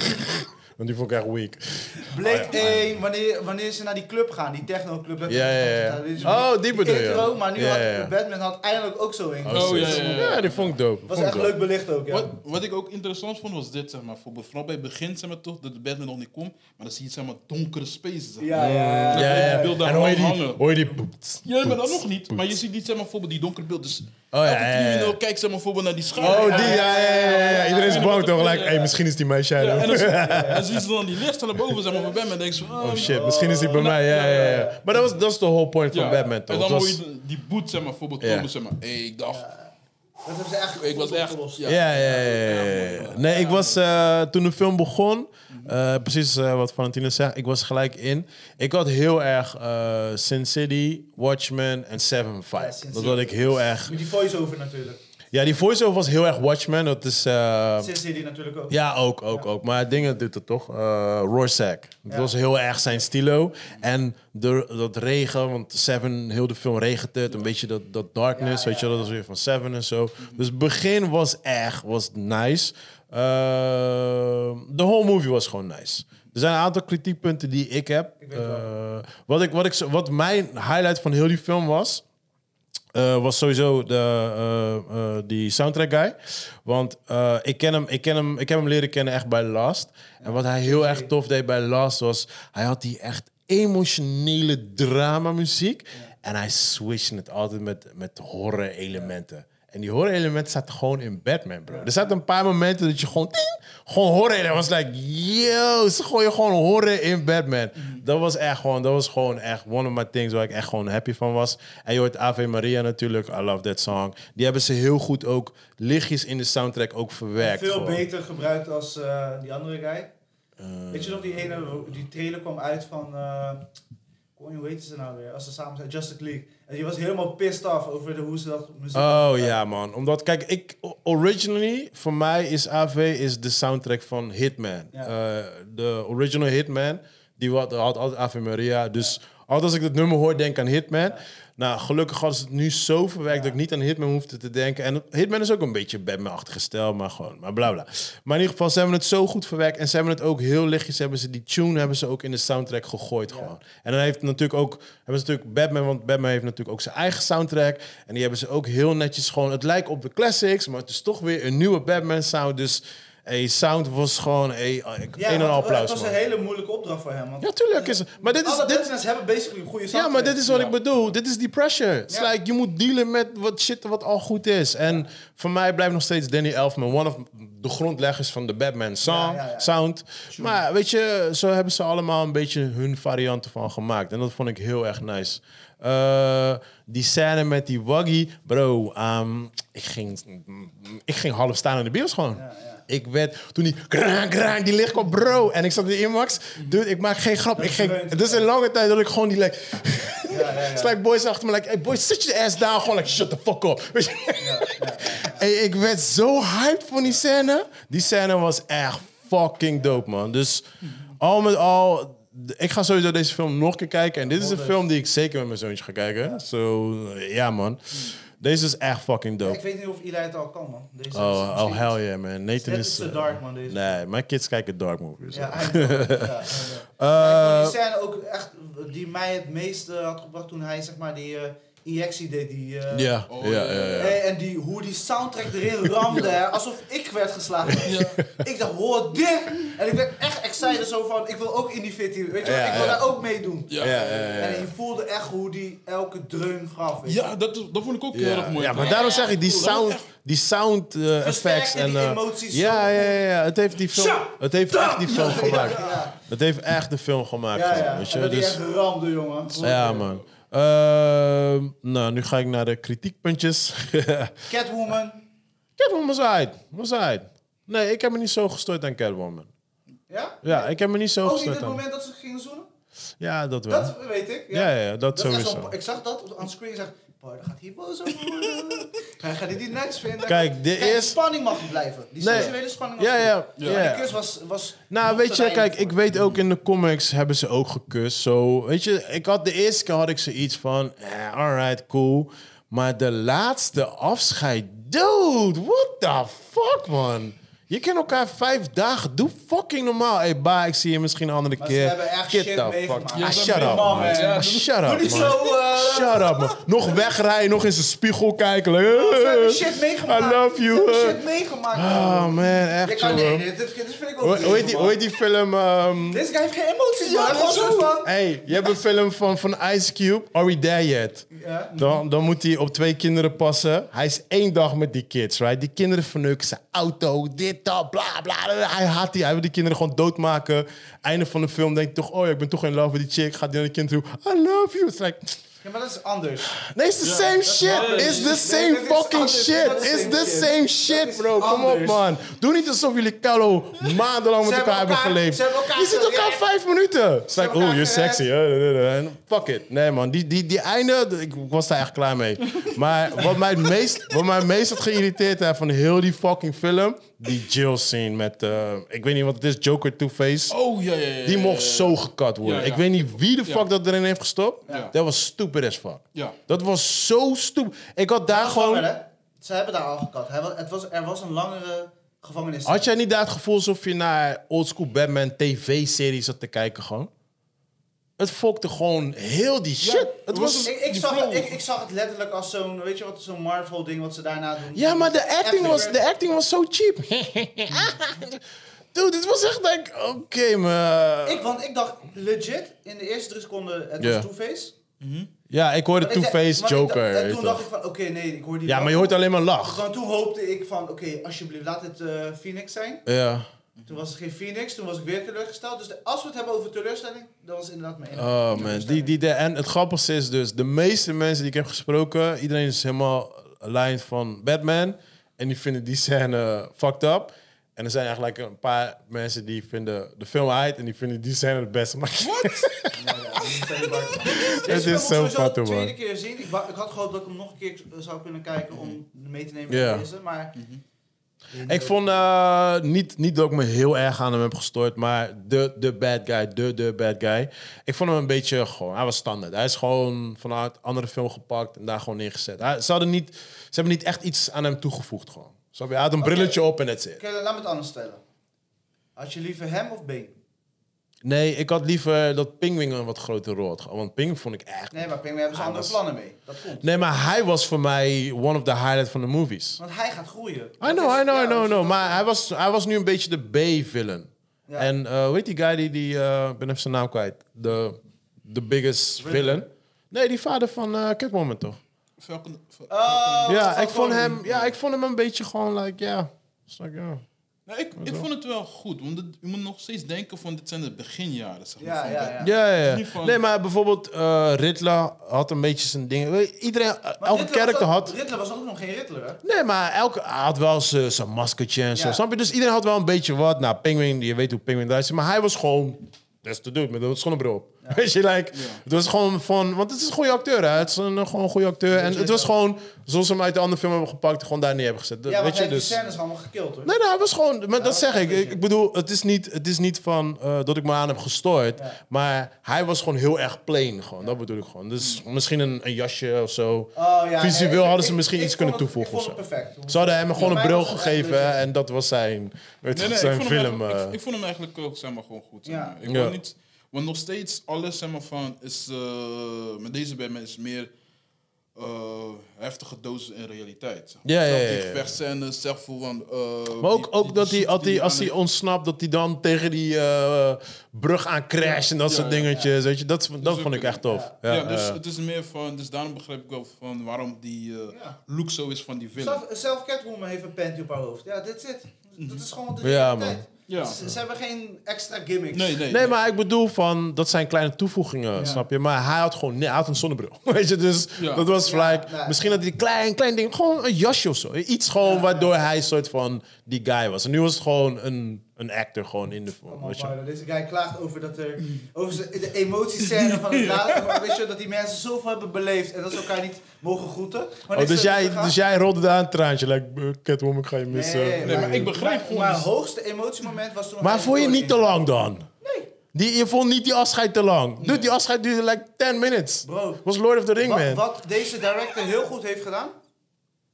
want die vond ik echt weak.
Oh,
Blade 1, wanneer, wanneer ze naar die club gaan, die technoclub. dat-
Oh, Ja, ja, ja.
dat is-
Oh, die bedoel je.
intro, maar nu
Ja,
had
ja, ja.
Batman had eindelijk ook zo een.
Oh, ja,
shit.
ja, ja.
die vond ik dope.
was
Vond
echt
ik
leuk belicht ook, ja.
Wat, wat ik ook interessant vond was dit, zeg maar. Bijvoorbeeld, vooral bij het begin, zeg maar toch, dat de Batman nog niet komt. Maar dan zie je, zeg maar, donkere spaces. zeg maar.
Ja, ja,
dope.
ja.
Ja, ja,
Ik wil
ja.
daar
En hoor je
gewoon
die...
hangen.
Hoor je die... boet,
Ja, maar dat
boet.
nog niet. Maar je ziet niet, zeg maar, bijvoorbeeld die donkere beeld. Dus
ja,
elke
Oh, ja, ja.
crimineel kijkt, zeg maar, bijvoorbeeld naar die schaduw.
Oh, die, ja, ja, ja, ja, ja. Iedereen is bang toch?
Ja,
Like,
ja.
hey, misschien is die mijn
Ja,
shadow.
en dan zie- en zien ze dan die lift naar boven, zeg maar, van Batman. En denk ah, ze van,
Oh shit, misschien is die bij mij, ja, ja, ja. Maar dat was, dat was de whole point van
Ja.
Batman, toch?
En dan
Het
hoor
was-
je de- die boet, zeg maar, bijvoorbeeld
Ja.
komen, zeg maar. Hey, ik dacht,
Dat hebben ze echt
ik was
goed
echt...
opgelost.
Ja.
Ja, ja, ja, ja, ja. Nee, ik was eh, toen de film begon, eh, precies eh, wat Valentino zegt, ik was gelijk in. Ik had heel erg eh, Sin City, Watchmen en Seven
Ja,
Fight.
Sin
dat
City.
had ik heel erg.
Met die voice-over natuurlijk.
Ja, die voice-over was heel erg Watchmen. Dat is. eh,
Sin City natuurlijk ook.
ja, ook, ook, ook. Maar dingen doet het toch? eh Rorschach. Dat
Ja.
was heel erg zijn stilo. En de, dat regen, want Seven, heel de film regent het. Een beetje dat, dat darkness,
Ja,
weet je
ja,
wel. Dat was weer van Seven en zo. Dus het begin was echt, was nice. Ehm, De whole movie was gewoon nice. Er zijn een aantal kritiekpunten die ik heb.
weet het wel.
Eh, wat, ik, wat, ik, zo- wat mijn highlight van heel die film was... Eh, was sowieso de, eh, eh, die soundtrack guy. Want eh, ik, ken hem, ik, ken hem, ik heb hem leren kennen echt bij Last. En wat hij heel erg tof deed bij Last was... Hij had die echt emotionele dramamuziek. En hij switchte het altijd met, met horror elementen. En die horror elementen zaten gewoon in Batman, bro. Er zaten een paar momenten dat je gewoon... ting, gewoon horror. En was like, yo, ze gooien gewoon horror in Batman. Dat was echt gewoon, dat was gewoon echt one of my things waar ik echt gewoon happy van was. En je hoort Ave Maria natuurlijk, I love that song. Die hebben ze heel goed ook lichtjes in de soundtrack ook verwerkt.
Veel
gewoon.
beter gebruikt als eh, die andere guy. Weet je nog, die ene, die trailer kwam uit van... eh, Gewoon, hoe heet ze nou weer? Als ze samen zijn, Justice League. En die was helemaal pissed off over de, hoe ze dat muziek...
Oh ja, man. Omdat, kijk, ik, o- originally, voor mij is AV is de soundtrack van Hitman.
Ja.
Eh, de original Hitman, die had, had altijd AV Maria. Dus altijd als ik dat nummer hoor, denk ik aan Hitman. Nou, gelukkig hadden ze het nu zo verwerkt dat ik niet aan Hitman hoefde te denken. En Hitman is ook een beetje Batman-achtige stijl, maar gewoon, maar bla bla. Maar in ieder geval, ze hebben het zo goed verwerkt. En ze hebben het ook heel lichtjes, hebben ze die tune hebben ze ook in de soundtrack gegooid gewoon. En dan heeft natuurlijk ook, hebben ze natuurlijk Batman, want Batman heeft natuurlijk ook zijn eigen soundtrack. En die hebben ze ook heel netjes gewoon, het lijkt op de classics, maar het is toch weer een nieuwe Batman-sound. Dus, hey, sound was gewoon, hey, ik- een en
want
al applaus,
Het was
man.
een hele moeilijke opdracht voor hem. Want
Ja, tuurlijk is het. Maar dit is,
alle
dit,
Batmans hebben basically een goede
ja,
soundtrack.
maar dit is wat ik bedoel. Dit is die pressure. Het is
Ja.
like, je moet dealen met wat shit wat al goed is. En voor mij blijft nog steeds Danny Elfman one of de grondleggers van de Batman song,
Ja, ja, ja.
sound. Maar weet je, zo hebben ze allemaal een beetje hun varianten van gemaakt. En dat vond ik heel erg nice. Eh, die scène met die Waggy, bro, ehm, ik, ging, ik ging half staan in de bios gewoon. Ik werd, toen die kraan, kraan, die licht kwam, bro. En ik zat in de IMAX.
Mhm.
Dude, ik maak geen grap. Ik ging,
gebeurt.
het is een lange tijd dat ik gewoon die, like,
Ja, ja, ja.
It's like boys achter me, like, hey boys, sit your ass down. Gewoon like, shut the fuck up. Weet je? Hey, ik werd zo hyped van die scène. Die scène was echt fucking dope, man. Dus al met al, d- ik ga sowieso deze film nog een keer kijken. En dit is een film die ik zeker met mijn zoontje ga kijken. Zo, eh, ja man. Deze is echt fucking
Ik
dope.
weet niet of Eli het al kan, man. Deze is
Oh, oh
misschien-
hell yeah, man. Nathan
Dit
is...
is te
eh,
dark, man, deze.
Nee, mijn kids kijken dark movies.
Ja,
hoor.
eigenlijk wel. ja, ja,
Eh,
ja. Maar ik vond die scène ook echt, die mij het meeste had gebracht toen hij zeg maar die eh, injectie deed. Die, eh,
Ja,
Oh,
ja, ja, ja.
eh, en die, hoe die soundtrack erin ramde, hè, alsof ik werd geslagen. Ik dacht, hoor dit! En ik werd echt excited zo van, ik wil ook in die fit hier, weet je wel,
Ja,
ik wil
ja.
daar ook meedoen.
Ja.
Ja, ja, ja, ja.
En je voelde echt hoe die elke dreun gaf. weet je.
Ja, dat, dat vond ik ook heel
Ja,
erg mooi.
ja, maar daarom zeg ik die
Cool, dat
sound,
was echt-
die sound eh, effects en
die
eh,
emoties
Ja,
zo.
ja, ja, ja, het heeft die film,
Shut
het heeft echt die film gemaakt.
ja.
Het heeft echt de film gemaakt.
Ja,
gewoon,
ja.
weet
En
je?
dat die
Dus,
echt ramde, jongen.
ja, man. Ehm, nou, nu ga ik naar de kritiekpuntjes.
Catwoman.
Catwoman was uit, was uit. Nee, ik heb me niet zo gestoord aan Catwoman.
Ja?
Ja, ik heb me niet zo
Ook niet
gestoord
het
aan.
Oh, moment dat ze gingen zoenen?
Ja, dat wel.
Dat weet ik.
Ja, ja, ja, dat
is echt
sowieso.
zo'n- Ik zag dat op- aan screen. Ik zeg, boy, daar gaat hij boos over worden. Hij gaat dit niet niks vinden.
Kijk, de
die
eerste-
spanning mag er blijven. Die
Nee.
seksuele spanning mag
Ja,
er
ja,
blijven. Maar
ja.
die kus was... was
Nou,
nog
weet
te
je,
weinig
kijk,
voor.
ik weet ook in de comics hebben ze ook gekust. Zo, weet je, ik had de eerste keer had ik zoiets van, eh, alright, cool. Maar de laatste afscheid, dude, what the fuck, man? Je kent elkaar vijf dagen, doe fucking normaal. Hey, ba, ik zie je misschien een andere
Maar ze
keer.
hebben echt
Get
shit
the fuck-
meegemaakt.
Ah,
Ja,
shut
dat
up,
ben
man.
ik bang, hè. Ja,
Ah,
doe-
Shut up,
Doe niet
man.
zo... eh,
Shut up, man. Nog wegrijden, nog in zijn spiegel kijken. like, eh.
we hebben shit meegemaakt.
I love you.
We hebben shit meegemaakt.
Oh, man,
Ik
echt
kan
zo,
nee,
man.
dit, dit dit vind ik ook
Hoe hoe heet
niet,
die-
man.
hoe heet die film? ehm,
Deze guy heeft geen emoties,
Ja,
man. Hij was
zo.
zo van...
Hey, je hebt een film van, van Ice Cube, Are We There Yet?
Ja.
Dan, dan moet hij op twee kinderen passen. Hij is één dag met die kids, right? Die kinderen verneuken zijn auto, dit, dat, bla, bla, bla. Hij haat die, hij wil die kinderen gewoon doodmaken. Einde van de film denkt hij toch, oh ja, ik ben toch in love met die chick. Gaat die naar de kinderen toe, I love you. It's like,
Ja, maar dat is anders.
nee, it's the same
waar.
shit. It's
Nee,
the same
dit is
fucking
anders.
shit.
Dat is
It's
same
the
shit.
same shit,
is
bro. Kom op,
anders.
man. Doe niet alsof jullie Carlo maandenlang met
Ze
elkaar hebben
hebben elkaar-
geleefd.
ze hebben elkaar
Je ziet elkaar
gerekt.
vijf minuten. It's like,
hebben
oh,
elkaar
you're sexy. eh, eh, eh, eh. Fuck it. Nee, man. Die, die, die einde, ik was daar echt klaar mee. Maar wat mij het meest, wat mij het meest had geïrriteerd hè, van heel die fucking film... die Jill scene met, eh, ik weet niet wat het is, Joker Two-Face.
Oh, ja, ja, ja. ja,
Die
ja,
mocht
ja.
zo gekat worden.
Ja, ja.
Ik weet niet wie de fuck
Ja.
dat erin heeft gestopt.
Ja.
Dat was stupid as fuck.
Ja.
Dat was zo stupid. Ik had daar gewoon...
Langer, hè? Ze hebben daar al gekat. Hij was, het was, er was een langere gevangenis.
Had jij niet daar het gevoel alsof je naar oldschool Batman tv-series zat te kijken gewoon? Het fokte gewoon heel die shit. het
het
was...
was-
Ik, ik,
Die
zag,
flow.
ik, ik zag het letterlijk als zo'n, weet je wat, zo'n Marvel-ding wat ze daarna doen.
Ja, maar de acting
Echt
was,
weer-
de acting was zo cheap. Dude, het was echt like, oké, maar...
Ik, want ik dacht legit in de eerste drie seconden het
Ja.
was Two-Face.
Ja, ik hoorde
Maar ik dacht-
Two-Face,
maar ik dacht-
Joker.
en
weet
toen
je
dacht
wel.
ik van, oké, nee, ik hoor die
ja,
wel.
maar je hoort alleen maar lach.
Want toen hoopte ik van, oké, alsjeblieft, laat het eh, Phoenix zijn.
Ja.
Toen was het geen Phoenix, toen was ik weer teleurgesteld. Dus de- als we het hebben over teleurstelling, dat was inderdaad mijn enige.
Oh man, die, die, de, en het grappigste is dus, de meeste mensen die ik heb gesproken, iedereen is helemaal aligned van Batman. En die vinden die scène fucked up. En er zijn eigenlijk een paar mensen die vinden de film uit en die vinden die scène het beste. Maar
Deze
is
film
zo
moet ik sowieso
fucking
de tweede
man.
keer zien. Ik, wa- ik had gehoopt dat ik hem nog een keer eh, zou kunnen kijken om mee te nemen
Ja.
in deze. Maar
ik vond eh, niet, niet dat ik me heel erg aan hem heb gestoord, maar de, de bad guy, de, de bad guy. Ik vond hem een beetje gewoon, hij was standaard. Hij is gewoon vanuit andere film gepakt en daar gewoon neergezet. Hij, ze, hadden niet, ze hebben niet echt iets aan hem toegevoegd gewoon. Snap je? Hij had een brilletje op en that's it.
oké, dan laat me het anders stellen. Had je liever hem of Bane?
Nee, ik had liever dat Pingwing een wat grotere rol had gehad. Want Pingwing vond ik echt...
Nee, maar Penguin hebben ze
Hij
andere
was-
plannen mee. Dat komt.
Nee, maar hij was voor mij one of the highlights van de movies.
Want hij gaat groeien.
I know, I know, I know, I know. Maar hij was, hij was nu een beetje de B-villain.
Ja.
En eh weet die guy die, die eh, ik ben even zijn naam kwijt, de de biggest villain. Nee, die vader van eh Catwoman toch?
Falcon, Fal-
Oh,
ja,
Falcone.
ik vond hem, ja, ik vond hem een beetje gewoon like, ja, It's like, ja.
Nou, ik, ik vond het wel goed. Want het- je moet nog steeds denken van dit zijn de beginjaren. Zeg maar,
Ja,
van
ja,
Batman.
ja.
Ja, ja,
niet
ja.
van-
Nee, maar bijvoorbeeld eh Riddler had een beetje zijn dingen. Weet je, Iedereen,
Maar
elke
Riddler was
character
ook-
had.
Riddler was ook nog geen Riddler, hè?
Nee, maar elke hij had wel zijn zijn maskertje en zo.
Ja.
Snap je? Dus iedereen had wel een beetje wat. Nou, Penguin, je weet hoe Penguin daar is. Maar hij was gewoon, dat is te doen, met een zonnebril op. Weet je, like, het was gewoon van, want het is een goede acteur, hè. Het is een, eh, gewoon een goede acteur. En het was gewoon, zoals ze hem uit de andere film hebben gepakt, gewoon daar neer hebben gezet.
Ja, want
weet
hij
je,
heeft
dus...
die scènes allemaal gekild, hoor.
Nee, nee, hij was gewoon, maar dat
was
zeg
een
ik.
beetje.
ik. Ik bedoel, het is niet, het is niet van eh, dat ik me aan heb gestoord.
Ja.
Maar hij was gewoon heel erg plain. Gewoon. Dat bedoel ik gewoon. Dus misschien een, een jasje of zo.
Oh, ja.
Visueel
Ik-
hadden
ik-
ze misschien
ik
iets
vond
kunnen
het-
toevoegen
Ik
of
vond
zo.
het perfect.
Ze hadden hem gewoon een
Voor mij
bril
was het echt
gegeven
legit.
en dat was zijn, weet je,
Nee, nee, ik
zijn
vond hem
film.
eigenlijk-
eh.
ik, ik vond hem eigenlijk ook zeg maar, gewoon goed. zeg
Ja.
maar. Ik
Ja.
wil niet, want nog steeds alles zeg maar, van is. eh, met deze Batman is meer eh, heftige dosis in realiteit. zeg maar.
Ja, ja,
Zelf
ja,
Die
ja.
gevechtscènes, zelf voor van. eh,
maar ook,
die-
ook
die-
dat
die
hij, als
shit die
hij, als hij
aan-
ontsnapt, dat hij dan tegen die eh, brug aan crasht en dat
Ja,
soort
ja, ja.
dingetjes. Weet je, dat, dat
ook
vond ik
een-
echt tof.
Ja,
Ja,
dus
eh.
het is meer van. Dus daarom begrijp ik wel van waarom die eh,
Ja.
look zo is van die film.
Zelf, zelf Catwoman heeft een panty op haar hoofd. Ja, dit zit. Dat is gewoon de
Ja,
realiteit.
man.
Ja.
Ze, ze hebben geen extra gimmicks.
Nee, nee.
Nee, maar ik bedoel van, dat zijn kleine toevoegingen, snap je? Maar hij had gewoon, nee, hij had een zonnebril, weet je? Dus
Ja.
dat was
Ja,
like,
nee.
misschien dat hij een klein, klein ding, gewoon een jasje of zo. Iets gewoon waardoor hij een soort van die guy was. En nu was het gewoon een, een actor gewoon in de film,
Allemaal
weet je?
Bardo. Deze guy klaagt over, dat er,
Mm.
over ze- de emotiescène van het laatste. maar Weet je, dat die mensen zoveel hebben beleefd en dat ze elkaar niet mogen groeten. Maar
Oh,
niks
dus,
te
jij,
gaan.
dus jij rolde daar een traantje, like, eh, Catwoman, ik ga je missen.
Nee, maar ik begrijp
maar,
gewoon
Maar
dus-
hoogste emotiemoment was toen...
Maar
nog
vond je
geen
niet te
recording.
lang dan?
Nee.
Die, je vond niet die afscheid te lang? Dude, die afscheid duurde like 10 minutes.
Bro.
was Lord of the Ring,
Wat,
man.
wat deze director heel goed heeft gedaan.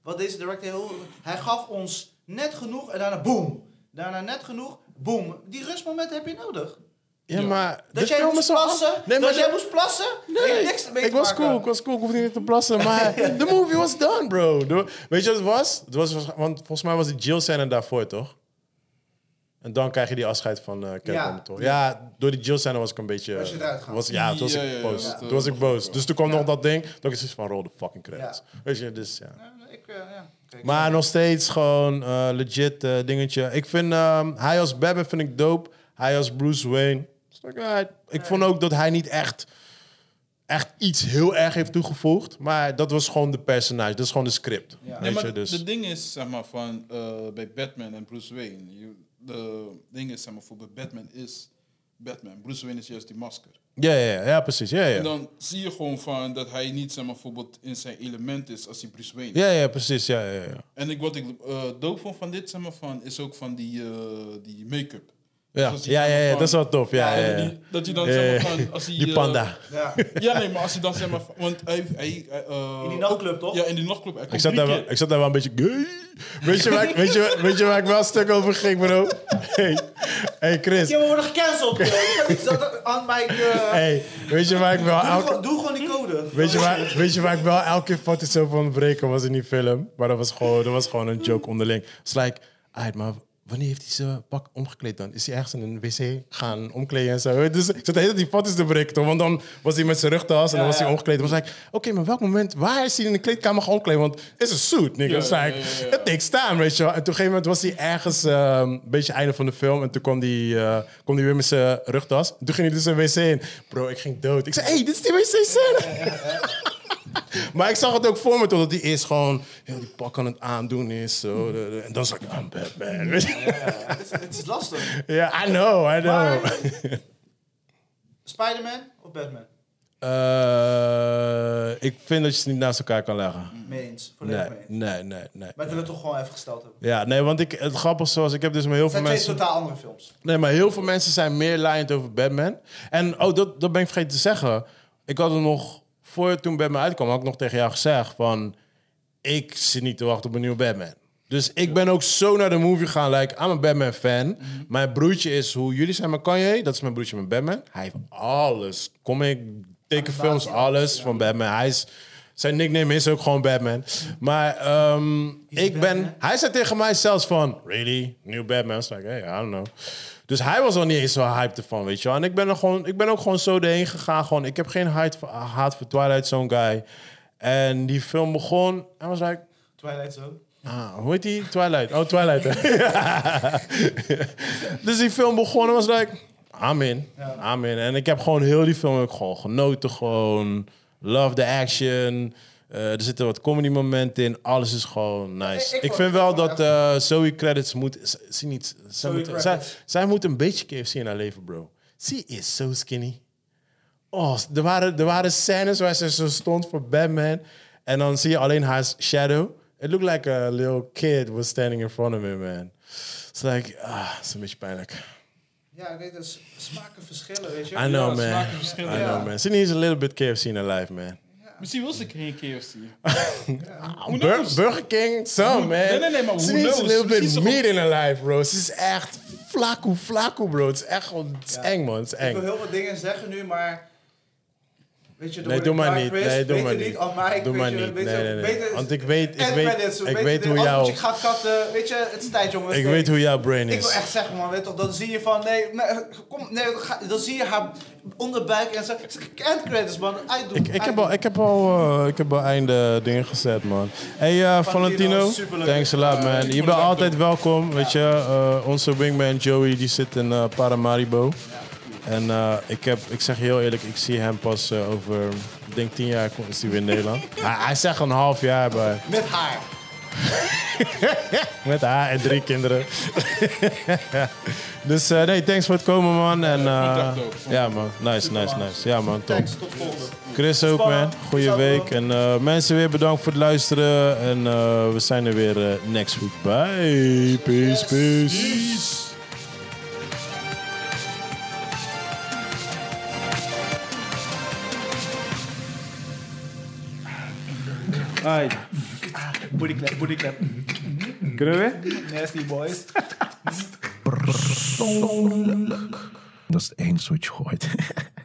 Wat deze director heel Hij gaf ons net genoeg en daarna boom. Daarna net genoeg, boom. Die rustmomenten heb je nodig.
Ja,
Ja.
maar... de
Dat jij
film
moest
is al-
plassen.
Nee, maar
dat
de-
jij moest plassen. Nee.
Nee,
niks mee
ik
te
was
maken.
cool, ik was cool, ik hoefde niet te plassen. Maar de movie was done, bro. De- weet je wat het was? Het was waarsch- want volgens mij was die Jill scène daarvoor, toch? En dan krijg je die afscheid van eh Catwoman,
Ja.
toch? Ja, door die Jill scène was ik een beetje...
Was je eruit gegaan?
was, Ja, toen was
Ja, ja,
ik
ja,
boos.
dat, eh,
Toen was ik
begrijp
boos.
ik
Dus toen kwam nog dat ding. Toen is het van, roll the fucking credits. Weet je, dus ja.
Ja, ik, eh, ja. Kijk.
Maar nog steeds gewoon eh, legit eh, dingetje. Ik vind ehm, hij als Batman vind ik dope. Hij als Bruce Wayne. is ook alright. Ik vond ook dat hij niet echt, echt iets heel erg heeft toegevoegd. Maar dat was gewoon de personage. Dat is gewoon de script.
Ja.
Nee,
Weet je,
maar
dus.
de ding is, zeg maar, van eh, bij Batman en Bruce Wayne. je- De ding is, zeg maar, voor bij Batman is Batman. Bruce Wayne is juist die masker.
Ja, ja, ja, ja, precies. Ja,
En
ja.
dan zie je gewoon van dat hij niet, zeg maar, bijvoorbeeld in zijn element is als hij Bruce Wayne. is.
Ja, ja, precies. Ja, ja, ja.
En ik, wat ik eh doop vond van dit, zeg maar, van, is ook van die, eh, die make-up.
Ja,
Dus als hij,
ja,
zeg
ja,
maar,
ja,
van-
dat is wel tof. Ja, ja, ja.
Die- Dat hij dan,
Ja,
zeg maar,
ja.
van, als hij...
Die
eh,
panda.
Ja.
ja, nee, maar als hij dan, zeg maar, van- want hij... hij hij, eh,
In die nachtclub, toch?
Ja, in die nachtclub. Hij
Ik
komt
zat,
drie
daar wel,
keer.
ik zat daar wel een beetje... gay. Weet je, waar, ik- weet, je, weet je waar ik wel een stuk over ging, bro? Hey, hey Chris.
Ja, we worden gecanceld, joh. Ik kan niet zo- aan mijn... eh,
Hey, weet je waar ik wel...
doe,
elke-
gewoon, doe gewoon die code.
Weet je, waar, weet je waar ik wel elke keer foto's over ontbreken was in die film? Maar dat was gewoon, dat was gewoon een joke onderling. Het is like, uit, maar wanneer heeft hij zijn pak omgekleed dan? Is hij ergens in een wc gaan omkleden en zo? Dus ik zat de hele tijd die foto's te breken, toch? Want dan was hij met zijn rugtas en dan
Ja,
was hij
ja.
omgekleed. Dan was ik, oké, maar welk moment, waar is hij in de kleedkamer gaan omkleden? Want het is een suit, nigga.
Ja,
Het is like,
ja, ja, ja.
it takes time, weet je wel. En toen op een gegeven moment was hij ergens, ehm, een beetje einde van de film. En toen kwam hij kwam die weer met zijn rugtas. Toen ging hij dus een wc in. Bro, ik ging dood. Ik zei, hé, hey, dit is die wc-scène. maar ik zag het ook voor me, totdat die eerst gewoon heel die pak aan het aandoen is. Zo, de- de- en dan zag ik, I'm Batman. weet je.
Oh, Het is- het is lastig.
Ja, I know, I know.
Maar- Spider-Man of Batman?
Eh, ik vind dat je ze niet naast elkaar kan leggen.
Mee eens. Volledig
Nee,
mee eens.
nee, nee, nee.
Maar ik wil het toch gewoon even gesteld hebben.
Ja, nee, want ik, het grappige zoals ik heb dus met heel
Het
veel
zijn twee
mensen...
totaal andere films.
Nee, maar heel veel mensen zijn meer laaiend over Batman. En oh, dat, dat ben ik vergeten te zeggen. Ik had het nog, voor toen Batman uitkwam, had ik nog tegen jou gezegd van... Ik zit niet te wachten op een nieuwe Batman. Dus ik ben ook zo naar de movie gaan. Like, I'm een Batman-fan.
Mhm.
Mijn broertje is, hoe jullie zijn met Kanye, dat is mijn broertje met Batman. Hij heeft alles. Comic, tekenfilms, alles van Batman. Hij is... Zijn nickname is ook gewoon Batman. Maar ehm, ik ben... Hij zei tegen mij zelfs van... Really? New Batman? I was like, hey, I don't know. Dus hij was al niet eens zo hyped ervan, weet je wel. En ik ben, er gewoon, ik ben ook gewoon zo erheen gegaan. Gewoon, ik heb geen haat, voor- haat voor Twilight Zone guy. En die film begon. En was like...
Twilight Zone.
Ah, hoe heet die? Twilight. Oh, Twilight. dus die film begon en was like... I'm in.
Ja.
I'm in. En ik heb gewoon heel die film ook gewoon genoten. Gewoon love the action. Eh, er zitten wat comedy momenten in. Alles is gewoon nice. Ik,
Ik- ik vond-
vind wel
ik vond
dat
het
eh Zoe Credits moet... z- Zie niet, zij,
Zoe
moet,
Kravitz.
zij, zij moet een beetje KFC in haar leven, bro. Ze is zo skinny. Oh, er waren, er waren scènes waar ze zo stond voor Batman. En dan zie je alleen haar shadow. It looked like a little kid was standing in front of me, man. It's like, ah, het is een beetje pijnlijk.
Ja, ik weet het. s- Smaken verschillen, weet je.
I know, man.
smaken
I
verschillen,
ja.
know, man. Sydney is a little bit KFC in her life, man.
Misschien wil ze geen KFC.
Ah,
nou
Bur- Burger King, some, man.
nee, nee, nee, maar who
Sydney is a
knows?
little
Misschien is
bit
ze
meat in her life, bro. Ze is echt flaku, flaku, bro. Het is echt gewoon, het is
Ja.
eng, man. Het is
Ik wil
eng.
heel veel dingen zeggen nu, maar... Weet je, door
Nee,
de
doe maar
Dark
niet.
Crest,
Nee, doe
beter
maar
niet.
niet.
Al Mike,
Doe
weet
maar
je,
niet. Nee,
weet je,
nee,
beter-
nee. Want ik weet, ik
Ed Bennett,
weet,
zo,
ik
weet
weet
je,
hoe
als
jouw...
moet je gaat katten, weet je, het is tijd jongens.
Ik
Nee.
weet hoe jouw brain
Ik wil
is.
echt zeggen, man, weet toch, dan zie je van, nee, nee, kom, nee dan, ga- dan zie je haar onderbuik en zo. End credits, man, uitdoen.
Ik, ik, heb
uitdoen.
al, ik, heb al, eh, ik heb al einde dingen gezet, man. Hey eh, Valentino,
superleuk. Eh,
thanks a lot,
Ja, ik
man.
vond
Je
het
bent
ook
altijd welkom, weet je. Eh, onze wingman Joey, die zit in eh, Paramaribo. En eh, ik, heb, ik zeg je heel eerlijk, ik zie hem pas eh, over, ik denk tien jaar komt- is hij weer in Nederland. hij, hij zegt een half jaar bij,
Met haar.
met haar en drie kinderen. dus eh, nee, thanks voor het komen, man. En,
Ja, ik
eh,
vond het echt dope.
ja, man. Nice, nice, nice. Ja, man, top.
Thanks, tot volgende.
Chris ook, man.
Spannend.
Goeie
Zou
week.
doen.
En eh, mensen weer bedankt voor het luisteren. En eh, we zijn er weer eh, next week. Bye. Peace, peace.
Ai. Booty clap, booty clap.
Kunnen we weer?
Nasty boys.
Dat is het enige wat je gooit.